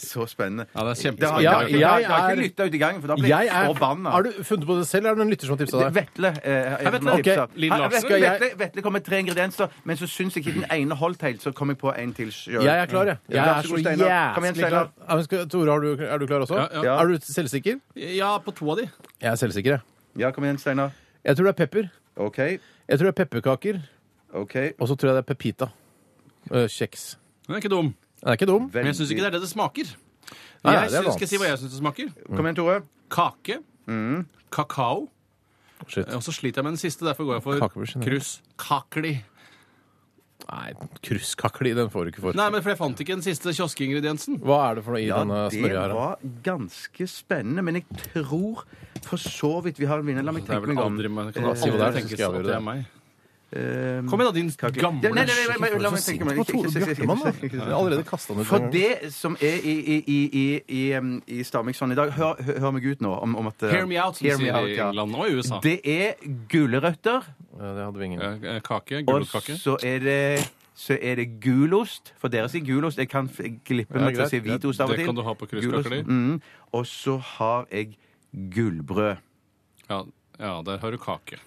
Speaker 6: Så spennende.
Speaker 5: Ja, det
Speaker 6: Det
Speaker 5: er
Speaker 6: har,
Speaker 5: kjempespennende.
Speaker 6: jeg,
Speaker 4: Ja,
Speaker 6: har, ikke- jeg,
Speaker 4: jeg
Speaker 6: har
Speaker 4: er-
Speaker 6: ikke lytta ut i gangen, for da ble
Speaker 4: jeg
Speaker 6: jeg
Speaker 4: er,
Speaker 6: forbanna.
Speaker 4: har du funnet på det selv, eller er det en lytter som har tipsa deg?
Speaker 6: Vetle eh, er
Speaker 5: Vetle.
Speaker 6: som
Speaker 4: Ok,
Speaker 6: tipser.
Speaker 5: Linn
Speaker 6: Hei,
Speaker 5: Larsen.
Speaker 6: Vetle,
Speaker 4: Skal jeg-
Speaker 6: Vetle, Vetle kom med tre ingredienser, men så syns jeg ikke den ene holdt helt. Så kom jeg på en til sjøl.
Speaker 4: Jeg er klar, jeg. Jeg
Speaker 6: Vær
Speaker 4: er
Speaker 6: så
Speaker 4: så
Speaker 6: god, Steinar. Kom igjen,
Speaker 4: jævlig
Speaker 6: Steinar.
Speaker 4: klar. Ja, men skal- Tore, har du, er du klar også?
Speaker 5: Ja,
Speaker 6: ja.
Speaker 4: Er du selvsikker?
Speaker 5: Ja, på to av de.
Speaker 4: Jeg er selvsikker, jeg.
Speaker 6: Ja, kom igjen, Steinar.
Speaker 4: Jeg tror det er pepper.
Speaker 6: OK.
Speaker 4: Jeg tror det er pepperkaker.
Speaker 6: ok.
Speaker 4: Og så tror jeg det er pepita. Øh, Kjeks.
Speaker 5: Den er ikke dum.
Speaker 4: Den er ikke dum.
Speaker 5: Men jeg syns ikke det er det det smaker.
Speaker 4: Nei,
Speaker 5: jeg
Speaker 4: det er
Speaker 5: synes,
Speaker 4: vant.
Speaker 5: skal jeg si hva jeg syns det smaker?
Speaker 6: Kom igjen, Tore.
Speaker 5: Kake. Kakao.
Speaker 4: Mm.
Speaker 5: Eh,
Speaker 4: Shit.
Speaker 5: Og så sliter jeg med den siste, derfor går jeg
Speaker 4: Kakebord
Speaker 5: for
Speaker 4: generelt.
Speaker 5: krus. Kakli.
Speaker 4: Nei, krusskakli, den får du ikke for.
Speaker 5: Nei, men for jeg fant ikke den siste kioskingrediensen.
Speaker 4: Hva er det for noe i
Speaker 6: Ja,
Speaker 4: denne
Speaker 6: det
Speaker 4: smørja her? da?
Speaker 6: var ganske spennende, men jeg tror for så vidt vi har en vinner. La meg
Speaker 5: Det er
Speaker 6: tenke
Speaker 5: vel
Speaker 6: meg om.
Speaker 5: aldri man kan
Speaker 4: Eh,
Speaker 5: aldri
Speaker 4: si hva det er, så
Speaker 5: tenkes
Speaker 4: skal jeg
Speaker 5: at
Speaker 4: gjøre
Speaker 5: det
Speaker 4: det.
Speaker 5: er meg.
Speaker 6: Eh,
Speaker 5: Kom igjen, da, din gamle
Speaker 6: Nei, nei, nei, nei, nei, la meg tenke meg
Speaker 4: Hva tror du, Bjartemann, da? Jeg har allerede kastet den ut.
Speaker 6: For det som er i, i, i, i, i, um, i Stamikson i dag Hør, hør- hør meg ut nå om, om at uh,
Speaker 5: Hear me out, som
Speaker 6: hear me
Speaker 5: sier
Speaker 6: out,
Speaker 5: i
Speaker 6: ja.
Speaker 5: England og i USA.
Speaker 6: Det er gulrøtter,
Speaker 4: Ja, det hadde vi ingen.
Speaker 5: Eh, eh, Kake.
Speaker 6: og
Speaker 5: Gulrotkake.
Speaker 6: så er det så er det gulost. For dere sier gulost. Jeg kan f- glippe meg til å
Speaker 4: greit,
Speaker 6: si
Speaker 4: greit.
Speaker 6: hvitost av og
Speaker 5: Det
Speaker 6: til.
Speaker 5: kan du ha på
Speaker 6: Gulost,
Speaker 5: kruskakeli.
Speaker 6: mm. Og så har jeg gullbrød.
Speaker 5: Ja, ja, der har du kake.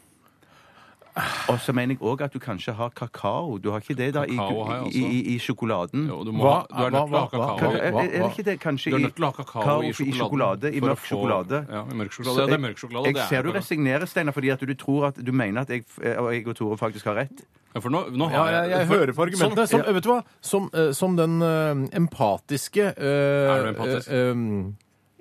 Speaker 6: Og så mener jeg òg at du kanskje har kakao. Du har ikke det da i,
Speaker 5: Kakao har jeg også.
Speaker 6: i, i, i sjokoladen?
Speaker 5: Jo, du, må
Speaker 4: Hva-
Speaker 5: ha, du er nødt til å
Speaker 4: hva-
Speaker 5: ha
Speaker 4: hva-
Speaker 5: kakao.
Speaker 4: hva-
Speaker 6: Er, er det ikke det kanskje
Speaker 5: Du er
Speaker 6: i-
Speaker 5: nødt til å ha kakao,
Speaker 6: kakao
Speaker 5: i
Speaker 6: i
Speaker 5: sjokoladen.
Speaker 6: sjokolade, i
Speaker 5: for å
Speaker 6: mørk sjokolade.
Speaker 5: Ja, i mørk
Speaker 6: Så
Speaker 5: sjokolade. Ja, det er mørk sjokolade.
Speaker 6: Jeg,
Speaker 5: det
Speaker 6: jeg
Speaker 5: er
Speaker 6: ser du
Speaker 5: det.
Speaker 6: resignerer, Steinar, fordi at du tror at du mener at jeg eh, og, jeg og Tore faktisk har rett.
Speaker 5: Ja, for nå, nå
Speaker 4: Ja,
Speaker 5: har
Speaker 4: jeg, jeg
Speaker 5: for-
Speaker 4: hører på argumentene. Som,
Speaker 5: Sånn,
Speaker 4: Vet du hva? Som, eh, som den eh, empatiske eh,
Speaker 5: Er du empatisk?
Speaker 4: eh, em,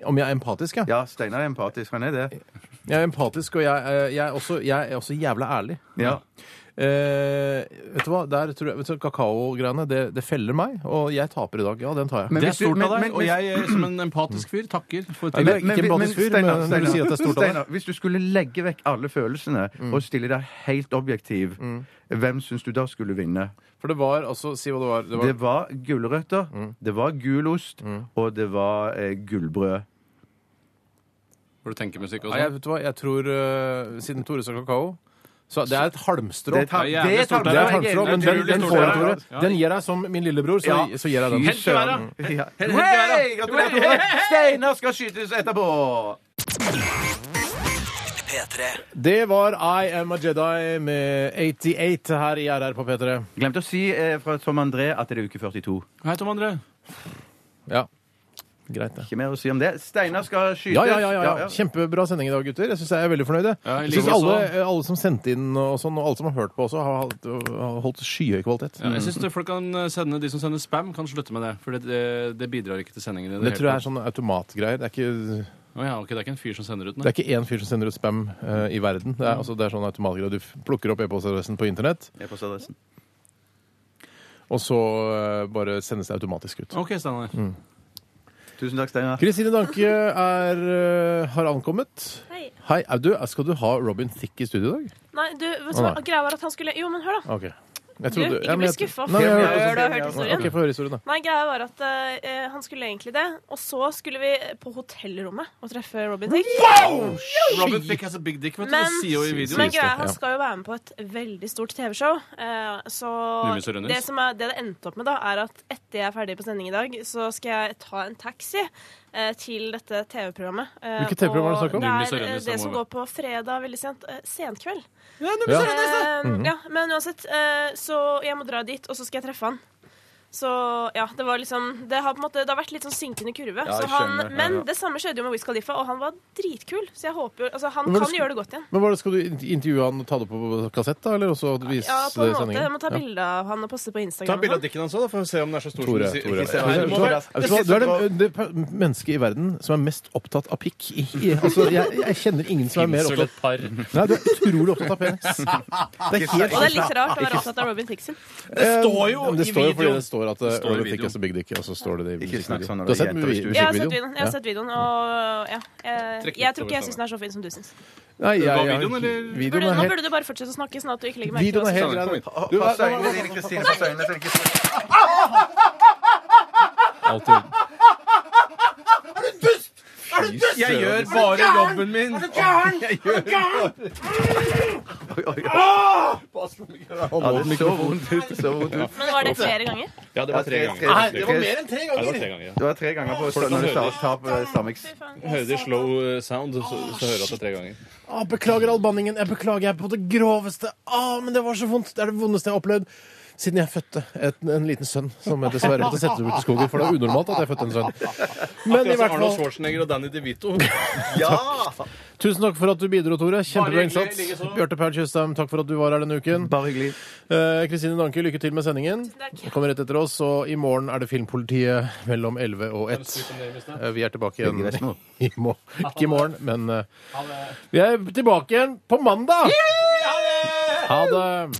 Speaker 4: Om jeg er empatisk, ja.
Speaker 6: Ja, Steinar er empatisk. Han er det.
Speaker 4: Jeg er empatisk, og jeg, eh, jeg, er, også, jeg er også jævla ærlig.
Speaker 6: Ja.
Speaker 4: Eh, vet du hva? Der tror jeg, vet du, Kakaogreiene, det, det feller meg, og jeg taper i dag. Ja, den tar jeg.
Speaker 5: det
Speaker 6: Men
Speaker 5: er
Speaker 6: hvis du-
Speaker 5: stort
Speaker 6: men-
Speaker 5: av deg,
Speaker 6: men-
Speaker 5: og jeg eh, som en empatisk fyr takker for
Speaker 4: Nei, men-
Speaker 5: tillegg.
Speaker 4: Ikke empatisk fyr, men når du sier at det er stort av deg.
Speaker 6: Steinar, hvis du skulle legge vekk alle følelsene
Speaker 5: Mm.
Speaker 6: og stille deg helt objektiv, hvem syns du da skulle vinne?
Speaker 4: For det var altså Si hva det var. Det var
Speaker 6: Det var gulrøtter, det var gulost, og det var eh, gullbrød.
Speaker 5: Hvor du tenker musikk og
Speaker 4: Nei, altså, jeg,
Speaker 5: sånn.
Speaker 4: vet du hva? Jeg tror eh, Siden Tore sa kakao så Det er et halmstrå.
Speaker 6: Det er et halm-
Speaker 5: Det er jævlig
Speaker 6: det er et
Speaker 5: stort av
Speaker 4: Det er
Speaker 5: deg.
Speaker 4: et
Speaker 6: halmstrå, jeg
Speaker 4: halmstrå,
Speaker 6: er enig.
Speaker 4: men den,
Speaker 5: Utrolig
Speaker 4: den
Speaker 5: stort
Speaker 4: får jeg,
Speaker 5: av deg.
Speaker 4: Tore. Den gir jeg som min lillebror, så,
Speaker 6: Ja.
Speaker 4: så gir jeg den.
Speaker 5: Helt til været.
Speaker 6: Ja.
Speaker 5: Helt til været.
Speaker 6: Hei! Gratulerer, Tore! Steinar skal skytes etterpå!
Speaker 2: P3.
Speaker 4: Det var I Am A Jedi med 88 her i RR på P3.
Speaker 6: Glemte å si eh, fra Tom André at det er uke 42.
Speaker 5: Hei, Tom André.
Speaker 4: Ja, greit det.
Speaker 6: Ikke mer å si om det. Steinar skal skytes.
Speaker 4: Ja, ja, ja, ja, ja. Kjempebra sending i dag, gutter. Jeg syns jeg er veldig fornøyd. jeg.
Speaker 5: Ja, i
Speaker 4: Jeg
Speaker 5: like
Speaker 4: synes alle,
Speaker 5: også.
Speaker 4: alle som sendte inn og sånn, og alle som har hørt på også, har holdt, har holdt skyhøy kvalitet.
Speaker 5: Ja, jeg synes det- folk kan eh, sende, De som sender spam, kan slutte med det. For det, det, det bidrar ikke til sendingen. i
Speaker 4: Det
Speaker 5: hele
Speaker 4: tror jeg
Speaker 5: tatt.
Speaker 4: er sånn automatgreier. Det er ikke,
Speaker 5: Å ja, ok, det er ikke en fyr som sender ut
Speaker 4: det
Speaker 5: den?
Speaker 4: er ikke én fyr som sender ut spam eh, i verden. Det er, altså, det er sånn automatgreier. Du f- plukker opp e-postadressen på internett,
Speaker 6: E-postadressen.
Speaker 4: og så eh, bare sendes det automatisk ut.
Speaker 5: OK, Steinar.
Speaker 6: Tusen takk, Steinar.
Speaker 4: Kristine Danke er, eh, har ankommet.
Speaker 9: Hei.
Speaker 4: Hei, er du, Skal du ha Robin Thicke i studio i dag?
Speaker 9: Nei, du, vet du
Speaker 4: Å,
Speaker 9: hva
Speaker 4: nei.
Speaker 9: greia var at han skulle Jo, men hør, da.
Speaker 4: Ok. Jeg
Speaker 9: Du,
Speaker 4: trodde- ja,
Speaker 9: ikke
Speaker 4: men
Speaker 9: bli
Speaker 4: jeg-
Speaker 9: skuffa
Speaker 4: Nei, jeg- sånn
Speaker 9: før du har hørt historien.
Speaker 4: Ok, få høre historien, da.
Speaker 9: Nei, greia var at eh, han skulle egentlig det, og så skulle vi på hotellrommet og treffe Robin Dick.
Speaker 5: Robin Thicke has a big dick, vet du.
Speaker 9: Men-
Speaker 5: Det sier jo i videoen.
Speaker 9: Men greia, han
Speaker 4: Ja.
Speaker 9: skal jo være med på et veldig stort TV-show. eh, så
Speaker 5: Mye misunnelige.
Speaker 9: det, som er, det det endte opp med, da, er at etter jeg er ferdig på sending i dag, så skal jeg ta en taxi eh, til dette TV-programmet. Eh,
Speaker 4: Hvilket TV-program
Speaker 9: og
Speaker 4: er det snakk om?
Speaker 5: Rimelig
Speaker 9: Det er eh,
Speaker 5: Sørennes, det
Speaker 9: det
Speaker 5: må
Speaker 9: som
Speaker 5: være.
Speaker 9: går på fredag veldig sent. Eh, senkveld.
Speaker 4: Ja.
Speaker 9: Eh,
Speaker 4: Mhm.
Speaker 9: ja, men uansett, eh, så jeg må dra dit, og så skal jeg treffe han. Så ja, det var liksom Det har på en måte Det har vært litt sånn synkende kurve.
Speaker 6: Ja,
Speaker 9: så
Speaker 6: jeg
Speaker 9: han,
Speaker 6: skjønner. Ja,
Speaker 9: men
Speaker 6: ja.
Speaker 9: det samme skjedde jo med Wiz Khalifa, og han var dritkul. Så jeg håper jo Altså, han
Speaker 4: Men hva
Speaker 9: kan
Speaker 4: skal-
Speaker 9: gjøre det godt igjen.
Speaker 4: Men hva er det, Skal du in- intervjue han og ta det opp på kassett, da? Eller også vise
Speaker 9: Ja, på
Speaker 4: det
Speaker 9: en
Speaker 4: i
Speaker 9: måte.
Speaker 4: sendingen?
Speaker 9: Jeg må ta
Speaker 4: Ja.
Speaker 9: bilde av han og poste på
Speaker 10: Ta
Speaker 9: Instagram.
Speaker 10: bilde av dikken hans òg, for å se om den er så stor som
Speaker 4: Tore,
Speaker 10: du sier.
Speaker 4: Tore.
Speaker 10: Ikke se-
Speaker 4: Ja,
Speaker 10: Nei,
Speaker 4: vet
Speaker 10: det
Speaker 4: du
Speaker 10: må
Speaker 4: hva?
Speaker 10: være-
Speaker 4: Vet
Speaker 10: det
Speaker 4: du hva? Du
Speaker 10: siste
Speaker 4: er
Speaker 10: på-
Speaker 4: det, det per- mennesket i verden som er mest opptatt av pikk. I, i, altså, jeg, jeg kjenner ingen som er mer
Speaker 5: Finnes vel
Speaker 4: opptatt
Speaker 5: et par.
Speaker 4: Nei, du er utrolig opptatt av penis. Det er helt
Speaker 9: Og det er litt rart å være opptatt av Robin Thixon.
Speaker 5: Det står jo
Speaker 4: Ja, men det
Speaker 5: i
Speaker 4: står jo fordi
Speaker 5: videoen.
Speaker 4: det står at
Speaker 5: Det står i
Speaker 4: Urban
Speaker 5: videoen.
Speaker 4: Thick is a big dick, og så står det det i
Speaker 6: Ikke snakk sånn når
Speaker 4: Du har
Speaker 6: det er
Speaker 4: sett
Speaker 6: jenter i
Speaker 4: musikk-
Speaker 6: studio.
Speaker 9: Jeg har sett
Speaker 4: musikkvideoen?
Speaker 9: videoen, jeg, har sett videoen og ja. Jeg,
Speaker 5: Trekk
Speaker 9: jeg
Speaker 5: litt over
Speaker 9: tror ikke jeg syns
Speaker 5: sammen.
Speaker 9: den er så fin som du syns.
Speaker 4: Nei, jeg,
Speaker 5: Det var
Speaker 4: jeg,
Speaker 5: videoen, eller?
Speaker 4: videoen
Speaker 9: Burde-
Speaker 4: er
Speaker 9: Nå
Speaker 4: helt
Speaker 9: burde du bare fortsette å snakke, sånn at du ikke legger merke til
Speaker 4: Videoen er
Speaker 9: oss.
Speaker 4: helt
Speaker 5: Sanne, kom
Speaker 4: grei.
Speaker 5: hit.
Speaker 4: Du,
Speaker 1: Pass
Speaker 4: hva-
Speaker 1: øynene dine, Kristine. Pass øynene så det ikke
Speaker 5: Alltid.
Speaker 10: Jeg gjør bare jobben min! Ah!
Speaker 6: Ja, det så vondt ut. det Så vondt ut.
Speaker 9: Men var det flere ganger?
Speaker 10: Ja, det var tre ganger.
Speaker 6: Nei,
Speaker 10: det var mer enn tre
Speaker 5: Ja, det var
Speaker 10: ganger!
Speaker 5: tre ganger, ja.
Speaker 6: Det var tre ganger på
Speaker 5: Folk
Speaker 6: når du
Speaker 5: hører.
Speaker 6: sa- sa på eh, Stamix.
Speaker 9: Fy faen.
Speaker 5: Hører de slow eh, sound, så, så hører du at det er tre ganger.
Speaker 4: Å, Ah, beklager albanningen. Jeg beklager jeg på det groveste. Å, men det var så vondt. Det er det vondeste jeg har opplevd siden jeg fødte et, en liten sønn som jeg dessverre måtte sette ut i skogen, for det er unormalt at jeg fødte en sønn. Men i
Speaker 5: Akkurat som
Speaker 4: hvert
Speaker 5: Arnold
Speaker 4: fall,
Speaker 5: Schwarzenegger og Danny DeVito.
Speaker 4: tusen takk for at du bidro, Tore. Kjempebra
Speaker 5: Bare hyggelig,
Speaker 4: innsats.
Speaker 5: likeså.
Speaker 4: Bjarte Paul Tjøstheim, takk for at du var her denne uken.
Speaker 6: Bare hyggelig.
Speaker 4: Eh, Kristine Danke, lykke til med sendingen.
Speaker 9: takk.
Speaker 4: Den Kommer rett etter oss, og i morgen er det Filmpolitiet mellom 11 og 1. Eh, Vi er tilbake igjen
Speaker 6: Begge versene.
Speaker 4: i morgen. Ikke i morgen, men eh, Vi er tilbake igjen på mandag! Ha det!